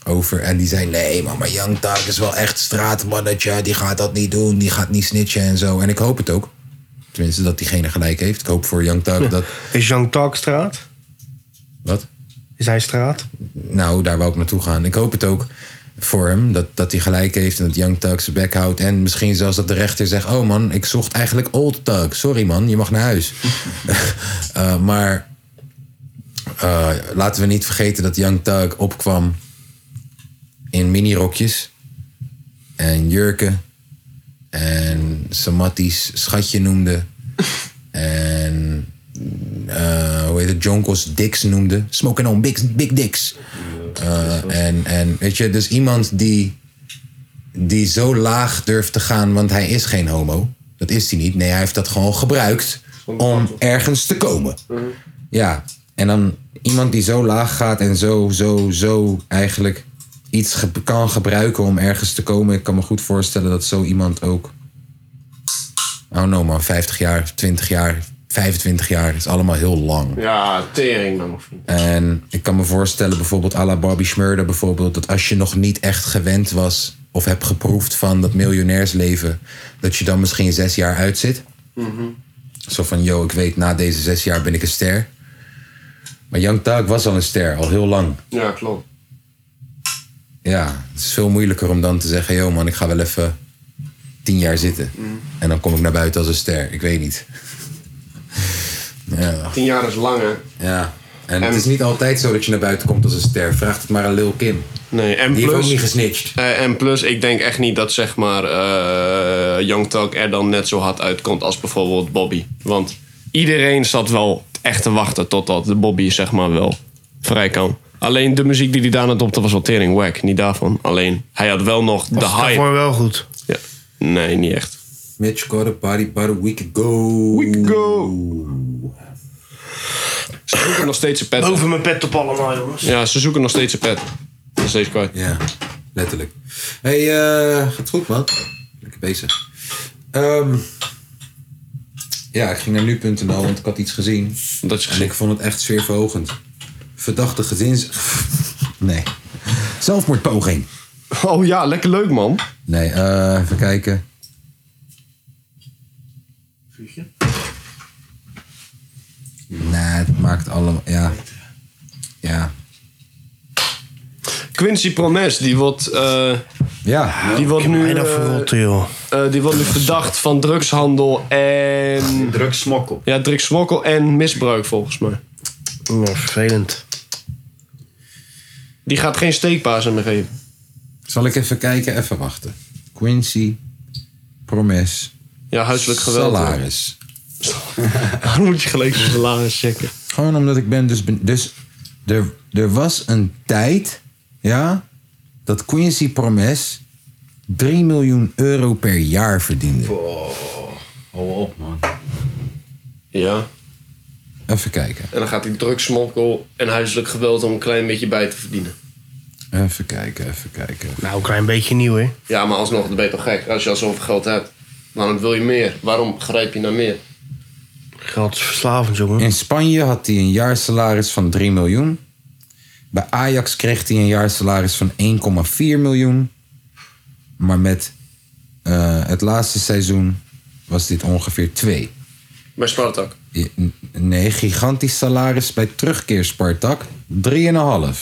over. En die zei: Nee, man, maar Young Thug is wel echt straatmannetje. Die gaat dat niet doen. Die gaat niet snitchen en zo. En ik hoop het ook. Tenminste, dat diegene gelijk heeft. Ik hoop voor Young Thug dat.
Is Young Thug straat?
Wat?
Is hij straat?
Nou, daar wou ik naartoe gaan. Ik hoop het ook voor hem dat, dat hij gelijk heeft en dat Young Thug zijn bek houdt. En misschien zelfs dat de rechter zegt: Oh man, ik zocht eigenlijk Old Thug. Sorry man, je mag naar huis. <laughs> Eh, maar eh, laten we niet vergeten dat Young Thug opkwam in minirokjes en jurken. En Samatis schatje noemde. En eh, hoe heet het? Jonkos Dix noemde. Smoking on Big, big Dicks. Eh, en, en weet je, dus iemand die, die zo laag durft te gaan, want hij is geen homo. Dat is hij niet. Nee, hij heeft dat gewoon gebruikt om ergens te komen. Mhm. Ja, en dan iemand die zo laag gaat en zo, zo, zo eigenlijk iets ge- kan gebruiken om ergens te komen. Ik kan me goed voorstellen dat zo iemand ook. Oh no man, 50 jaar, 20 jaar, 25 jaar is allemaal heel lang.
Ja, tering man.
En ik kan me voorstellen, bijvoorbeeld à la Barbie Schmurder, bijvoorbeeld, dat als je nog niet echt gewend was of hebt geproefd van dat miljonairsleven, dat je dan misschien zes jaar uitzit. Zo van, yo, ik weet, na deze zes jaar ben ik een ster. Maar Young Thug was al een ster, al heel lang.
Ja, klopt.
Ja, het is veel moeilijker om dan te zeggen, yo man, ik ga wel even tien jaar zitten. En dan kom ik naar buiten als een ster, ik weet niet. ja.
Tien jaar is lang hè.
Ja. En, het is niet altijd zo dat je naar buiten komt als een ster. Vraag het maar aan Lil Kim.
Nee, en
Die heeft
plus,
ook niet gesnitcht.
Eh, en plus, ik denk echt niet dat zeg maar eh, Young Talk er dan net zo hard uitkomt als bijvoorbeeld Bobby. Want iedereen zat wel echt te wachten totdat de Bobby zeg maar wel vrij kan. Alleen de muziek die hij daarna dopte was wel tering wack, niet daarvan. Alleen hij had wel nog de
was
hype.
daarvoor wel goed.
Ja. Nee, niet echt.
Mitch got a body but a week ago. Week
ago. Ze zoeken nog steeds een pet.
Boven mijn pet op allemaal, jongens.
Ja, ze zoeken nog steeds een pet. Nog steeds kwijt.
Ja, letterlijk. Hé, hey, eh, gaat goed man. Lekker bezig. Ehm, ja, ik ging naar nu.nl, want ik had iets gezien.
Dat is
En ik vond het echt sfeerverhogend. Verdachte gezins... <laughs> Nee. Zelfmoordpoging.
Oh ja, lekker leuk man.
Nee, eh, even kijken. Nee, het maakt allemaal... Ja. Ja.
Quincy Promes, die wordt, eh,
Ja.
die wordt nu...
Bijna
eh,
verrotten, nou joh.
Eh, die wordt nu verdacht van drugshandel en.
Drugsmokkel.
Ja, drugsmokkel en misbruik volgens mij.
Oh, vervelend.
Die gaat geen steekpaas aan me geven.
Zal ik even kijken? Even wachten. Quincy, Promes,
Ja, huiselijk geweld.
salaris.
Dan moet je gelijk zijn salaris checken.
Gewoon omdat ik ben dus... ben- Dus er, er was een tijd, ja, dat Quincy Promes 3 miljoen euro per jaar verdiende.
Hou op, man.
Ja.
Even kijken.
En dan gaat hij drugsmokkel en huiselijk geweld om een klein beetje bij te verdienen.
Even kijken, even kijken.
Nou, een klein beetje nieuw, hè?
Ja, maar alsnog, dan ben je toch gek als je al zoveel geld hebt. Waarom wil je meer? Waarom grijp je naar meer?
Geld is verslavend, jongen.
In Spanje had hij een jaarsalaris van 3 miljoen. Bij Ajax kreeg hij een jaarsalaris van 1,4 miljoen. Maar met eh, het laatste seizoen was dit ongeveer 2.
Bij Spartak.
I- n- Nee, gigantisch salaris bij terugkeer Spartak. 3,5.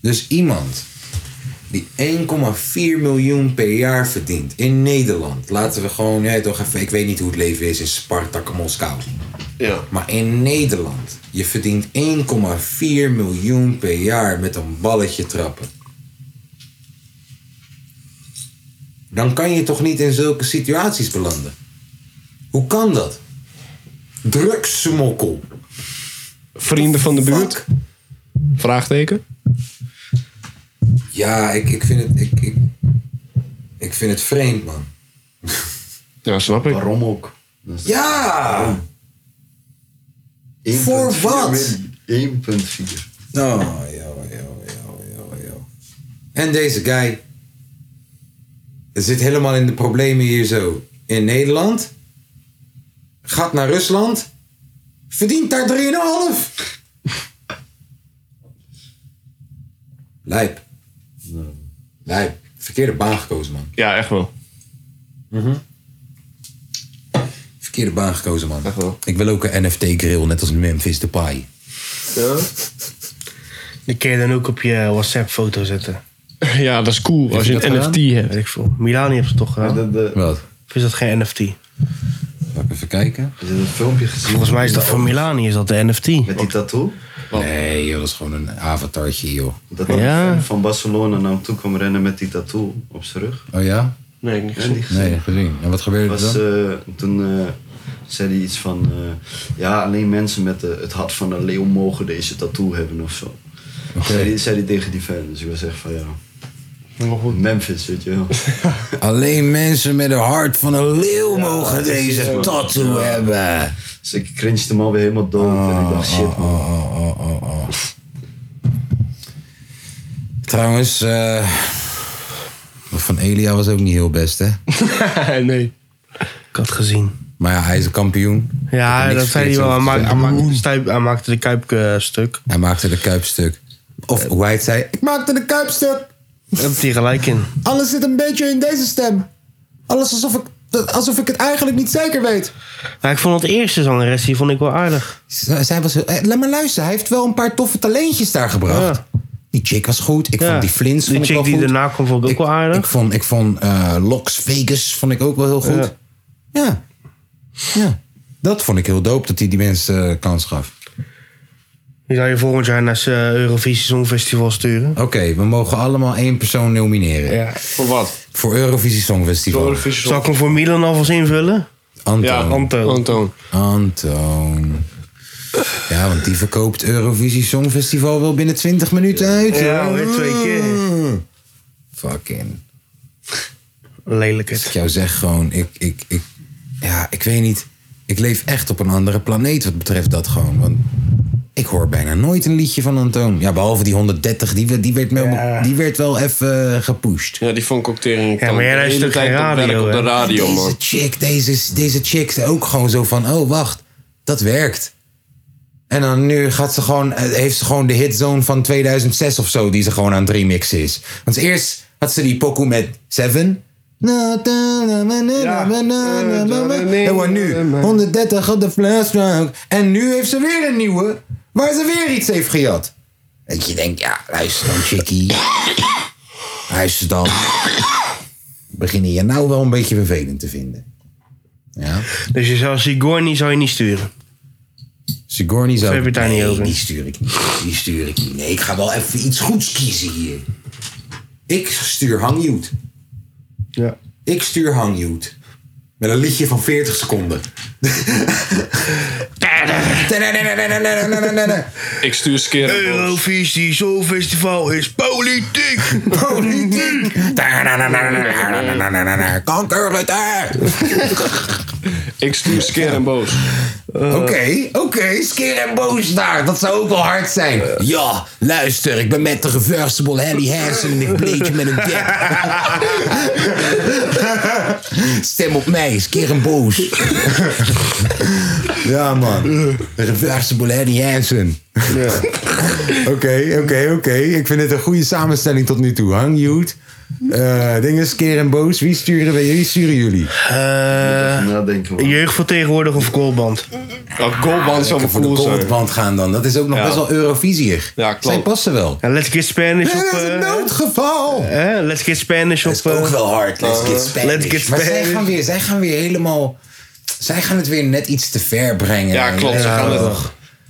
Dus iemand die 1,4 miljoen per jaar verdient in Nederland. Laten we gewoon, ja, toch even, ik weet niet hoe het leven is in Spartak Moskou.
Ja.
Maar in Nederland, je verdient 1,4 miljoen per jaar met een balletje trappen. Dan kan je toch niet in zulke situaties belanden? Hoe kan dat? Drugsmokkel.
Vrienden van de buurt?
Fuck.
Vraagteken.
Ja, ik, ik vind het... Ik, ik, ik vind het vreemd, man.
Ja, snap ik.
Waarom ook?
Ja! Voor wat?
1.4.
Nou, joh, joh, joh, joh, joh. En deze guy. Het zit helemaal in de problemen hier zo. In Nederland. Gaat naar Rusland. Verdient daar 3,5. Lijp. Lijp. Verkeerde baan gekozen, man. Mhm.
Ja, echt wel.
Verkeerde baan gekozen, man. Ik wil ook een NFT-grill, net als Memphis Depay.
Ja?
Die kun je dan ook op je WhatsApp-foto zetten.
<laughs> Ja, dat is cool als je
dat
een NFT
gedaan?
hebt.
Weet ik veel. Milani heeft het toch gedaan?
eh,
Wat?
Of is dat geen NFT?
Zal ik even kijken?
Is dit een filmpje gezien?
Volgens mij is dat voor Milani is dat de NFT.
Met die tattoo?
Nee, joh, dat is gewoon een avatartje, joh.
Dat die
Ja.
fan van Barcelona naar hem toe kwam rennen met die tattoo op zijn rug.
Oh ja?
Nee, ik niet
En die gezien?
Nee, gezien. En wat gebeurde er
was,
dan?
eh, toen eh, zei hij iets van... eh, ja, alleen mensen met eh, het hart van een leeuw mogen deze tattoo hebben of zo.
eh,
Zei, hij, zei hij tegen die fan. Dus ik was echt van ja... Memphis, weet je wel.
Alleen mensen met een hart van een leeuw mogen deze tattoo hebben.
Dus ik cringed hem alweer helemaal dood. en
Ah,
ik dacht, shit man.
Oh, oh, oh, oh, oh. Trouwens, eh, dat van Elia was ook niet heel best, hè?
nee.
Ik had gezien.
Maar ja, hij is een kampioen. Ik heb
Ja,
niks
dat zei hij
verkeerds
wel. Hij
over
maakte, hij,
gezegd.
maakte de stuip- hij maakte de kuip eh, stuk.
Hij maakte de kuip stuk. Of hoe hij het zei, ik maakte de kuip stuk.
Daar heeft hij gelijk in.
Alles zit een beetje in deze stem. Alles alsof ik, alsof ik het eigenlijk niet zeker weet.
Maar ik vond het eerste zangeres, die vond ik wel aardig.
Zij was, eh, laat maar luisteren, hij heeft wel een paar toffe talentjes daar gebracht.
Ja.
Die chick was goed. Ik
Ja.
vond die Flins
Die
vond ik
chick
wel
die
goed.
erna kwam vond ik ook wel aardig.
Ik vond, ik vond eh Lox Vegas vond ik ook wel heel goed. Ja. ja. Dat vond ik heel dope dat hij die mensen eh, kans gaf.
Die zou je volgend jaar naar het Eurovisie Songfestival sturen.
Oké, we mogen allemaal één persoon nomineren.
Ja.
Voor wat?
Voor Eurovisie Songfestival.
Zal ik hem voor Milan alvast invullen?
Anton.
Ja,
Anto.
Antoon.
Antoon. Ja, want die verkoopt Eurovisie Songfestival wel binnen 20 minuten uit.
Ja, hoor, twee keer.
Fucking.
Lelijk het.
Ik jou zeg gewoon, ik, ik, ik, ja, ik weet niet. Ik leef echt op een andere planeet wat betreft dat gewoon. Want ik hoor bijna nooit een liedje van Antoon. Ja, behalve die 130, die, werd- die, werd, wel-
Ja.
die werd wel even eh, gepusht.
Ja, die vond ik ook tegen.
Ja, maar jij luistert geen radio,
op, op de
hè?
radio,
deze
man.
chick, deze, is- deze chick is ook gewoon zo van, oh wacht, dat werkt. En dan nu gaat ze gewoon, eh, heeft ze gewoon de hitzone van 2006 of zo, die ze gewoon aan het remixen is. Want eerst had ze die pokoe met Seven. En wat nu 130 op de flashback. En nu heeft ze weer een nieuwe, waar ze weer iets heeft gejat. Dat je denkt, ja, luister dan, chickie. Luister dan. Beginnen je nou wel een beetje vervelend te vinden. Ja.
Dus je zou Sigourney zou je niet sturen.
Sigourney zou...
heb je het daar niet
Nee,
over?
die stuur ik niet. Die stuur ik niet. Nee, ik ga wel even iets goeds kiezen hier. Ik stuur Hangjoet.
Ja.
Ik stuur Hangjoet. Met een liedje van 40
<laughs>
seconden.
Ik stuur Skeer.
Eurovisie Songfestival is politiek.
Politiek. Kankergetuig.
Ik stuur Skeer en Boos.
Oké, oké, skeer en boos daar. Dat zou ook wel hard zijn. Ja, luister, ik ben met de reversible Harry Hansen en ik bleed je met een dip. Stem op mij, skeer en boos. ja, man. De reversible Harry Hansen. <laughs> Oké, oké, oké. Ik vind het een goede samenstelling tot nu toe. Hang Jude. Eh dingen skeer en boos. Wie sturen, we, wie sturen jullie?
ah.
Eh
Nadenken man.
jeugdvertegenwoordiger of goalband?
Oh, Goldband zou wel
Voor de
cool zijn.
goldband gaan dan. Dat is ook nog best wel Eurovisier.
Ja, klopt.
Zij passen wel.
Ja, let's get Spanish op... eh,
noodgeval.
hè? Let's get Spanish op...
Dat is ook
eh,
wel hard. Let's get Spanish.
let's get
Maar zij
Spanish.
gaan, weer, zij gaan weer helemaal... Zij gaan het weer net iets te ver brengen.
Ja, klopt. Ze
Ja,
gaan het,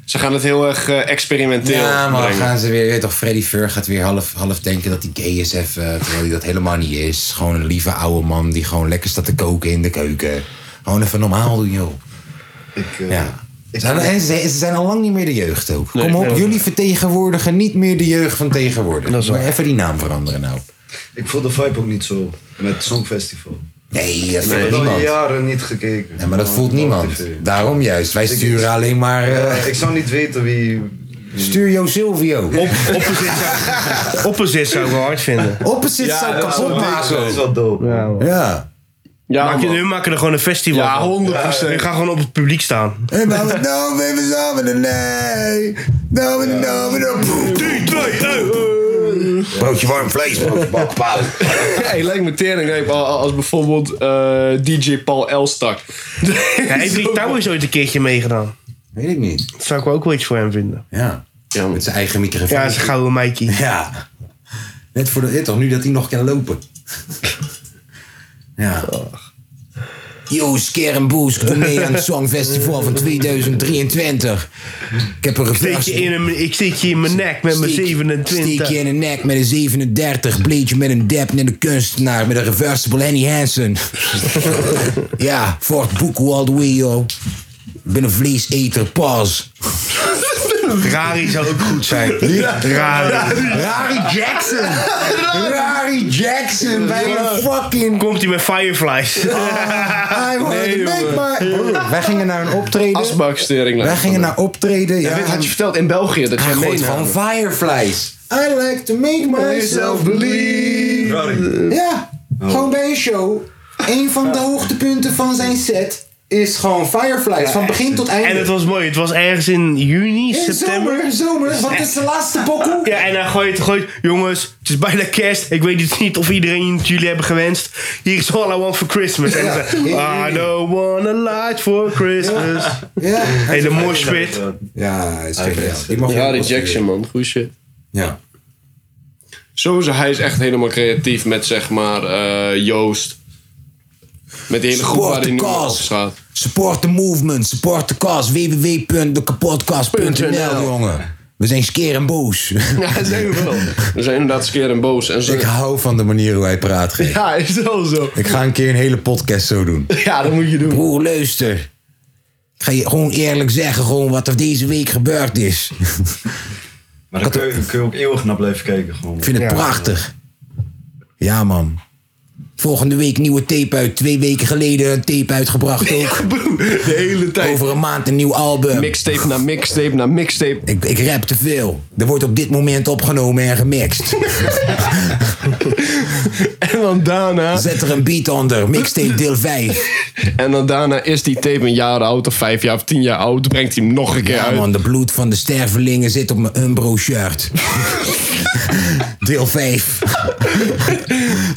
ze gaan het heel erg eh, experimenteel
Ja, maar dan
brengen.
gaan ze weer... weet je toch, Freddy Fur gaat weer half, half denken dat hij gay is even. Terwijl hij dat helemaal niet is. Gewoon een lieve oude man die gewoon lekker staat te koken in de keuken. Gewoon even normaal doen, joh.
Ik, eh,
Ja.
Zijn, en ze, ze zijn al lang niet meer de jeugd ook.
Nee,
Kom op,
nee.
jullie vertegenwoordigen niet meer de jeugd van tegenwoordig. maar even die naam veranderen nou.
Ik voel de vibe ook niet zo met Songfestival.
Nee, dat
ik
voelt
heb al
niemand.
jaren niet gekeken.
Ja, maar dat
Gewoon
voelt
op
niemand.
tv.
Daarom juist. Wij
Ik-
sturen alleen maar...
Ja,
eh,
ik zou niet weten wie.
Stuur Jo Silvio. Op,
Opposite zou ik wel hard vinden.
Opposite Ja, zou ik dat is kapot wel maken. dik, dat is wel
dope.
Ja.
ja.
Maak je,
man.
hun maken er gewoon een festival
Ja,
van.
100%.
Je gaat gewoon op het publiek staan.
En dan <laughs> we nou weer we samen de nee. Nou we nou we nou.
3, 2,
1.
Broodje warm vlees, broodje bak, pauw.
hey, lijkt me teringreep al- al- als bijvoorbeeld eh, DJ Paul Elstak.
Ja, heeft die Towers ooit een keertje meegedaan?
Weet ik niet.
Dat zou ik wel ook wel iets voor hem vinden.
Ja. Met zijn eigen microfoon.
Ja, dat is een gouden meidje.
Ja. Net voor de hit toch, nu dat hij nog kan lopen. Ja. Yo, Skermboes, ik doe mee aan het Songfestival van 2023. Ik heb een
Ik steek,
reverse-
je in een- ik steek je in mijn nek met mijn
Steek-
27.
Steek je in de nek met een 37. Bleed je met een dep en een kunstenaar. Met een reversible Annie Hansen. <laughs> ja, Fort Boekoe all the way, yo. Ik ben een vleeseter, pas.
Rari zou ook goed
<laughs>
zijn. Rari.
Rari Jackson. Rari Jackson bij een fucking...
Komt hij met Fireflies?
Oh. I wanna make my- Broer, Wij gingen naar een optreden.
Asbakstering.
Wij gingen naar optreden. Ja,
Ja, dit had je verteld in België dat
Hij
jij
gooit
meenam.
van Fireflies. I like to make myself believe. Ja, gewoon bij een show. Een van de hoogtepunten van zijn set is gewoon Fireflies. van begin tot einde.
En het was mooi. Het was ergens in juni,
In
september.
zomer, zomer. Wat is de laatste pokoe?
Ja, en dan gooit, gooit, jongens, het is bijna kerst. Ik weet het niet of iedereen het jullie hebben gewenst. Hier is All I Want For Christmas. En dan
Ja.
zei, I don't want a light for Christmas.
Ja.
Hele moshpit.
Ja, hij is
Ja, Harry Jackson, man. Goeie shit.
Ja.
Sowieso, hij is echt helemaal creatief met, zeg maar, eh, Joost. Met die hele groep
Support
waar
the
hij nu mee op
cause.
staat.
Support the movement, support the cause. www.dekapodcast.nl, jongen. We zijn skeer en boos.
<laughs> Ja, zijn we wel. We zijn inderdaad skeer en boos. En zo.
<laughs> Ik hou van de manier hoe hij praat. gek.
Ja, is wel zo.
Ik ga een keer een hele podcast zo doen.
Ja, dat moet je doen. <laughs>
Broer, luister. Ik ga je gewoon eerlijk zeggen gewoon wat er deze week gebeurd is.
Maar daar kun je, kun je ook eeuwig naar blijven kijken. Gewoon.
Ik vind het prachtig. Ja, man. Volgende week nieuwe tape uit. Twee weken geleden een tape uitgebracht
<laughs>
ook.
De hele tijd.
Over een maand een nieuw album.
Mixtape na mixtape na mixtape.
Ik, ik rap te veel. Er wordt op dit moment opgenomen en gemixt.
En dan daarna...
Zet er een beat onder. Mixtape deel 5.
En dan daarna is die tape een jaar oud of vijf jaar of tien jaar oud. Brengt hij hem nog een keer
Ja,
uit. <laughs>
man. De bloed van de stervelingen zit op mijn Umbro-shirt. Deel 5.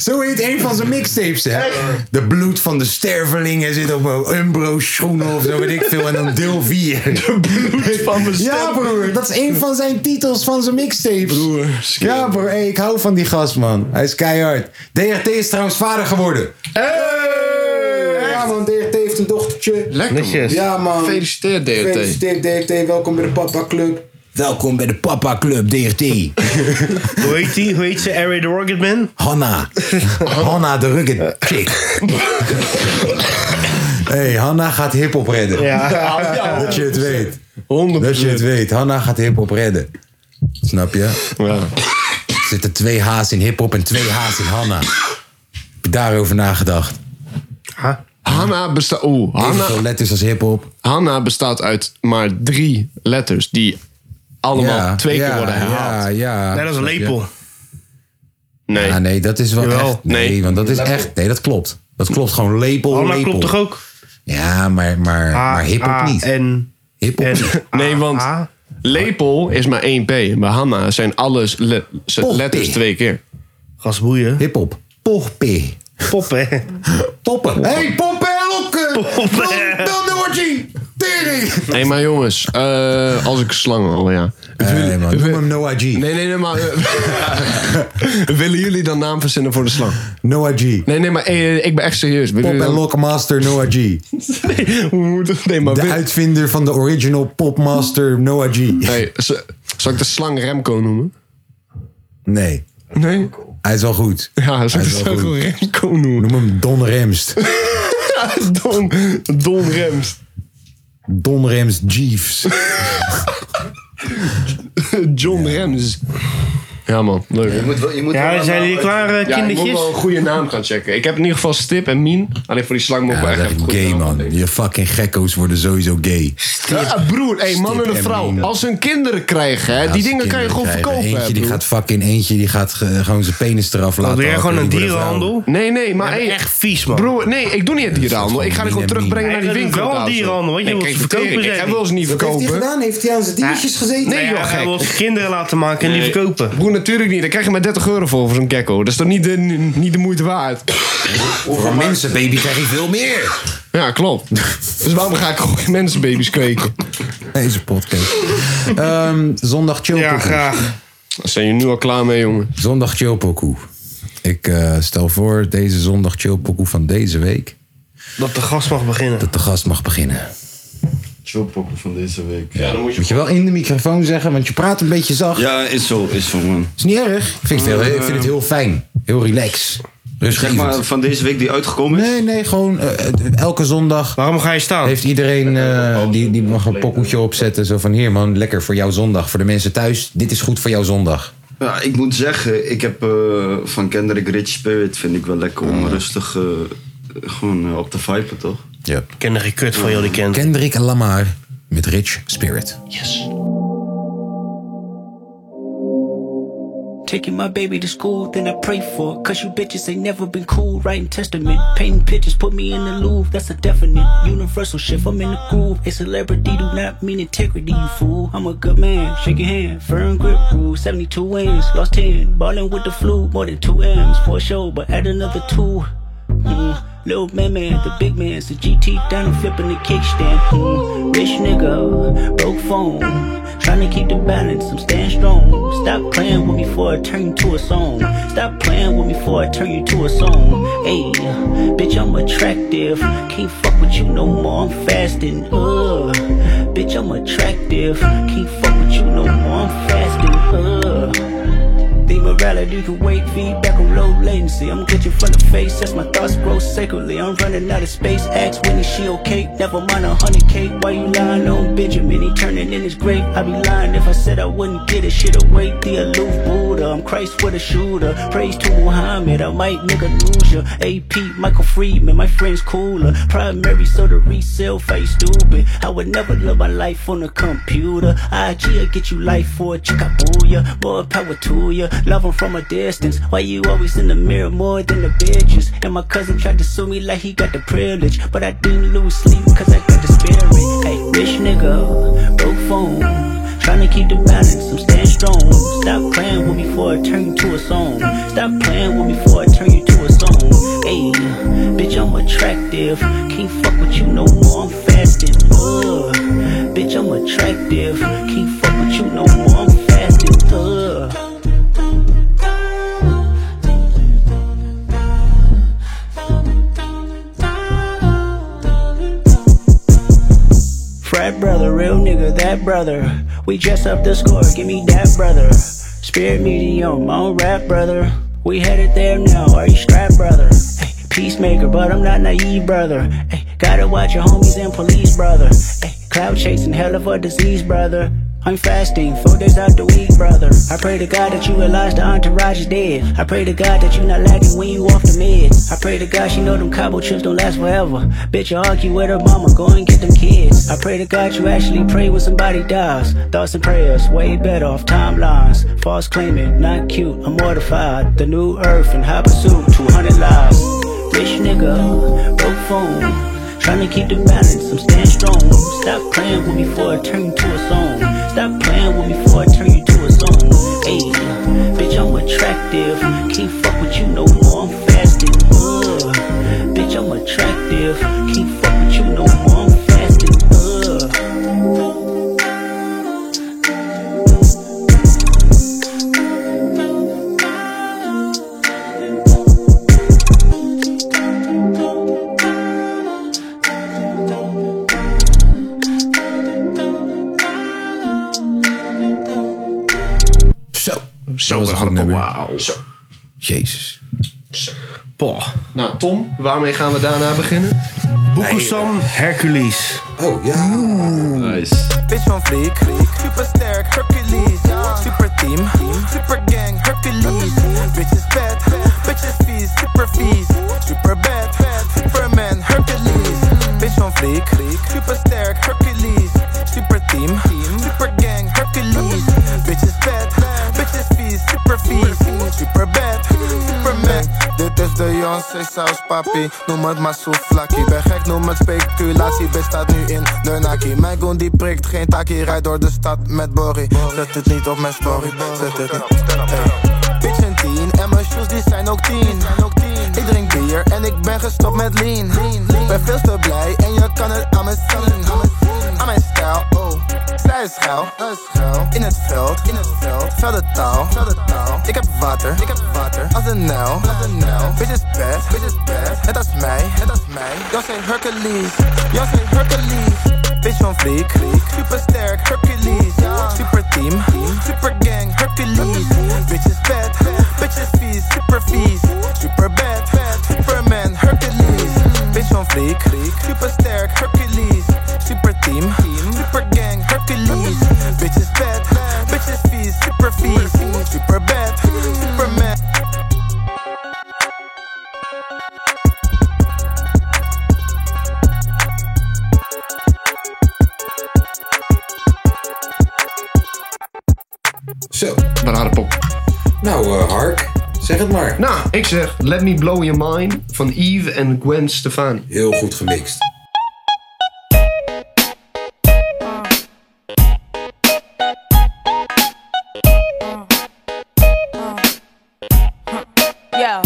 Zo heet een van zijn mixtapes, hè? De bloed van de stervelingen zit op mijn Umbro-schoenen of zo weet ik veel. En dan deel 4.
bloed van mijn
Ja, broer. Dat is een van zijn titels van zijn mixtapes. Broer. Ja, broer. Hey, ik hou van die gast, man. Hij is keihard. DRT is trouwens vader geworden. Ja, man. DRT heeft een dochtertje.
Lekker man.
Netjes.
Ja, man.
Gefeliciteerd DRT.
Gefeliciteerd, DRT. Welkom bij de Papa Club. Welkom bij de Papa Club, DRT.
Hoe heet die? Hoe heet ze? Harry the Rocketman?
<laughs>
Hanna. Hanna de Rugged Chick. hey, Hanna gaat hiphop redden.
Ja.
Dat je het weet.
100%.
Dat je het weet. Hanna gaat hiphop redden. Snap je?
Ja.
Er zitten twee H's in hiphop en twee H's in Hanna. Heb je daarover nagedacht? Ah,
Hanna, besta Oeh, Hanna,
Evenveel letters als hiphop.
Hanna bestaat uit maar drie letters die allemaal
Ja,
twee keer
ja,
worden herhaald.
Ja, ja.
Net als een lepel.
Nee.
Ah, nee, dat is wel
Jawel.
echt... Nee,
Nee.
want dat is echt... Nee, dat klopt. Dat klopt gewoon lepel,
Anna
lepel.
Oh, klopt toch ook?
Ja, maar, maar, maar hiphop niet.
En,
<laughs> hiphop
en,
niet.
Nee, want
A.
lepel is maar één P. Bij Hanna zijn alles le- z-
Poppy.
letters twee keer.
Gasboeien.
Hiphop. Poppy.
Poppen.
Poppen. Hé, hey, poppen en lokken!
Poppen.
Dan- Dan Noortje! Tering!
Hé, maar jongens, eh, als ik slangen al, ja.
Nee, man. Noem hem Noah G.
Nee, nee, nee, maar. eh, <laughs> willen jullie dan naam verzinnen voor de slang?
Noah G.
Nee, nee, maar eh, ik ben echt serieus. Willen
Pop
jullie
en
dan-
lokkenmaster Noah G.
Nee, hoe moet het? Nee, maar.
De
wil-
uitvinder van de original popmaster Noah G.
Nee, z- zal ik de slang Remco noemen?
Nee,
Nee?
hij is wel goed.
Ja, zal ik
Hij
de
is wel
slang
goed.
Remco noemen?
Noem hem Don Remst.
Don, Don Rems.
Don Rems Jeeves.
John Rems. Ja, man. Leuk. Je moet,
je moet
Ja, wel zijn een jullie naam klaar, uitzoeken. eh,
ik moet
kindertjes?
wel een goede naam gaan checken. Ik heb in ieder geval Stip en Mien. Alleen voor die slang moet ik
Ja,
wel
dat
echt
is
even
echt
goed
gay, man. Je fucking gekko's worden sowieso gay.
Ja, broer, hey, man en een vrouw. Als ze hun kinderen krijgen, hè,
Ja,
die
als
dingen kan je
kinderen
gewoon
krijgen.
verkopen. hè,
Eentje die
broer.
gaat fucking, eentje die gaat ge- gewoon zijn penis eraf laten.
Alweer
hakken.
gewoon een
Die worden vrouw.
dierenhandel?
Nee, nee, maar hey,
Echt vies, man.
Broer, nee, ik doe niet het dierenhandel. Ik ga die gewoon
Mien en Mien.
terugbrengen naar die
Hij doet
winkel.
wel
trouwens,
dierenhandel,
hoor.
want je
Nee,
wil
kijk,
ze verkopen,
vertering.
zei
Ik heb
hij.
wel eens niet
Wat heeft hij
verkopen.
gedaan? Heeft hij aan zijn diertjes gezeten?
Nee, joh,
Ja, hij
gek.
wil zijn kinderen laten maken en die
Nee.
verkopen.
Broer, natuurlijk niet. Daar krijg je maar 30 euro voor voor zo'n gecko. Dat is toch niet de, niet de moeite waard?
Voor een mensenbaby krijg je veel meer.
Ja, klopt. Dus waarom ga ik gewoon geen mensenbaby's kweken?
Deze podcast. Ehm, zondag
Ja,
chillpokoe.
graag.
Daar zijn jullie nu al klaar mee, jongen.
zondag chillpokoe. Ik eh, stel voor deze zondag chillpokoe van deze week...
Dat de gast mag beginnen.
dat de gast mag beginnen.
Chillpokken van deze week.
Moet je wel in de microfoon zeggen, want je praat een beetje zacht.
Ja, is zo, is zo man.
Is niet erg. Ik vind, het heel, ik vind het heel fijn. Heel relax.
Zeg
Rustig.
maar van deze week die uitgekomen is.
Nee, nee, gewoon eh, eh, elke zondag
Waarom ga je staan?
heeft iedereen eh, die, die mag een pokoetje opzetten. Zo van hier man, lekker voor jouw zondag. Voor de mensen thuis, dit is goed voor jouw zondag.
Ja, ik moet zeggen, ik heb eh, van Kendrick Rich Spirit vind ik wel lekker om rustig eh, gewoon eh, op te vipen, toch?
Ja.
Ik ken er geen kut van jullie kent.
Kendrick Lamar met Rich Spirit.
Taking my baby to school, then I pray for it. Cause you bitches ain't never been cool. Writing testament, painting pictures, put me in the Louvre. That's a definite universal shift. I'm in the groove. A celebrity do not mean integrity, you fool. I'm a good man, shake your hand. Firm grip rule, 72 wins, lost 10. Ballin' with the flu, more than 2 M's for sure, but add another 2. Mm. Little man, man, the big man, the GT down and flipping the kickstand. Mm. Rich nigga, broke phone, tryna keep the balance. I'm staying strong. Stop playing with me before I turn you to a song. Stop playing with me before I turn you to a song. Hey, bitch, I'm attractive. Can't fuck with you no more. I'm fasting. Ugh, bitch, I'm attractive. Can't fuck with you no more. I'm uh. fasting. Ugh. The morality can wait, feedback on low latency. I'm glitching from the face as my thoughts grow sacredly. I'm running out of space. Ask when is she okay? Never mind a hundred K. Why you lying on Benjamin? He turning in his grave. I'd be lying if I said I wouldn't get it. Shit away, the aloof Buddha. I'm Christ with a shooter. Praise to Muhammad. I might nigga lose ya. AP, Michael Friedman, my friend's cooler. Primary, so the resale face stupid. I would never live my life on a computer. IG will get you life for a chickabooya. More power to ya. Love 'em from a distance. Why you always in the mirror more than the bitches? And my cousin tried to sue me like he got the privilege. But I didn't lose sleep cause I got the spirit. Hey, rich nigga, broke phone. Tryna keep the balance, I'm staying strong. Stop playing with me before I turn you to a song. Stop playing with me before I turn you to a song. Hey, bitch, I'm attractive. Can't fuck with you no more, I'm fasting. Ugh, bitch, I'm attractive. Can't fuck with you no more, I'm uh. fasting. Ugh. Frat brother, real nigga, that brother. We dress up the score, give me that brother. Spirit medium, on rap brother. We headed there now, are you strapped brother? Hey, peacemaker, but I'm not naive brother. Hey, gotta watch your homies and police brother. Hey, cloud chasing, hell of a disease brother. I'm fasting, four days out the week, brother. I pray to God that you realize the entourage is dead. I pray to God that you not lagging when you off the mid. I pray to God she know them cabo trips don't last forever. Bitch, you argue with her mama, go and get them kids. I pray to God you actually pray when somebody dies. Thoughts and prayers, way better off timelines. False claiming, not cute, I'm mortified. The new earth and high pursuit, 200 lives. Rich nigga, broke phone. Tryna keep the balance, I'm staying strong. Stop playing with me before I turn you to a song. Stop playing with me before I turn you to a song. Hey, bitch, I'm attractive. Can't fuck with you no more, I'm fasting. Ugh. Bitch, I'm attractive. Can't fuck with you no more, I'm fasting. Ugh.
Zo.
Zo,
was een goed nummer.
Wauw. Zo.
Jezus.
Poh.
Nou, Tom, waarmee gaan we daarna beginnen?
Boekusam Hercules.
Oh ja.
Nice.
Bitch van Vliek, super sterk, Hercules. Super team, super gang, Hercules. Bitch is vet, bitch is vies, super vies. Super bad, superman, Hercules. Bitch van Vliek, super sterk, Hercules. Super team, super gang, Hercules. Bitch is vet, bitch is vies, super vies. Super bad, superman. Dit is de Jonse saus, papi. Noem het maar soeflakkie. Ben gek, noem het speculatie. Bestaat nu in de naki. Mijn goon die prikt geen taki. Rijd door de stad met Borry. Zet het niet op mijn story. Zet het niet. Hey. Bitch een tien. En mijn shoes die zijn ook tien. Ik drink bier en ik ben gestopt met lean. Ben veel te blij en je kan het aan me zien. Aan mijn stijl, oh. Zij is schuil. In het veld, in het veld. Veldentaal, veldentaal. Ik heb water, ik heb water. Als een nijl, als een nijl. Bitch is best, bitch is best. Net als mij, net als mij. Jan zijn Hercules, Jan zijn Hercules. Bitch van Vliek, super sterk, Hercules. Super team, super gang, Hercules. Bitch is vet, bitch is vies, super vies. Super bad, superman, Hercules. Bitch van Vliek, super sterk, Hercules. Super team, super gang, Hercules. Bitch is vet, bitch is vies, super vies. Super bad, superman.
Zo.
Rare pop.
Nou, eh, Hark, zeg het maar.
Nou, ik zeg Let Me Blow Your Mind van Eve en Gwen Stefani.
Heel goed gemixt.
Yo,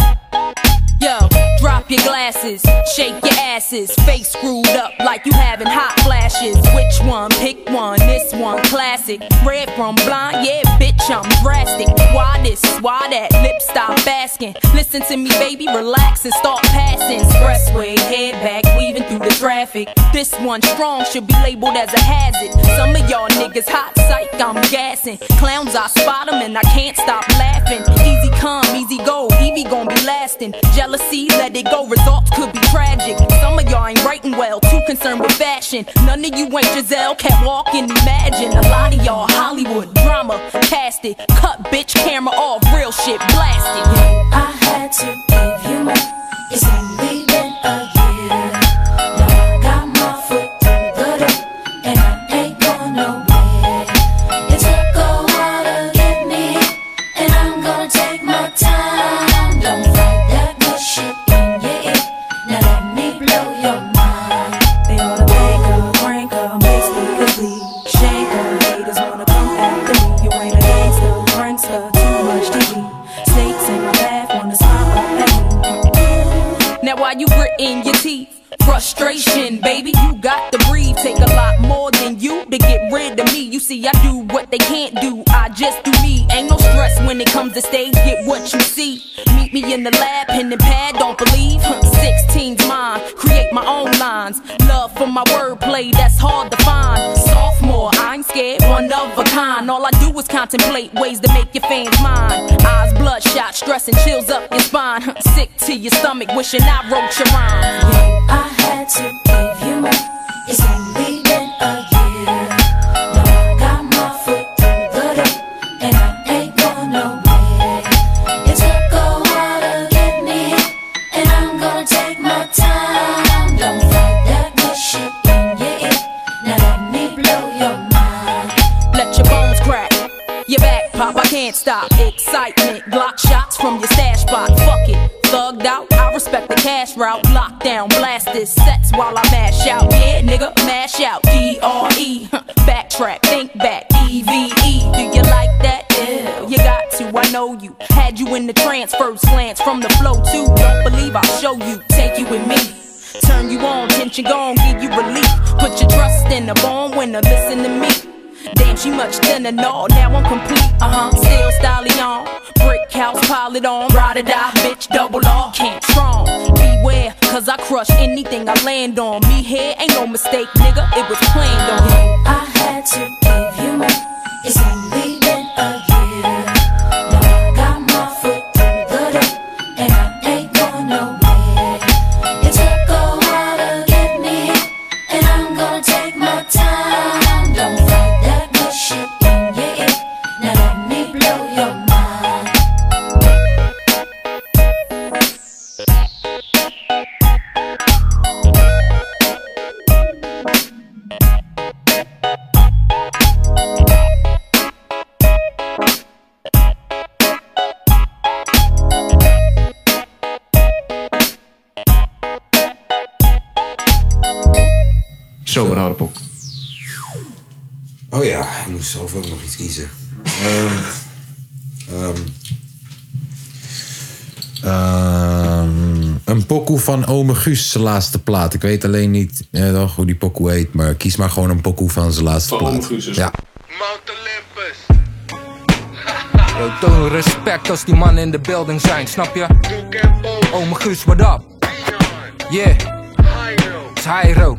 yo, drop your glasses, shake your asses, face screwed up like you having hot flashes. Which one? Pick one. This one, classic. Red from blind, yeah, bitch, I'm drastic. Why this? Why that? Lip stop asking. Listen to me, baby, relax and start passing. Expressway, head back, weaving through the traffic. This one strong should be labeled as a hazard. Some of y'all niggas hot psych, I'm gassing. Clowns, I spot 'em and I can't stop laughing. Easy come, easy go, Evie gon' be lasting. Jealousy, let it go, results could be tragic. Some of y'all ain't writing well, too concerned with fashion. None of you ain't Giselle, can't walk and imagine. A lot of y'all Hollywood drama, cast it. Cut bitch camera off, real shit blasted. I had to give you my.
It's only been a year. Now I got my foot through the door, and I ain't going nowhere. It took a while to get me, and I'm gonna take my time. Don't fight that bullshit in your ear. Now let me blow your mind. They wanna bang her, prank her, makes me complete. Shake her, haters wanna come after me. You ain't a gangster, prankster, too much to eat. Snakes in my path, wanna smile at me.
Now while you gritting your teeth, frustration, baby, you got to breathe. Take a lot more than you to get rid of me. You see, I do what they can't do. I just do me. Ain't no stress when it comes to stage. Get what you see. Meet me in the lab, pen and pad. Don't believe. 16's mine. Create my own lines. Love for my wordplay. That's hard to find. Sophomore, I ain't scared. One of a kind. All I do is contemplate ways to make your fans mine. Eyes bloodshot, stress and chills up your spine. <laughs> Sick to your stomach, wishing I wrote your rhyme.
I had to give you my. It's only been a year. Now I got my foot through the door, and I ain't going nowhere. It took a while to get me, and I'm gonna take my time. Don't fight that bullshit in your ear. Now let me blow your mind.
Let your bones crack. Your back pop, I can't stop. Excitement, block shots from your stash spot. Fuck it, thugged out. I respect the cash route. Lockdown, blast this sets while I mash out. Yeah, nigga, mash out. D R E. <laughs> Backtrack, think back. E V E. Do you like that? Yeah, you got to. I know you. Had you in the trance, first glance from the flow too. Don't believe I'll show you. Take you with me. Turn you on, tension gone, give you relief. Put your trust in a born winner, listen to me. Damn, she much thinner, no, now I'm complete. Uh huh, still styling on. Brick house, pile it on. Ride or die, bitch, double R. Can't strong. Beware, cause I crush anything I land on. Me here ain't no mistake, nigga, it was planned on.
I had to give you my. It's only been a year. Now I got my foot through the door, and I ain't going nowhere. It took a while to get me,
Zomeraardappel.
Oh ja, ik moest zelf ook nog iets kiezen. Ehm ehm, ehm, een pokoe van Ome Guus, zijn laatste plaat. Ik weet alleen niet eh, nog hoe die pokoe heet, maar kies maar gewoon een pokoe van zijn laatste plaat. Ja.
Yo, toon respect als die mannen in de building zijn, snap je? Oh, mijn Guus, what up? Yeah. It's Hyro.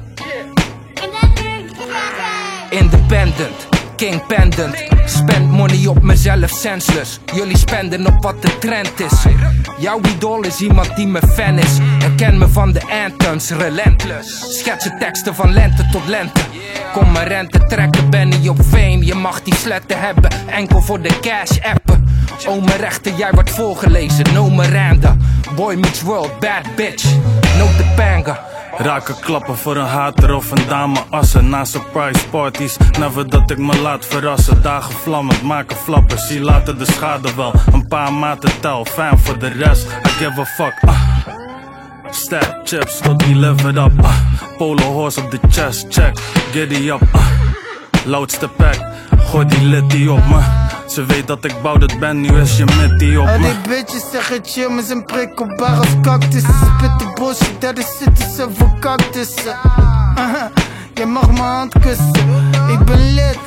Independent, king pendant. Spend money op mezelf, senseless. Jullie spenden op wat de trend is. Jouw idool is iemand die me fan is. Herken me van de anthems, relentless. Schetsen teksten van lente tot lente. Kom mijn rente trekken, ben niet op fame. Je mag die sletten hebben, enkel voor de cash appen. Ome rechter, jij wordt voorgelezen. No Miranda, boy meets world, bad bitch. No Topanga.
Raken klappen voor een hater of een dame assen Na surprise parties, never dat nou ik me laat verrassen Dagen vlammend, maken flappen, zie later de schade wel Een paar maten tel, fijn voor de rest I give a fuck, ah. Stab chips tot die levered up ah. Polo horse op de chest, check Giddy up, ah. Loudste pack, gooi die litty op me Ze weet dat ik bouwd ben, nu is je mitty op
Al
me
die bitches zeggen chill, maar zijn prikkelbaar als cactus. Ze spitten bullshit, dat is zitten ze voor cactussen. <laughs> Aha, je mag mijn hand kussen, ik ben lid.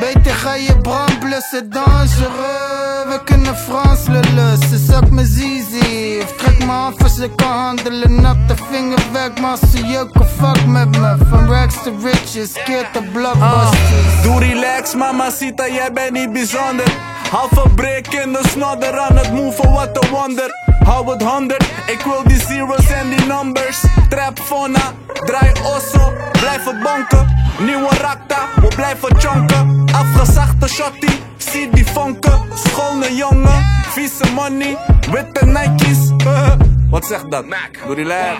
Beter ga je brand blussen, dangereux. We kunnen Frans lullen, ze zakt me zizi. Of trek me af als ik kan handelen, nak de vinger weg. Maar ze jeuken, fuck met me. Van rags to riches, keert de blockbusters.
Ah, doe relax, mamacita, jij bent niet bijzonder. Halve break in de snodder aan het move, what a wonder. Hou het 100, ik wil die zeros en die numbers. Trap fona, draai osso, blijven bonken. Nieuwe rakta, we blijven chonken. Afgezachte shotty, zie die vonken. Schone jongen, vieze money, witte Nike's. <laughs> Wat zegt dat? Doe relax.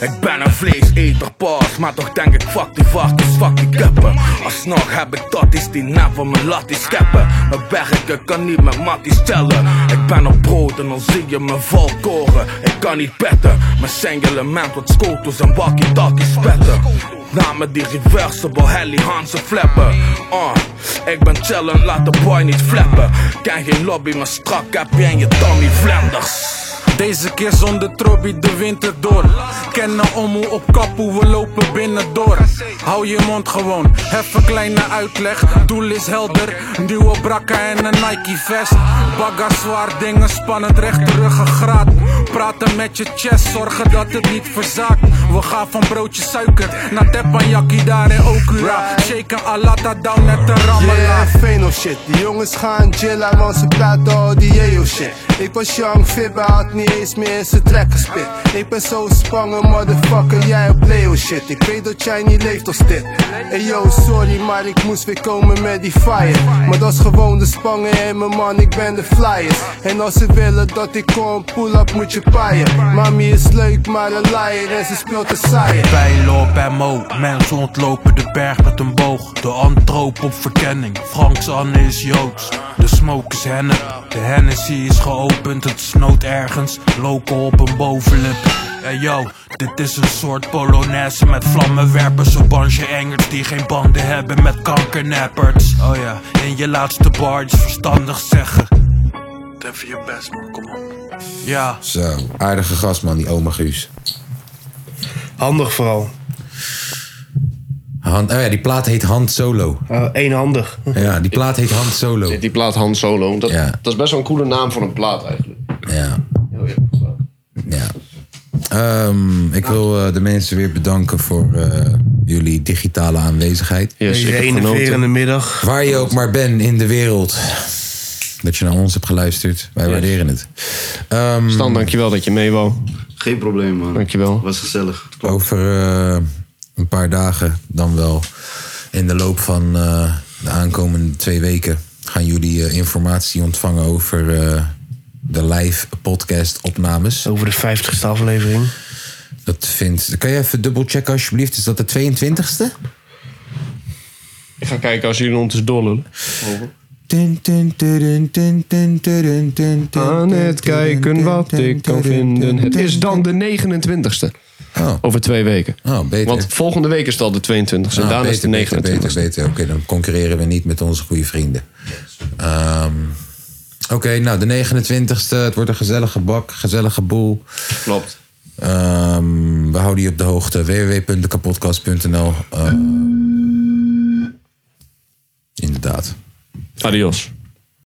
Ik ben een vleeseter pas, maar toch denk ik fuck die varkens, fuck die kippen Alsnog heb ik tatties die na van mijn latties scheppen Mijn bergen kan niet met matties tellen Ik ben op brood en dan zie je mijn valkoren Ik kan niet petten, mijn singlement wat scooters en walkie-talkies petten Namen die reversible, Helly Hansen flappen. Ah, ik ben chillen, laat de boy niet flappen. Ken geen lobby, maar strak heb je en je Tommy Vlenders.
Deze keer zonder trobby de winter door. Kennen om hoe op kap hoe we lopen binnen door. Hou je mond gewoon, hef een kleine uitleg. Doel is helder, nieuwe brakken en een Nike vest. Bagga zwaar dingen, spannend recht ruggengraat. Praten met je chest, zorgen dat het niet verzaakt. We gaan van broodje suiker naar teppanyaki daar in Okura. Shake een alata down net de rammelaar.
Yeah, Veno shit. Die jongens gaan chillen, want ze praten al die Yeo shit. Ik was young, fit, maar had niet eens meer in zijn trek gespit. Ik ben zo spangen, motherfucker, jij op Leo shit. Ik weet dat jij niet leeft als dit. Ey yo, sorry, maar ik moest weer komen met die fire. Maar dat is gewoon de spangen en mijn man, ik ben de flyers. En als ze willen dat ik kom, pull up, moet je paaien. Mami is leuk, maar een liar en ze speelt de saaier.
Bij Loop en Mo, mensen ontlopen de berg met een boog. De antroop op verkenning, Franks Anne is Joods. De smoke is hennep, de Hennessy is geopend. Het snoot ergens, local op een bovenlip. En yo, dit is een soort polonaise met vlammenwerpers. Een bandje engers die geen banden hebben met kankernappers. Oh ja, in je laatste bar iets verstandig zeggen. Even je best man, kom op. Ja.
Zo, aardige gast man, die oma Guus.
Handig vooral.
Hand, oh ja, die plaat heet Hand Solo.
Eh, eenhandig.
Ja, die plaat heet Hand Solo.
Die plaat Han Solo. Dat, dat is best wel een coole naam voor een plaat eigenlijk.
Ja. Ehm, ik wil eh, de mensen weer bedanken voor eh, jullie digitale aanwezigheid.
Yes, Deze ik heb genoten. enerverende middag.
Waar je ook maar bent in de wereld. Dat je naar ons hebt geluisterd. Wij waarderen het. Ehm
Stan, dankjewel dat je mee wou.
Geen probleem, man.
Dankjewel.
Was gezellig.
Over eh, een paar dagen dan wel. In de loop van eh, de aankomende twee weken gaan jullie eh, informatie ontvangen over eh, de live podcast opnames.
Over de 50ste aflevering.
Dat vindt. Kan je even dubbelchecken alsjeblieft? Is dat de 22ste?
Ik ga kijken als jullie ondertussen doorlullen. Aan het kijken wat ik kan vinden. Het is dan de 29ste.
Oh.
Over twee weken. Want volgende week is het al de 22ste.
Ah,
en daarna is
beter,
het de
beter,
29ste.
Beter, beter. Oké, dan concurreren we niet met onze goede vrienden. Ehm, Oké, nou de 29ste. Het wordt een gezellige bak, gezellige boel. Ehm,
Klopt.
we houden je op de hoogte. www.dekapotkast.nl Eh, Inderdaad.
Adios.